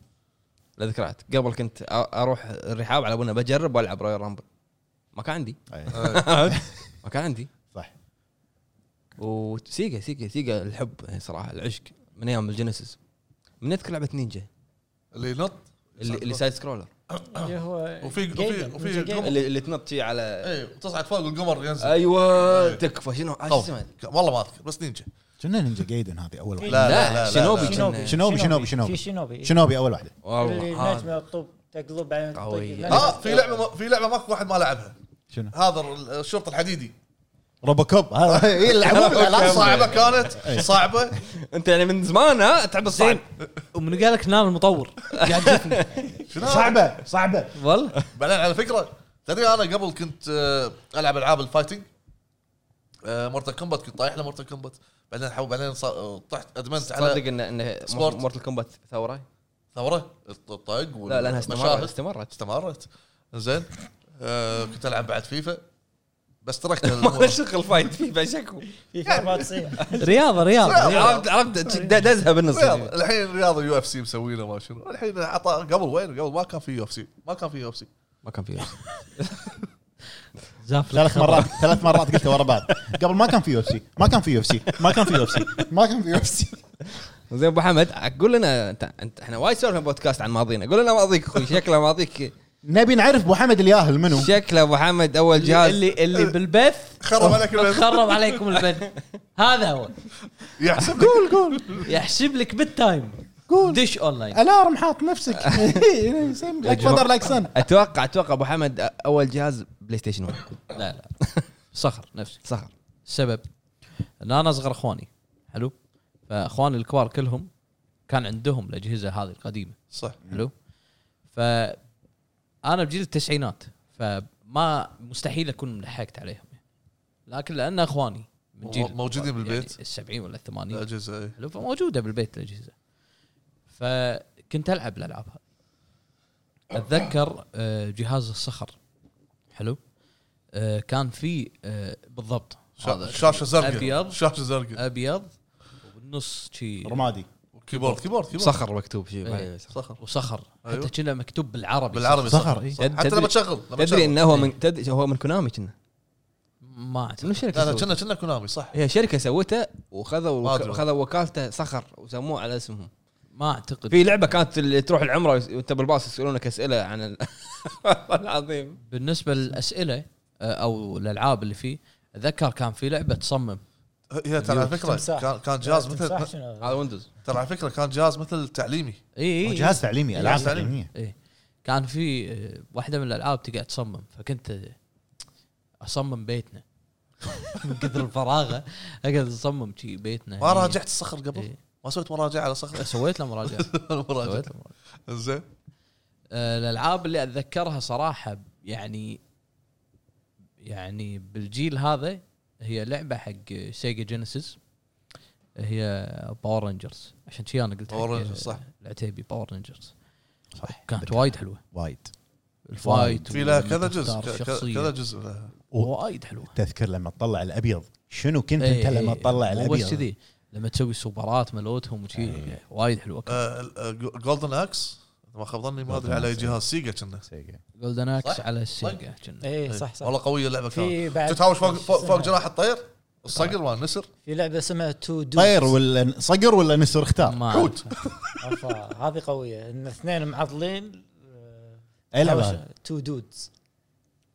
S1: له ذكريات قبل كنت أ- اروح الرحاب على ابونا بجرب والعب رويال رامبل ما كان
S3: [laughs]
S1: عندي
S2: أي.
S1: ما كان عندي
S2: صح
S1: وسيجا سيجا سيجا الحب يعني صراحه العشق من ايام الجينيسيس من اذكر لعبه نينجا
S3: اللي ينط
S1: اللي, اللي سايد سكرولر
S5: اللي هو
S3: وفي-
S5: جيجل،
S3: وفي-
S5: نينجا
S3: وفي
S5: جيجل.
S3: قمر.
S1: اللي, اللي تنط شي على
S3: اي تصعد إيه، فوق القمر ينزل
S1: ايوه تكفى شنو آه، شو
S3: طبعاً.
S1: اسمه
S3: والله ما اذكر بس نينجا
S2: كنا نينجا جايدن هذه اول واحده
S3: لا
S1: لا،
S3: لا لا
S1: شينوبي.
S3: لا،
S1: شنوبي.
S2: شنوبي، شنوبي، شنوبي.
S5: في شينوبي
S2: شنوبي اول واحده
S5: اللي
S1: والله آه. هذا.
S3: آه.
S5: نجمه تطب تقلب طيب، بعدين تطق.
S1: قوية.
S5: لا،
S3: لا.
S5: لا.
S3: اه في لعبه ما في لعبه ماكو واحد ما لعبها
S2: شنو؟
S3: هذا ال- الشرطه الحديدي
S2: روبوكوب آه. [laughs] هذا هي
S3: [laughs]
S2: اللعبه
S3: لا
S2: بالألعاب.
S3: صعبه كانت صعبه
S1: انت يعني من زمان ها تحب الصعب
S4: ومن قال لك نام المطور قاعد يشوفني.
S3: شنو
S2: صعبه صعبه
S4: والله
S3: بعدين على فكره تدري انا قبل كنت آه، العب العاب الفايتنج مورتال كومبات آه، كنت طايح لمورتال كومبات بعدين حو بعدين صا- آه، طحت ادمنت
S1: تصدق
S3: على
S1: ان ان
S3: سبورت.
S1: مورتل كومبات ثوره؟
S3: ثوره الطق
S1: لا لانها استمرت
S3: والمشاهد
S1: استمرت
S3: استمرت زين آه، كنت العب بعد فيفا
S1: [laughs]
S3: بس تركت
S1: ما له
S3: الأمور.
S1: شغل فايت في شكو
S5: في
S3: يعني
S5: فورمات تصير
S4: رياضه رياضه
S1: [laughs] عرفت عرفت د- دزها بالنص
S3: رياضة. الحين الرياضه يو اف سي مسوينا ما شنو الحين عطى قبل وين قبل ما كان في يو اف سي ما كان في يو اف سي
S1: ما كان فيها
S4: زاف لك
S2: ثلاث
S4: خبر.
S2: مرات ثلاث مرات قلتها ورا بعض قبل ما كان في يو اف سي ما كان في يو اف سي ما كان في يو اف سي [laughs] ما كان في يو اف سي
S1: زين ابو حمد قول لنا انت انت احنا وايد سولفنا بودكاست عن ماضينا قول لنا ماضيك اخوي شكله ماضيك
S2: نبي نعرف ابو حمد الياهل منو
S1: شكله ابو حمد اول
S4: اللي
S1: جهاز
S4: اللي- اللي
S3: [laughs]
S4: بالبث
S3: خرب عليك البث.
S4: خرب عليكم البث هذا هو
S3: يحسب قول قول
S4: يحسب لك بالتايم
S2: قول
S4: دش اونلاين
S2: الارم حاط [laughs] نفسك لايك فادر لايك سن
S1: اتوقع اتوقع ابو حمد اول جهاز بلاي ستيشن 1
S4: لا لا صخر نفسي
S1: صخر
S4: السبب ان انا اصغر اخواني حلو فاخواني الكبار كلهم كان عندهم الاجهزه هذه القديمه
S3: صح
S4: حلو ف انا بجيل التسعينات فما مستحيل اكون لحقت عليهم يعني. لكن لان اخواني من جيل
S3: موجودين بالبيت.
S4: يعني السبعين ولا الثمانين
S3: اجهزه إيه.
S4: حلو فموجوده بالبيت الاجهزه فكنت العب الالعاب هذه اتذكر آه، جهاز الصخر حلو آه، كان في آه، بالضبط هذا
S3: شا- شاشه زرقاء
S4: ابيض
S3: شاشه
S1: أه.
S3: زرقاء
S4: ابيض والنص شي
S2: رمادي
S3: كيبورد كيبورد كيبورد
S1: صخر مكتوب شيء
S4: إيه.
S1: صخر.
S3: صخر
S4: وصخر
S3: أيوه.
S4: حتى كنا مكتوب بالعربي
S3: بالعربي
S2: صخر،
S3: صخر
S2: إيه.
S3: صح. حتى
S1: تدري-
S3: لما تشغل لما تشغل.
S1: تدري انه هو من تدري هو من كونامي كنا
S4: ما
S1: منو
S4: اعتقد
S1: شركه
S3: لا لا
S1: سوت-
S3: كنا كنا كونامي صح
S1: هي شركه سوته وخذوا
S3: ما أدري.
S1: خذوا وكالته صخر وسموه على [laughs] اسمهم
S4: ما اعتقد
S1: في لعبه كانت اللي تروح العمره وانت بالباص يسالونك اسئله عن ال- [laughs] والله العظيم
S4: بالنسبه للاسئله آه، او الالعاب اللي فيه اتذكر كان في لعبه تصمم
S3: هي ترى على فكره
S5: تمساح. إيه،
S3: كان كان جهاز
S5: تمساح
S3: مثل
S5: شنو؟
S1: هذا ويندوز
S3: ترى على فكره كان جهاز مثل تعليمي
S4: اي اي
S2: جهاز تعليمي العاب
S3: جهاز تعليمي.
S2: تعليميه
S4: ايه كان في آه، واحده من الالعاب تقعد تصمم فكنت آه، اصمم بيتنا [laughs] من كثر الفراغه اقعد اصمم شي بيتنا
S3: ما راجعت الصخر
S4: إيه.
S3: قبل ما سويت مراجعه على
S4: [laughs]
S3: صخر
S4: سويت له
S3: [laughs]
S4: مراجعه
S3: مراجعة.
S4: سويت له مراجعه
S3: زين
S4: آه، الالعاب اللي اتذكرها صراحه يعني يعني بالجيل هذا هي لعبه حق سيجا جينيسيس هي باور رينجرز عشان شي انا قلت
S3: Power
S4: حق،
S3: Rangers،
S4: آه،
S3: صح.
S4: العتيبي باور رينجرز
S2: صح
S4: كانت وايد حلوه
S2: وايد
S4: الفايت
S3: في لها
S4: ولما
S3: كذا
S4: تختار
S3: جزء ك- ك-
S4: شخصية.
S3: كذا جزء آه، لها
S4: وايد حلوه
S2: تذكر لما تطلع الابيض شنو كنت
S4: إيه،
S2: انت لما تطلع
S4: مو بس
S2: الابيض
S4: كذي لما تسوي سوبرات ملوتهم
S2: إيه.
S4: وشي يعني وايد حلوه
S3: آه، جولدن اكس ما خاب ظني ما ادري
S2: Golden
S3: على
S2: Axe.
S3: جهاز سيجا كنا
S2: سيجا.
S4: جولدن اكس
S3: صح؟
S4: على السيجا
S2: إيه.
S4: كنا.
S5: اي إيه، صح صح إيه،
S3: والله قويه اللعبه كانت
S5: في بعد
S3: تتهاوش فوق فوق, فوق جناح الطير الصقر مال النسر
S5: في لعبه اسمها تو دو
S2: طير ولا صقر ولا نسر اختار
S4: ما
S3: حوت.
S4: [laughs] أعرف.
S5: هذه قويه ان اثنين معضلين آه،
S2: اي لعبه
S5: تو دودز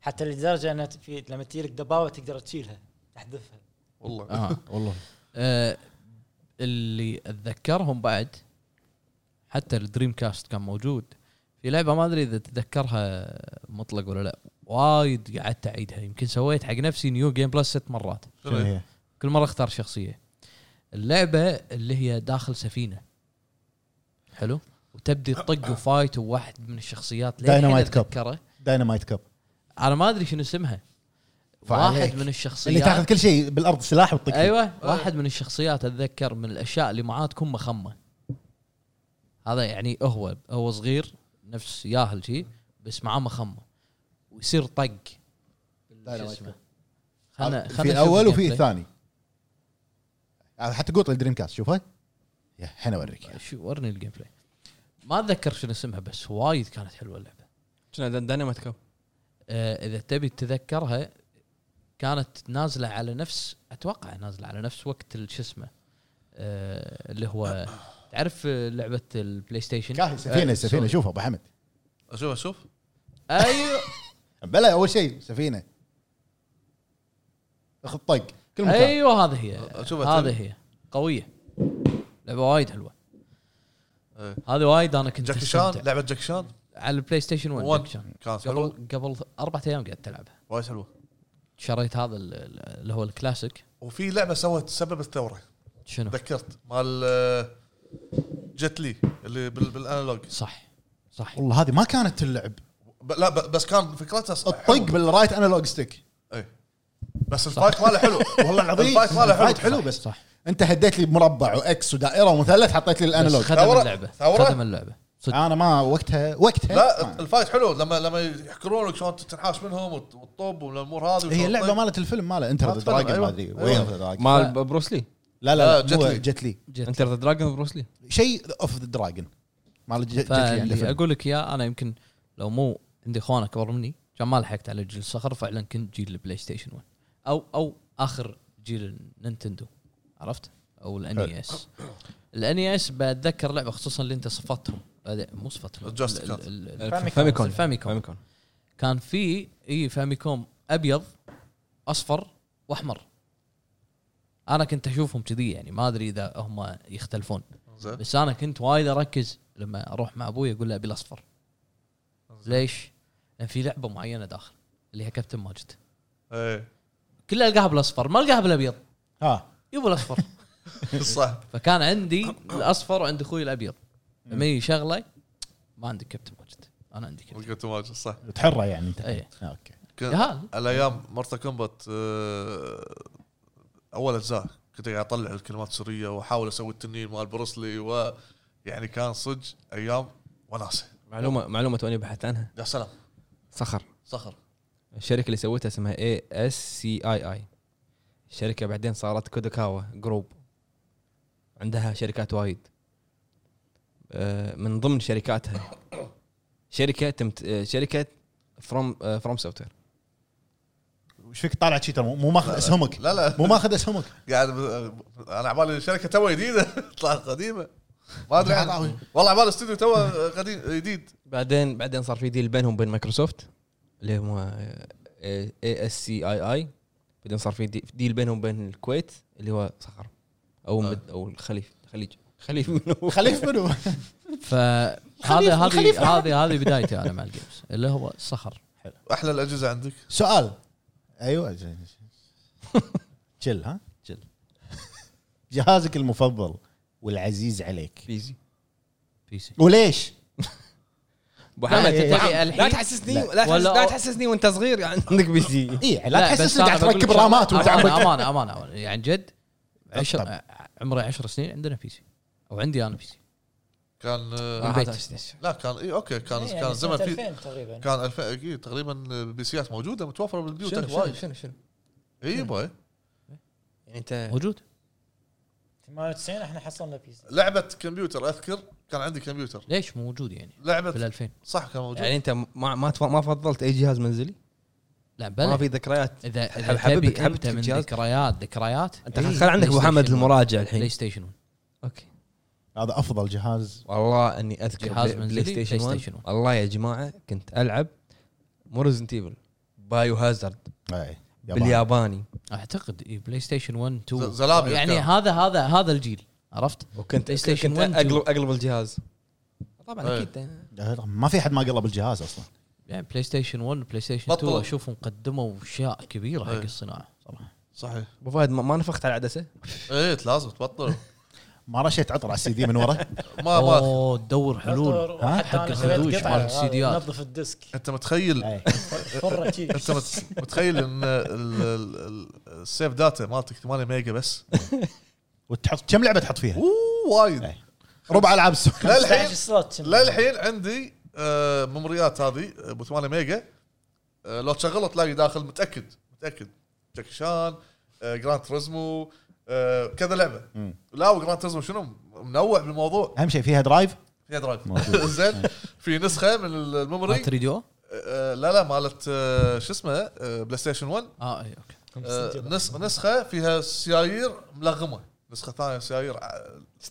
S5: حتى لدرجه ان في لما تجيلك دباوه تقدر تشيلها تحذفها
S3: والله
S4: آه.
S2: [laughs] والله
S4: آه، اللي اتذكرهم بعد حتى الدريم كاست كان موجود في لعبه ما ادري اذا تتذكرها مطلق ولا لا وايد قعدت اعيدها يمكن سويت حق نفسي نيو جيم بلس ست مرات
S3: شنو
S2: شنو
S3: هي؟
S2: هي؟
S4: كل مره اختار شخصيه اللعبه اللي هي داخل سفينه حلو وتبدي تطق وفايت وواحد من الشخصيات للحين
S2: Dynamite Cup.
S4: أتذكره.
S2: داينامايت كاب
S4: انا ما ادري شنو اسمها
S2: فعليك.
S4: واحد من
S2: اللي تاخذ
S4: الشخصيات
S2: كل شيء بالارض سلاح وتطق فيه.
S4: ايوه واحد من الشخصيات اتذكر من الاشياء اللي معاه تكون مخمه هذا يعني هو هو صغير نفس ياهل شي بس معاه مخمه ويصير طق شو اسمه خلنا خلنا
S2: في
S4: نشوف
S2: الاول وفي
S4: الجيم بلاي.
S2: الثاني آه، حتى قوط الدريم كاست شوف هاي يا حين اوريك
S4: شو ورني الجيم بلاي ما اتذكر شنو اسمها بس وايد كانت حلوه اللعبه
S1: شنو دايناميت كاب
S4: آه اذا تبي تتذكرها كانت نازله على نفس اتوقع نازله على نفس وقت ال- شو اسمه آه اللي هو تعرف آه، لعبه البلاي ستيشن
S2: كاهي سفينه
S4: آه،
S2: سفينه
S4: سوري.
S2: شوف ابو حمد
S3: اشوف اشوف [laughs]
S4: اي
S2: بلا اول شيء سفينه اخذ طق كل مكان
S4: ايوه هذه هي
S3: أشوفها تل-
S4: هذه هي قويه لعبه وايد حلوه
S3: إيه.
S4: هذه وايد انا كنت
S3: جاكي
S4: مستمتع.
S3: شان لعبه جاكي شان
S4: على البلاي ستيشن 1
S3: ون.
S4: جاكي شان.
S3: كانت حلوه
S4: قبل قبل اربع ايام قاعد تلعبها
S3: وايد حلوه
S4: شريت هذا ال- ال- اللي هو الكلاسيك
S3: وفي لعبه سوت سبب الثوره
S4: شنو؟
S3: تذكرت مال آه، جت لي اللي بال- بالانالوج
S4: صح صح
S2: والله هذه ما كانت اللعب
S3: ب- لا ب- بس كان فكرتها صح
S2: الطق بالرايت انالوج ستيك
S3: بس الفايت ماله حلو والله العظيم الفايت ماله حلو
S2: الرايت حلو بس
S4: صح
S2: انت هديت لي بمربع واكس ودائره ومثلث حطيت لي
S4: بس
S2: الانالوج
S4: خدم
S3: ثورة-
S4: اللعبه
S3: ثورة؟
S4: خدم اللعبه صدق
S2: انا ما وقتها وقتها ما-
S3: لا الفايت حلو لما لما يحكرونك شلون تنحاش منهم وت- والطب والامور هذه
S2: هي
S4: طيب.
S3: وشلون طيب.
S2: اللعبه
S3: تطق.
S2: مالت الفيلم ماله انتر
S3: ما
S2: ذا
S3: أتفرج،
S2: دراجون ما
S4: أيوه.
S3: أيوة.
S2: ادري
S3: أيوة.
S2: وين ذا دراجون
S1: مال بروس لي
S2: لا لا
S3: آه،
S2: لا
S3: جت
S2: مو
S3: لي.
S2: جت لي
S4: جد.
S1: انتر ذا دراجون بروس لي
S2: شيء اوف ذا دراجون مال ج- جت لي يعني
S4: فاللي
S2: الفيلم.
S4: اقول لك اياه انا يمكن لو مو عندي اخوان اكبر مني كان ما لحقت على جيل الصخر فعلا كنت جيل البلاي ستيشن 1 او او اخر جيل النينتندو عرفت؟ او الاني اس الاني اس بتذكر لعبه خصوصا اللي انت صفتهم بعدين- مو صفتهم ال-
S3: Just
S4: ال-
S3: Cause.
S4: ال- ال-
S5: الفاميكون.
S1: فاميكون
S4: الفاميكون.
S1: فاميكون
S4: كان في اي فاميكوم ابيض اصفر واحمر انا كنت اشوفهم كذي يعني ما ادري اذا هم يختلفون
S3: زين
S4: بس انا كنت وايد اركز لما اروح مع ابوي اقول له ابي الاصفر ليش؟ لان في لعبه معينه داخل اللي هي كابتن ماجد
S3: إيه. [laughs]
S4: كلها القاها بالاصفر ما القاها بالابيض
S2: ها
S4: يبو الاصفر
S3: صح
S4: فكان عندي الاصفر وعند اخوي الابيض لما يجي شغله ما عندي كابتن ماجد انا عندي كابتن إيه.
S3: وقت واجد صح
S2: تحرى يعني انت
S4: اي
S2: آه، اوكي
S3: كان-
S4: يا
S3: على ايام مارتا كومبات آه، اول اجزاء كنت قاعد اطلع الكلمات السريه واحاول اسوي التنين مال بروسلي و يعني كان صدق ايام وناسه
S1: معلومه معلومه توني بحثت عنها
S3: يا سلام
S1: صخر
S3: صخر
S1: الشركه اللي سوتها اسمها اي اس سي اي اي الشركه بعدين صارت كودوكاوا جروب عندها شركات وايد آه، من ضمن شركاتها شركه تمت آه، شركه فروم فروم سوفت وير
S2: وش فيك طالع شي ترى مو- مو ماخذ اسهمك
S3: لا لا
S2: مو ماخذ اسهمك
S3: قاعد ب- انا عبالي الشركه توه جديده [laughs] طلعت قديمه ما ادري عنها. والله عبالي الاستوديو توه قديم جديد
S1: بعدين بعدين صار في ديل بينهم وبين مايكروسوفت اللي هم آه، اي اس سي اي اي بعدين صار في دي- ديل بينهم وبين الكويت اللي هو صخر او مد او الخليج الخليج خليج [laughs] منو
S2: خليف منو [laughs]
S4: فهذا هذه هذه هذه بدايتي انا مع الجيمز اللي هو الصخر
S3: احلى الاجهزه عندك
S2: سؤال ايوه ج- ج- جل ها
S4: جل.
S2: جهازك المفضل والعزيز عليك
S1: بيزي
S4: بي سي
S2: وليش؟
S1: ابو
S4: لا،
S1: حمد
S4: أنت
S1: أبو
S4: تبي
S1: حمد،
S4: يعني الحين؟
S1: لا تحسسني
S2: لا.
S1: لا, تحس-
S4: ولا-
S1: لا تحسسني وانت صغير يعني. عندك بي سي
S2: اي إيه، لا تحسس انك قاعد تركب رامات
S1: [laughs]
S2: وانت
S4: امانه
S2: عمرك
S4: امانه امانه يعني جد عشر عمري 10 سنين عندنا بي سي او عندي انا بي سي
S3: كان آه،
S4: بالبيت.
S3: لا كان اي اوكي كان
S5: يعني
S3: كان زمن
S5: سنة
S3: في
S5: 2000 تقريبا
S3: كان إيه، 2000 إي، تقريبا البي سيات موجوده متوفره بالبيوت
S1: شنو
S3: وايد إيه،
S1: شنو- شنو شنو
S3: اي يبا إي.
S1: يعني انت
S4: موجود
S5: 98 احنا حصلنا بيس
S3: لعبه كمبيوتر اذكر كان عندي كمبيوتر
S4: ليش مو موجود يعني
S3: لعبه
S4: في ال 2000
S3: صح كان موجود
S1: يعني انت ما ما تف- ما فضلت اي جهاز منزلي
S4: لا
S1: ما
S4: بلا
S1: في ذكريات
S4: اذا
S1: حب-
S4: اذا
S1: حبيبك-
S4: تبي انت
S1: حبيبك
S4: من
S1: الجهاز.
S4: ذكريات ذكريات إيه،
S1: انت خل عندك ابو حمد المراجع
S4: بلاي
S1: الحين
S4: ستيشن 1
S1: اوكي
S2: هذا افضل جهاز
S1: والله اني اذكر
S4: جهاز
S1: بلاي-
S4: منزلي،
S1: بلاي ستيشن
S4: بلاي
S1: 1
S4: ستيشن 1.
S1: والله يا جماعه كنت العب مو ريزنت ايفل بايو هازارد
S2: أي. ياباني.
S1: بالياباني
S4: اعتقد إي، بلاي ستيشن 1 2
S3: ز- زلابيا
S4: يعني
S3: كان.
S4: هذا هذا هذا الجيل عرفت؟
S1: وكنت
S4: بلاي ستيشن
S1: كنت
S4: 1
S1: اقلب اقلب الجهاز إيه. طبعا
S3: ايه.
S1: اكيد
S2: ما في حد ما قلب الجهاز اصلا
S4: يعني بلاي ستيشن 1 بلاي ستيشن
S3: بطل.
S4: 2 اشوفهم قدموا اشياء كبيره حق
S3: إيه.
S4: الصناعه صراحه
S3: صحيح
S1: ابو فهد ما- ما نفخت على العدسه
S3: ايه
S1: [laughs]
S3: لازم تبطل
S2: ما رشيت عطر على السي دي من ورا
S3: ما ما
S4: اوه تدور حلول
S2: ها؟
S5: حتى
S4: حق
S5: انا سويت
S4: الخدوش
S5: قطعه
S4: مال السي ديات.
S5: هذا نظف الديسك
S3: انت متخيل
S2: أي.
S5: فرة شي.
S3: انت مت- متخيل ان ال- ال- ال- السيف داتا مالتك 8 ميجا بس
S2: وتحط كم لعبه تحط فيها؟
S3: اوه وايد
S2: أي. ربع
S1: [laughs]
S2: العاب السوني
S3: للحين
S5: 15 سلوت
S3: للحين عندي آه، ميموريات هذه ابو 8 ميجا آه، لو تشغله تلاقي داخل متاكد متاكد جاكي شان آه، جراند تريزمو آه، كذا لعبه
S2: مم.
S3: لا وجراند تريزمو شنو منوع بالموضوع
S2: اهم شيء فيها درايف
S3: فيها درايف
S2: موجود.
S3: [laughs]
S2: نعم.
S3: زين في نسخه من الميموري
S4: ما تريدو؟
S3: آه، لا لا مالت آه، شو اسمه آه، بلاي ستيشن 1
S4: اه اي اوكي
S3: آه، نس- نسخه فيها سيايير ملغمه نسخه ثانيه سيايير ع-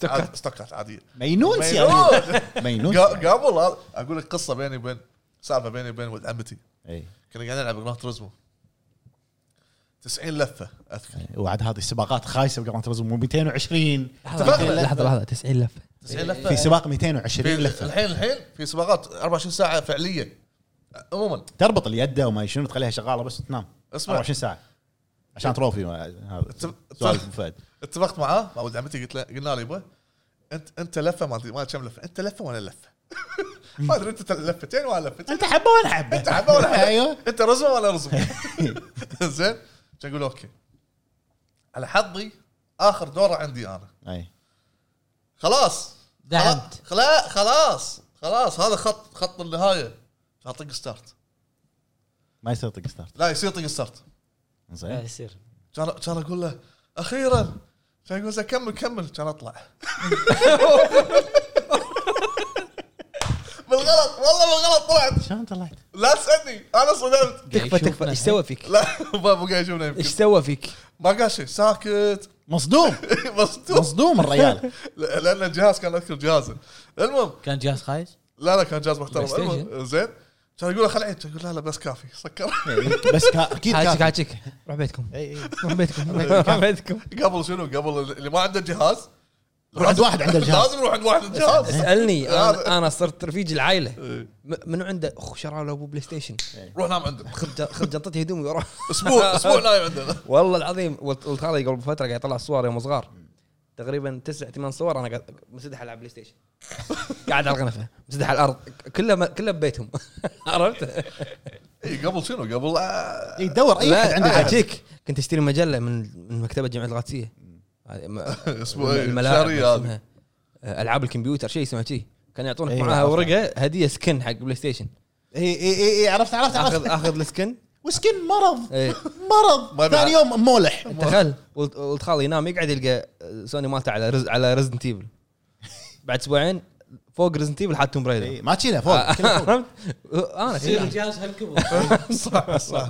S3: عاد- ستوكات عاديه
S2: مينون سيارة
S3: مجنون. [laughs]
S2: مينون
S3: قا- قبل هذا- اقول لك قصه بيني وبين سالفه بيني وبين ولد عمتي
S2: إي.
S3: كنا قاعدين نلعب جراند تريزمو 90 لفه اذكر
S2: وعاد هذه السباقات خايسه بجراند تريزمو 220
S1: لحظه لحظه لحظه 90 لفه
S3: 90 لفه
S2: في سباق
S3: في
S2: 220 لفه
S3: الحين الحين في سباقات 24 ساعه فعليه عموما
S2: تربط اليد وما شنو تخليها شغاله بس تنام
S3: اسمع إيه.
S2: 24 ساعه عشان تروفي ما- هذا
S3: تب-
S2: سؤال أبو
S3: [laughs]
S2: فهد
S3: اتفقت معاه مع ولد عمتي قلت له قلنا له يبا انت انت لفه ما ادري ما أدري كم لفه انت لفه وانا لفه [laughs] ما ادري انت لفتين وانا لفتين
S2: انت حبه ولا حبه
S3: انت حبه ولا حبة.
S2: ايوه
S3: انت رزمه ولا رزمه [laughs] زين كان اقول اوكي على حظي اخر دوره عندي انا
S2: اي
S3: خلاص
S5: دعمت.
S3: خلا خلاص خلاص هذا خط خط النهايه اطق ستارت
S2: ما يصير طق ستارت
S3: لا يصير طق ستارت
S5: لا
S2: زين
S5: يصير
S3: كان كان اقول له اخيرا كان يقول زين كمل كمل كان اطلع [laughs] بالغلط والله بالغلط طلعت
S2: شلون طلعت؟
S3: لا تسالني انا صدمت
S4: يعني
S1: تكفى تكفى ايش سوى فيك؟
S3: لا [laughs] بابا قاعد يشوفنا
S1: ايش
S3: يمكن
S1: سوى فيك؟
S3: ما قال شيء ساكت [laughs]
S2: مصدوم
S3: مصدوم
S2: مصدوم الرجال
S3: لا- لان الجهاز كان اذكر جهازه المهم
S4: كان جهاز خايس
S3: لا لا كان جهاز محترم
S1: بلاي ستيشن؟
S3: المهم، زين كان يقول له خل عيد يقول لا لا بس كافي سكر [laughs]
S2: بس كا- اكيد
S1: حاجيك
S2: كان-
S1: حاجيك روح بيتكم
S2: اي اي
S1: روح [laughs] بيتكم إيه. روح بيتكم
S3: قبل شنو قبل اللي ما عنده جهاز
S2: روح عند واحد عنده الجهاز
S3: لازم يروح عند واحد الجهاز
S1: اسالني انا انا صرت رفيج العائله
S2: إيه.
S1: م- منو عنده اخ شرى له ابو بلاي ستيشن
S3: [laughs] روح نام عندنا
S1: خذ ج- خذ جنطتي هدومي وروح
S2: [laughs]
S3: اسبوع اسبوع نايم عندنا
S1: [laughs] والله العظيم ولد ولد خالي قبل فتره قاعد يطلع صور يوم صغار تقريبا تسع ثمان صور انا قاعد مسدح العب بلاي [laughs] ستيشن قاعد على الغنفه مسدح على الارض كله م- كله ببيتهم [laughs] عرفت؟
S3: اي إيه، قبل شنو قبل آه،
S2: اي دور اي احد
S1: لا
S2: عنده جهاز
S1: اجيك كنت اشتري مجله من من مكتبه جامعه الغاتسيه هذه [laughs] م-
S3: اسبوع إيه،
S1: الملاعب
S3: شهرية هذه.
S1: اسمها العاب الكمبيوتر شيء اسمه شيء كان يعطونك
S2: إيه،
S1: معاها
S2: عرفت. إيه،
S1: ورقه هديه سكن حق بلاي ستيشن
S2: اي اي اي اي عرفت عرفت
S1: اخذ
S2: عرفت
S1: اخذ السكن
S2: [laughs] وسكن مرض [laughs]
S1: إيه.
S3: ما
S2: مرض
S3: يبي-
S2: ثاني يوم مولح
S1: تخيل ولد ولد خالي ينام يقعد يلقى سوني مالته على رز على ريزنت ايفل بعد اسبوعين فوق ريزنت ايفل حاط توم [laughs]
S2: إي،
S1: برايدر
S2: ما تشيله إيه.
S1: آه.
S2: فوق كله فوق. إيه،
S1: انا
S5: يصير
S4: إيه.
S1: كذي.
S5: الجهاز
S4: [laughs]
S5: هالكبر
S3: صح صح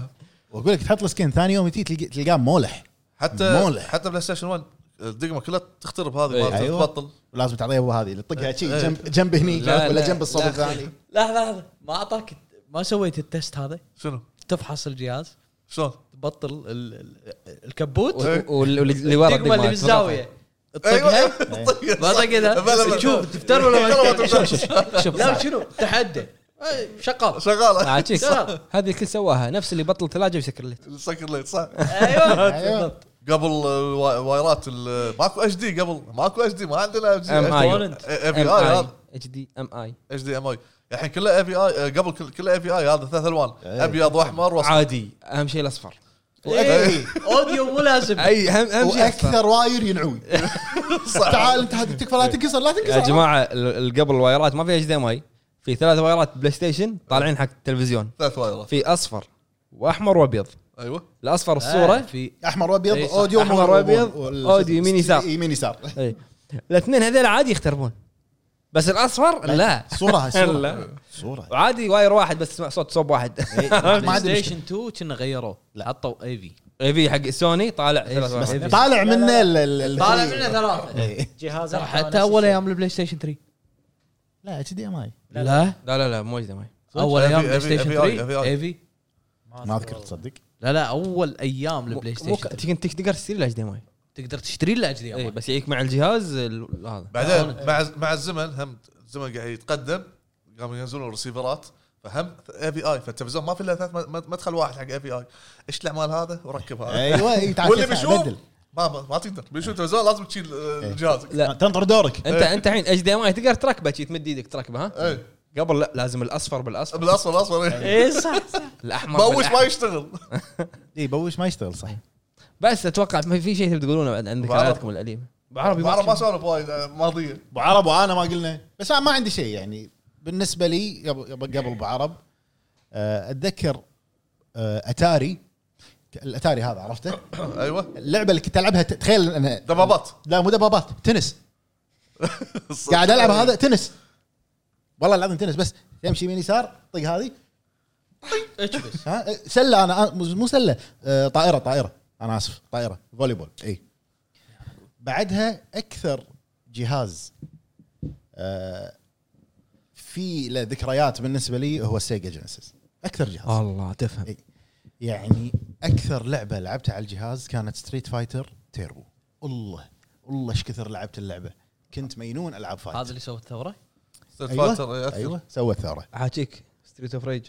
S2: واقول لك تحط السكن ثاني يوم تجي تلقى- تلقاه مولح
S3: حتى
S2: مولع.
S3: حتى بلاي ستيشن 1 الدقمه كلها تخترب هذه
S1: إيه.
S3: مالته
S2: أيوة.
S3: تبطل
S2: ولازم تعطيه ابو هذه اللي تطقها شي
S3: إيه.
S2: جنب جنب هني
S1: لا،
S2: ولا
S1: لا.
S2: جنب الصوب
S1: لا،
S2: الثاني
S4: لحظه لحظه ما اعطاك ما سويت التست هذا
S3: شنو
S4: تفحص الجهاز
S3: شلون؟
S4: تبطل ال- ال- الكبوت
S2: إيه.
S1: و- وال- وال- اللي ورا
S4: الدقمه
S1: الدقمة
S4: اللي بالزاويه
S3: أيوة. [laughs]
S4: تطقها ما طقتها تشوف تفتر ولا ما تفتر؟
S1: [laughs] شوف
S4: لا
S1: صح.
S4: شنو تحدى أي، شغال
S3: شغاله
S1: عاد شيك، صح.
S4: لا.
S1: هذه الكل سواها نفس اللي بطل ثلاجه ويسكر ليت
S3: سكر ليت صح
S4: ايوه
S2: ايوه
S3: قبل الوا- وايرات ال- ماكو اتش دي قبل ماكو اتش دي ما عندنا اتش
S1: ام
S3: دي
S1: اي
S4: Exponent.
S3: اي
S1: آه،
S3: هذا
S1: اتش دي ام اي
S3: اتش دي ام اي الحين كله اي بي اي آه، قبل كل- كله اي بي اي هذا ثلاث الوان
S2: إيه.
S3: ابيض واحمر واصفر
S1: عادي اهم شيء الاصفر
S4: إيه، اوديو مو لازم
S1: اي اهم اهم شيء الأصفر.
S2: واكثر واير ينعوي تعال انت هذه تكفى لا
S1: إيه.
S3: إيه.
S2: تنكسر لا تنكسر
S1: يا جماعه ال- ال- قبل الوايرات ما في اتش دي ام اي في ثلاث وايرات بلاي ستيشن طالعين حق التلفزيون
S3: ثلاث وايرات
S1: في اصفر واحمر وابيض
S3: ايوه
S1: الاصفر الصوره
S4: في
S2: احمر وابيض
S4: إي صح.
S2: اوديو
S1: إيه. أحمر
S2: مو-
S1: وأبيض،
S2: وال-
S1: أوديو يمين يسار.
S2: يمين يسار
S1: اي إيه. الاثنين هذول عادي يختربون بس الاصفر لا
S2: صورة هاي صورة
S1: لا.
S2: صورة
S1: وعادي واير واحد بس تسمع صوت صوب واحد [laughs]
S2: ما
S4: بلاي
S2: عندي مشكلة.
S4: ستيشن 2 كنا غيروه حطوا اي في
S1: اي إيه، في حق سوني طالع ثلاث
S2: بس
S1: وايرات.
S2: طالع منه ال- ال- ال-
S4: طالع منه ثلاثه
S2: إي.
S5: جهاز
S4: ترى حتى اول ايام البلاي ستيشن 3
S2: لا اتش دي ام اي
S5: لا.
S4: لا
S1: لا لا لا مو اتش دي ام اي
S4: اول
S3: AV
S4: ايام بلاي
S3: AV
S4: ستيشن
S3: AV
S4: 3 اي في
S2: ما اذكر
S1: [laughs]
S2: تصدق
S4: لا لا اول ايام البلاي
S1: مو- مو
S4: ستيشن
S1: ك- تك- تقدر تشتري له
S4: 3.
S1: اتش دي ام اي
S4: تقدر تشتري له اتش دي
S1: إي، إيه، بس يجيك مع الجهاز ال- هذا
S2: آه.
S3: بعدين مع مع الزمن هم الزمن قاعد يتقدم قاموا ينزلون الرسيفرات فهم اي بي اي فالتلفزيون ما في الا ثلاث مد- مدخل واحد حق اي بي اي اشلع مال هذا وركب هذا
S2: ايوه إي، تعال
S3: واللي
S2: شوف،
S3: بيشوف
S2: بدل. إيه.
S3: ما ما ما تقدر بيشوف التلفزيون لازم تشيل آه، جهازك
S1: لا.
S2: تنطر دورك
S1: انت انت الحين اتش دي ام اي تقدر تركبه شي تمد ايدك تركبه ها
S3: اي
S2: إيه.
S1: قبل لا لازم الاصفر بالاصفر
S3: بالاصفر الاصفر
S5: إيه،
S4: اي صح
S1: الاحمر
S3: بوش
S1: بالأحمر.
S3: ما يشتغل
S2: اي إيه، بوش ما يشتغل صح
S1: بس اتوقع ما في شيء تقولونه بعد عن ذكرياتكم الاليمه
S3: بعربي ما سولف وايد آه، [coughs] ماضيه
S2: ابو عرب وانا ما قلنا بس أنا ما عندي شيء يعني بالنسبه لي يب- يب- قبل ابو عرب آه، اتذكر آه، اتاري الاتاري هذا عرفته
S3: ايوه
S2: اللعبه اللي كنت العبها ت- تخيل انا
S3: دبابات
S2: لا مو دبابات تنس قاعد العب هذا تنس والله العظيم تنس بس تمشي يمين يسار طق هذه
S4: اجبس
S2: ها سله انا مو سله آه، طائره طائره انا اسف طائره فولي بول اي إيه. بعدها اكثر جهاز آه، في له ذكريات بالنسبه لي هو سيجا جينيسيس اكثر جهاز
S1: الله تفهم
S2: إي. يعني اكثر لعبه لعبتها على الجهاز كانت ستريت فايتر تيربو الله الله ايش كثر لعبت اللعبه كنت مجنون العاب فايت
S4: هذا اللي سوى الثوره
S3: ستريت
S2: أيوة.
S3: فايتر يأثر.
S2: ايوه سوت ثوره
S1: عاجيك ستريت اوف ريج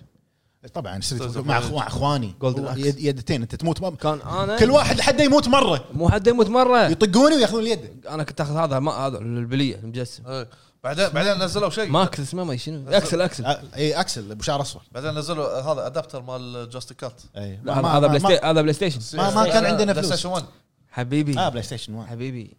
S2: طبعا
S3: Street
S2: ستريت
S3: of
S2: مع
S3: Rage.
S2: أخو- مع اخواني
S1: Golden
S2: هو
S1: Axe.
S2: يد يدتين انت تموت مر...
S1: كان انا
S2: كل واحد حده يموت مره
S1: مو حد يموت مره
S2: يطقوني وياخذون اليد
S1: انا كنت اخذ هذا ما هذا البليه المجسم
S3: إيه. بعدين بعدين نزلوا شيء
S1: ماكس اسمه ما شنو اكسل اكسل
S2: آه، اي اكسل ابو شعر اصفر
S3: بعدين نزلوا آه، هذا ادابتر مال جاستيكات
S2: اي
S1: لا، هذا هذا بلاي ستيشن هذا بلاي ستيشن
S2: ما- ما
S5: كان
S2: عندنا
S3: بلاي
S2: فلوس.
S3: ستيشن 1
S1: حبيبي
S2: اه بلاي ستيشن 1
S1: حبيبي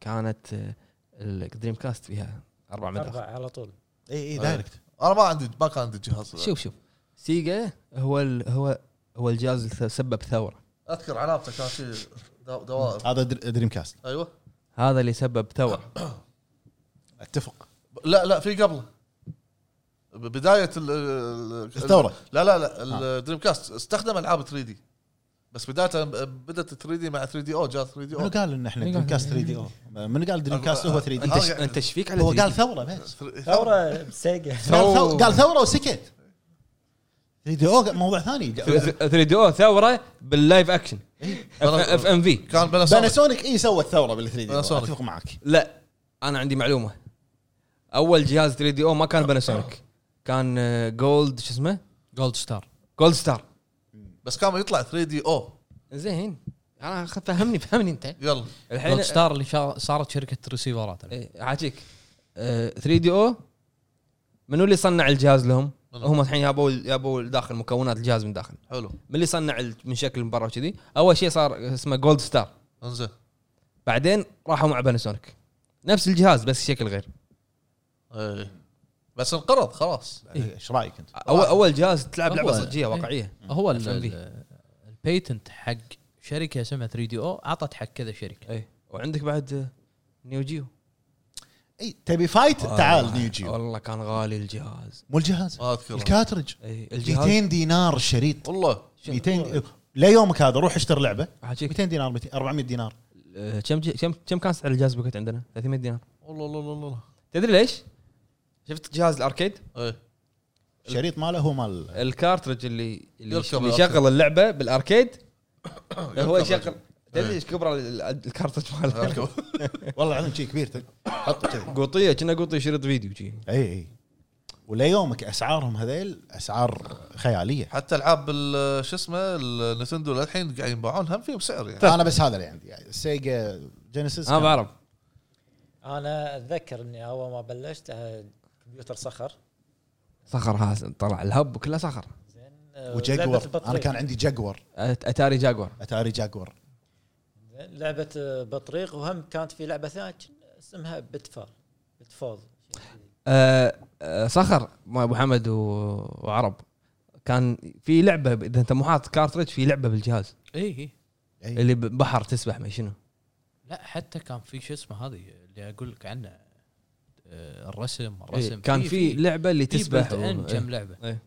S1: كانت آه، الدريم كاست فيها اربع مدرخ
S5: اربع على طول
S2: اي اي دايركت
S3: انا ما عندي ما كان عندي الجهاز
S1: شوف شوف سيجا هو ال هو هو الجهاز اللي سبب ثوره
S3: اذكر علامته كان شيء دو- دوائر
S2: هذا در- دريم كاست
S3: ايوه
S1: هذا اللي سبب ثوره
S2: اتفق
S3: لا لا في قبله ب- بدايه ال- ال-
S2: الثورة.
S3: لا لا
S2: آه.
S3: لا الدريم كاست استخدم العاب 3 دي بس بدايه بدات 3 دي مع 3 دي او جاء 3 دي
S2: منو
S3: او
S2: قال ان احنا
S1: منو
S2: دريم
S1: قال؟
S2: كاست 3 دي او منو قال دريم كاست هو
S1: انت
S2: 3 دي آه،
S1: ش- انت ايش فيك على
S2: هو
S1: جديد؟
S2: قال ثوره بس
S5: ثوره بسيجا
S2: قال ثو-
S1: ثورة.
S2: قال ثوره وسكت 3 دي او موضوع ثاني
S1: 3 دي او ثوره باللايف اكشن
S2: إيه.
S1: اف ام في
S3: كان بنسونيك
S2: باناسونيك اي سوت ثوره بال 3 دي
S3: Panasonic.
S2: او اتفق معك
S1: لا انا عندي معلومه اول جهاز 3 دي او ما كان باناسونيك كان جولد شو اسمه
S4: جولد ستار
S1: جولد ستار
S3: بس كان يطلع 3 دي او
S1: زين انا خ- فهمني فهمني انت
S3: يلا
S1: الحين
S4: جولد ستار اللي شا- صارت شركه ريسيفرات
S1: إيه، آه، عاجيك 3 دي او منو اللي صنع الجهاز لهم؟
S3: منو؟
S1: هم الحين يابوا يابوا داخل مكونات الجهاز من داخل
S3: حلو
S1: من اللي صنع ال- من شكل المباراه وكذي اول شيء صار اسمه جولد ستار
S3: انزين
S1: بعدين راحوا مع باناسونيك نفس الجهاز بس شكل غير
S3: إيه. بس انقرض خلاص
S2: ايش رايك انت؟
S1: اول اول جهاز تلعب
S4: هو-
S1: لعبه صجيه واقعيه
S4: هو ال-
S1: FMV.
S4: ال- البيتنت حق شركه اسمها 3 دي او اعطت حق كذا شركه
S1: اي وعندك بعد آه، نيو جيو
S2: اي إيه، تبي فايت تعال
S1: والله-
S2: نيو جيو
S1: والله كان غالي الجهاز
S2: مو الجهاز
S3: ما اذكر
S2: الكاترج
S1: اي الجهاز
S2: 200 دينار شريط
S3: والله
S2: 200 ليومك هذا روح اشتر لعبه
S1: أحاجيك،
S2: 200 دينار 200 400 دينار
S1: آه، كم جي- كم كم كان سعر الجهاز بوكيت عندنا 300 دينار
S3: والله والله والله
S1: تدري ليش؟ شفت جهاز الاركيد
S3: ايه
S2: الشريط ماله هو مال
S1: الكارترج اللي اللي
S3: يركب
S1: اللي
S3: الأركيد. آه،
S1: يشغل اللعبه بالاركيد إيه، هو
S3: يركب
S1: يشغل
S2: إيه.
S1: تدري ايش كبر ال- ال- الكارترج ماله؟
S2: والله العظيم شيء كبير تل- حطه
S1: [laughs]
S2: كذي
S1: قوطيه كنا قوطيه شريط فيديو شي
S2: اي اي إيه، وليومك اسعارهم هذيل اسعار خياليه
S3: حتى العاب ال- شو اسمه النتندو للحين قاعد ينباعون هم فيهم سعر يعني
S2: انا بس هذا اللي عندي السيجا جينيسيس
S1: انا
S2: كان-
S1: بعرف
S5: انا اتذكر اني اول ما بلشت آه، كمبيوتر صخر
S1: صخر هاس طلع الهب كله صخر
S5: زين آه، لعبة
S2: وجاكور
S5: البطريق.
S2: انا كان عندي جاكور
S1: أت- اتاري جاكور
S2: اتاري جاكور
S5: زين، لعبه آه، بطريق وهم كانت في لعبه ثانيه اسمها بتفال بتفول
S1: أه أه، صخر مع ابو حمد و- وعرب كان في لعبه ب- اذا انت مو حاط كارترج في لعبه بالجهاز
S4: اي اي
S2: اي
S1: اللي بحر تسبح ما شنو
S4: إيه. لا حتى كان في شو اسمه هذه اللي اقول لك عنه آه، الرسم الرسم
S1: إيه كان في لعبه اللي تسبح و-
S4: كم
S1: إيه.
S4: لعبه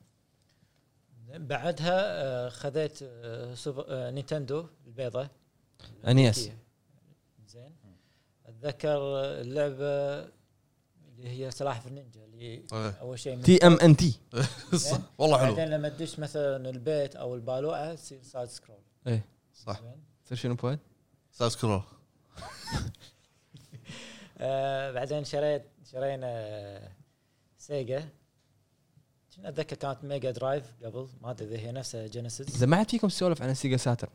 S5: بعدها آه، خذيت آه، سوبر- آه، نينتندو البيضة
S1: انيس
S5: زين اتذكر آه، اللعبه اللي هي سلاحف النينجا اللي
S3: إيه.
S5: اول شيء من-
S1: تي ام ان تي
S3: صح. والله حلو
S5: بعدين لما تدش مثلا البيت او البالوعه تصير سايد سكرول
S3: صح
S5: زين
S1: شنو فوائد؟
S3: سايد سكرول
S5: آه بعدين شريت شرينا آه، سيجا شنو اتذكر كانت ميجا درايف قبل ما ادري اذا هي نفسها جينيسيس
S1: اذا ما عاد فيكم تسولف عن سيجا ساتر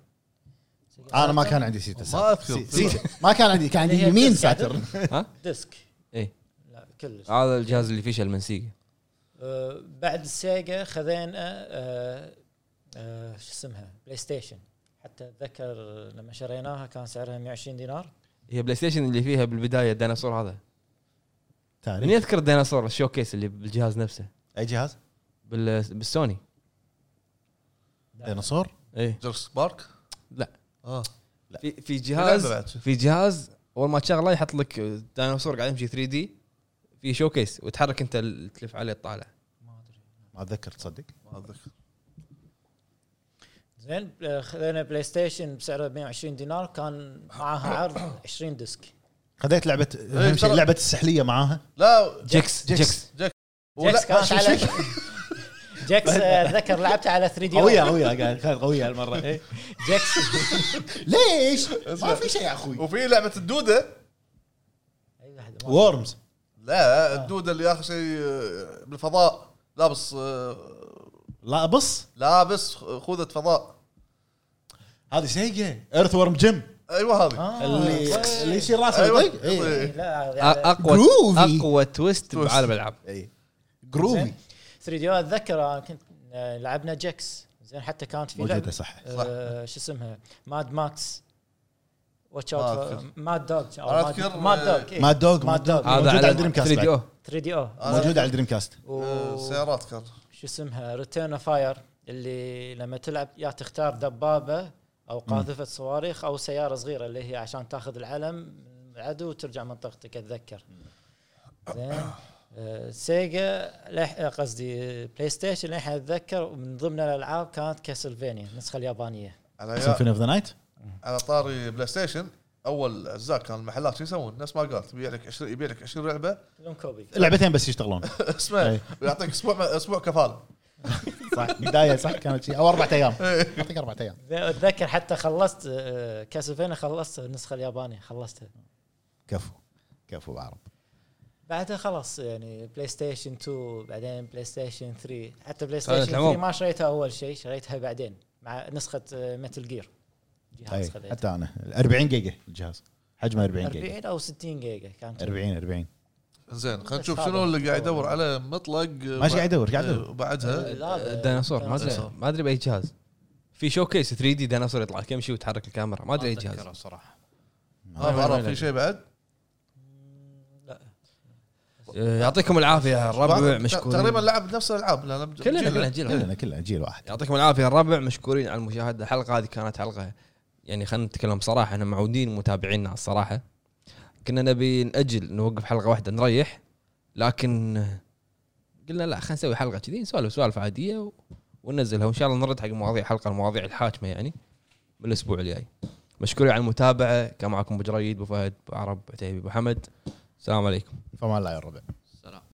S2: انا ما كان عندي سيتا
S3: ما
S2: ساتر.
S3: أذكر.
S2: سي- سيتا ما كان عندي كان عندي
S5: هي
S2: يمين
S5: بس قاعدة.
S2: ساتر
S5: ديسك
S1: إيه.
S5: لا كلش
S1: هذا الجهاز اللي فشل من سيجا
S5: آه بعد السيجا خذينا آه آه شو اسمها بلاي ستيشن حتى اتذكر لما شريناها كان سعرها 120 دينار
S1: هي بلاي ستيشن اللي فيها بالبدايه الديناصور هذا من [laughs]
S2: تاريخ
S1: يذكر الديناصور الشوكيس اللي بالجهاز نفسه
S2: اي جهاز
S1: بال- بالسوني
S2: ديناصور
S1: ايه
S3: جرس بارك
S1: لا.
S3: اه
S1: في في
S3: في لعبة
S1: جهاز
S3: بعد.
S1: في جهاز اول ما تشغله يحط لك ديناصور قاعد يمشي 3 دي في شوكيس وتحرك انت ال- تلف عليه تطالع
S2: ما اتذكر تصدق
S3: ما اتذكر
S5: زين زين آه، خذينا بلاي ستيشن بسعره 120 دينار كان
S2: [coughs]
S5: معاها عرض 20 ديسك
S2: خذيت لعبه أهم شيء
S3: ترى-
S2: لعبه السحليه معاها
S3: لا
S1: جكس جكس
S5: جكس
S3: ولا
S5: كانت على [laughs] جكس آه، اتذكر لعبتها على 3 دي
S6: قويه قويه قاعد- كانت قويه هالمره إيه.
S2: [laughs]
S5: جكس
S2: ليش؟ ما في شيء يا اخوي
S3: وفي لعبه الدوده
S5: أي واحد ما-
S2: وورمز
S3: لا الدوده اللي اخر شيء آه، بالفضاء لابس آه،
S2: لا بص
S3: لابس خوذه فضاء
S2: هذه سيجا ايرث وورم جيم
S3: ايوه هذه
S5: آه،
S2: اللي
S5: إيه.
S2: اللي يشيل راسه
S3: أيوة.
S2: يطق إيه.
S5: إيه، لا هذه على-
S1: اقوى
S2: Groovy.
S1: اقوى تويست
S3: تويست.
S1: بعالم الالعاب
S2: إيه.
S5: زين.
S2: جروفي
S5: 3 دي أنا اتذكر أنا كنت آه، لعبنا جكس زين حتى كانت في لعبه
S2: موجوده صح
S5: آه، شو اسمها ماد ماكس واتش
S3: ما
S5: اوت
S3: أذكر.
S5: ماد دوج
S3: أنا أذكر،
S5: ماد
S3: آه،
S5: دوج
S2: ماد دوغ
S5: ماد
S2: ماد
S5: دوج
S1: هذا
S2: موجود
S1: على
S2: على دريم كاست
S1: 3 دي او
S5: 3 دي او
S2: موجوده على الدريم كاست
S3: آه، سيارات كان
S5: شو اسمها ريتيرن اوف فاير اللي لما تلعب يا تختار دبابه او قاذفه صواريخ او سياره صغيره اللي هي عشان تاخذ العلم من العدو وترجع منطقتك اتذكر زين آه، سيجا لح- آه، قصدي بلاي ستيشن للحين اتذكر من ضمن الالعاب كانت كاسلفينيا النسخه اليابانيه
S3: على أيام-
S2: سيمفوني اوف ذا نايت
S3: على طاري بلاي ستيشن اول اجزاء كان المحلات شو يسوون؟ نفس ما قالت يبيع لك 20 يبيع لك 20 [laughs] لعبه
S5: لون كوبي
S2: لعبتين بس يشتغلون إيه.
S3: اسمه
S2: أي.
S3: ويعطيك اسبوع اسبوع كفاله
S2: صح بدايه صح كانت شيء او اربع ايام اعطيك اربع ايام
S5: زين، اتذكر حتى خلصت آه، كاسلفينيا خلصت النسخه اليابانيه خلصتها
S2: كفو كفو عرب
S5: بعدها خلاص يعني بلاي ستيشن 2 بعدين بلاي ستيشن 3 حتى بلاي
S1: خلال
S5: ستيشن 3
S1: العموم.
S5: ما شريتها اول شيء شريتها بعدين مع نسخه متل جير جهاز
S2: أي.
S5: خذيته
S2: طيب، حتى انا 40 جيجا الجهاز حجمه 40 جيجا
S5: 40 او 60 جيجا كانت
S2: 40 40
S3: زين خلينا نشوف شنو اللي قاعد يدور عليه مطلق
S2: ماشي قاعد يدور قاعد يدور
S3: وبعدها
S5: لا،
S1: ديناصور ما ادري
S3: ديناصور.
S1: ما ادري باي جهاز في شو كيس 3 دي ديناصور يطلع لك يمشي وتحرك الكاميرا ما ادري اي جهاز
S4: أتذكره صراحه
S3: ما بعرف في شيء بعد
S1: آه، يعطيكم العافيه يا الربع
S3: بعد-
S1: مشكورين
S3: تقريبا لعب نفس الالعاب لأن
S1: كلنا
S3: جيل-
S1: كلنا جيل
S2: كلنا كلنا جيل واحد
S1: يعطيكم العافيه يا الربع مشكورين على المشاهده الحلقه هذه كانت حلقه يعني خلينا نتكلم صراحه احنا معودين متابعينا الصراحه كنا نبي ناجل نوقف حلقه واحده نريح لكن قلنا لا خلينا نسوي حلقه كذي نسولف سوالف عاديه و... وننزلها وان شاء الله نرد حق مواضيع الحلقه المواضيع الحاكمه يعني بالاسبوع الجاي مشكورين على المتابعه كان معكم ابو جريد ابو فهد ابو عرب ابو عتيبي ابو حمد السلام عليكم
S2: فما لا يا الربع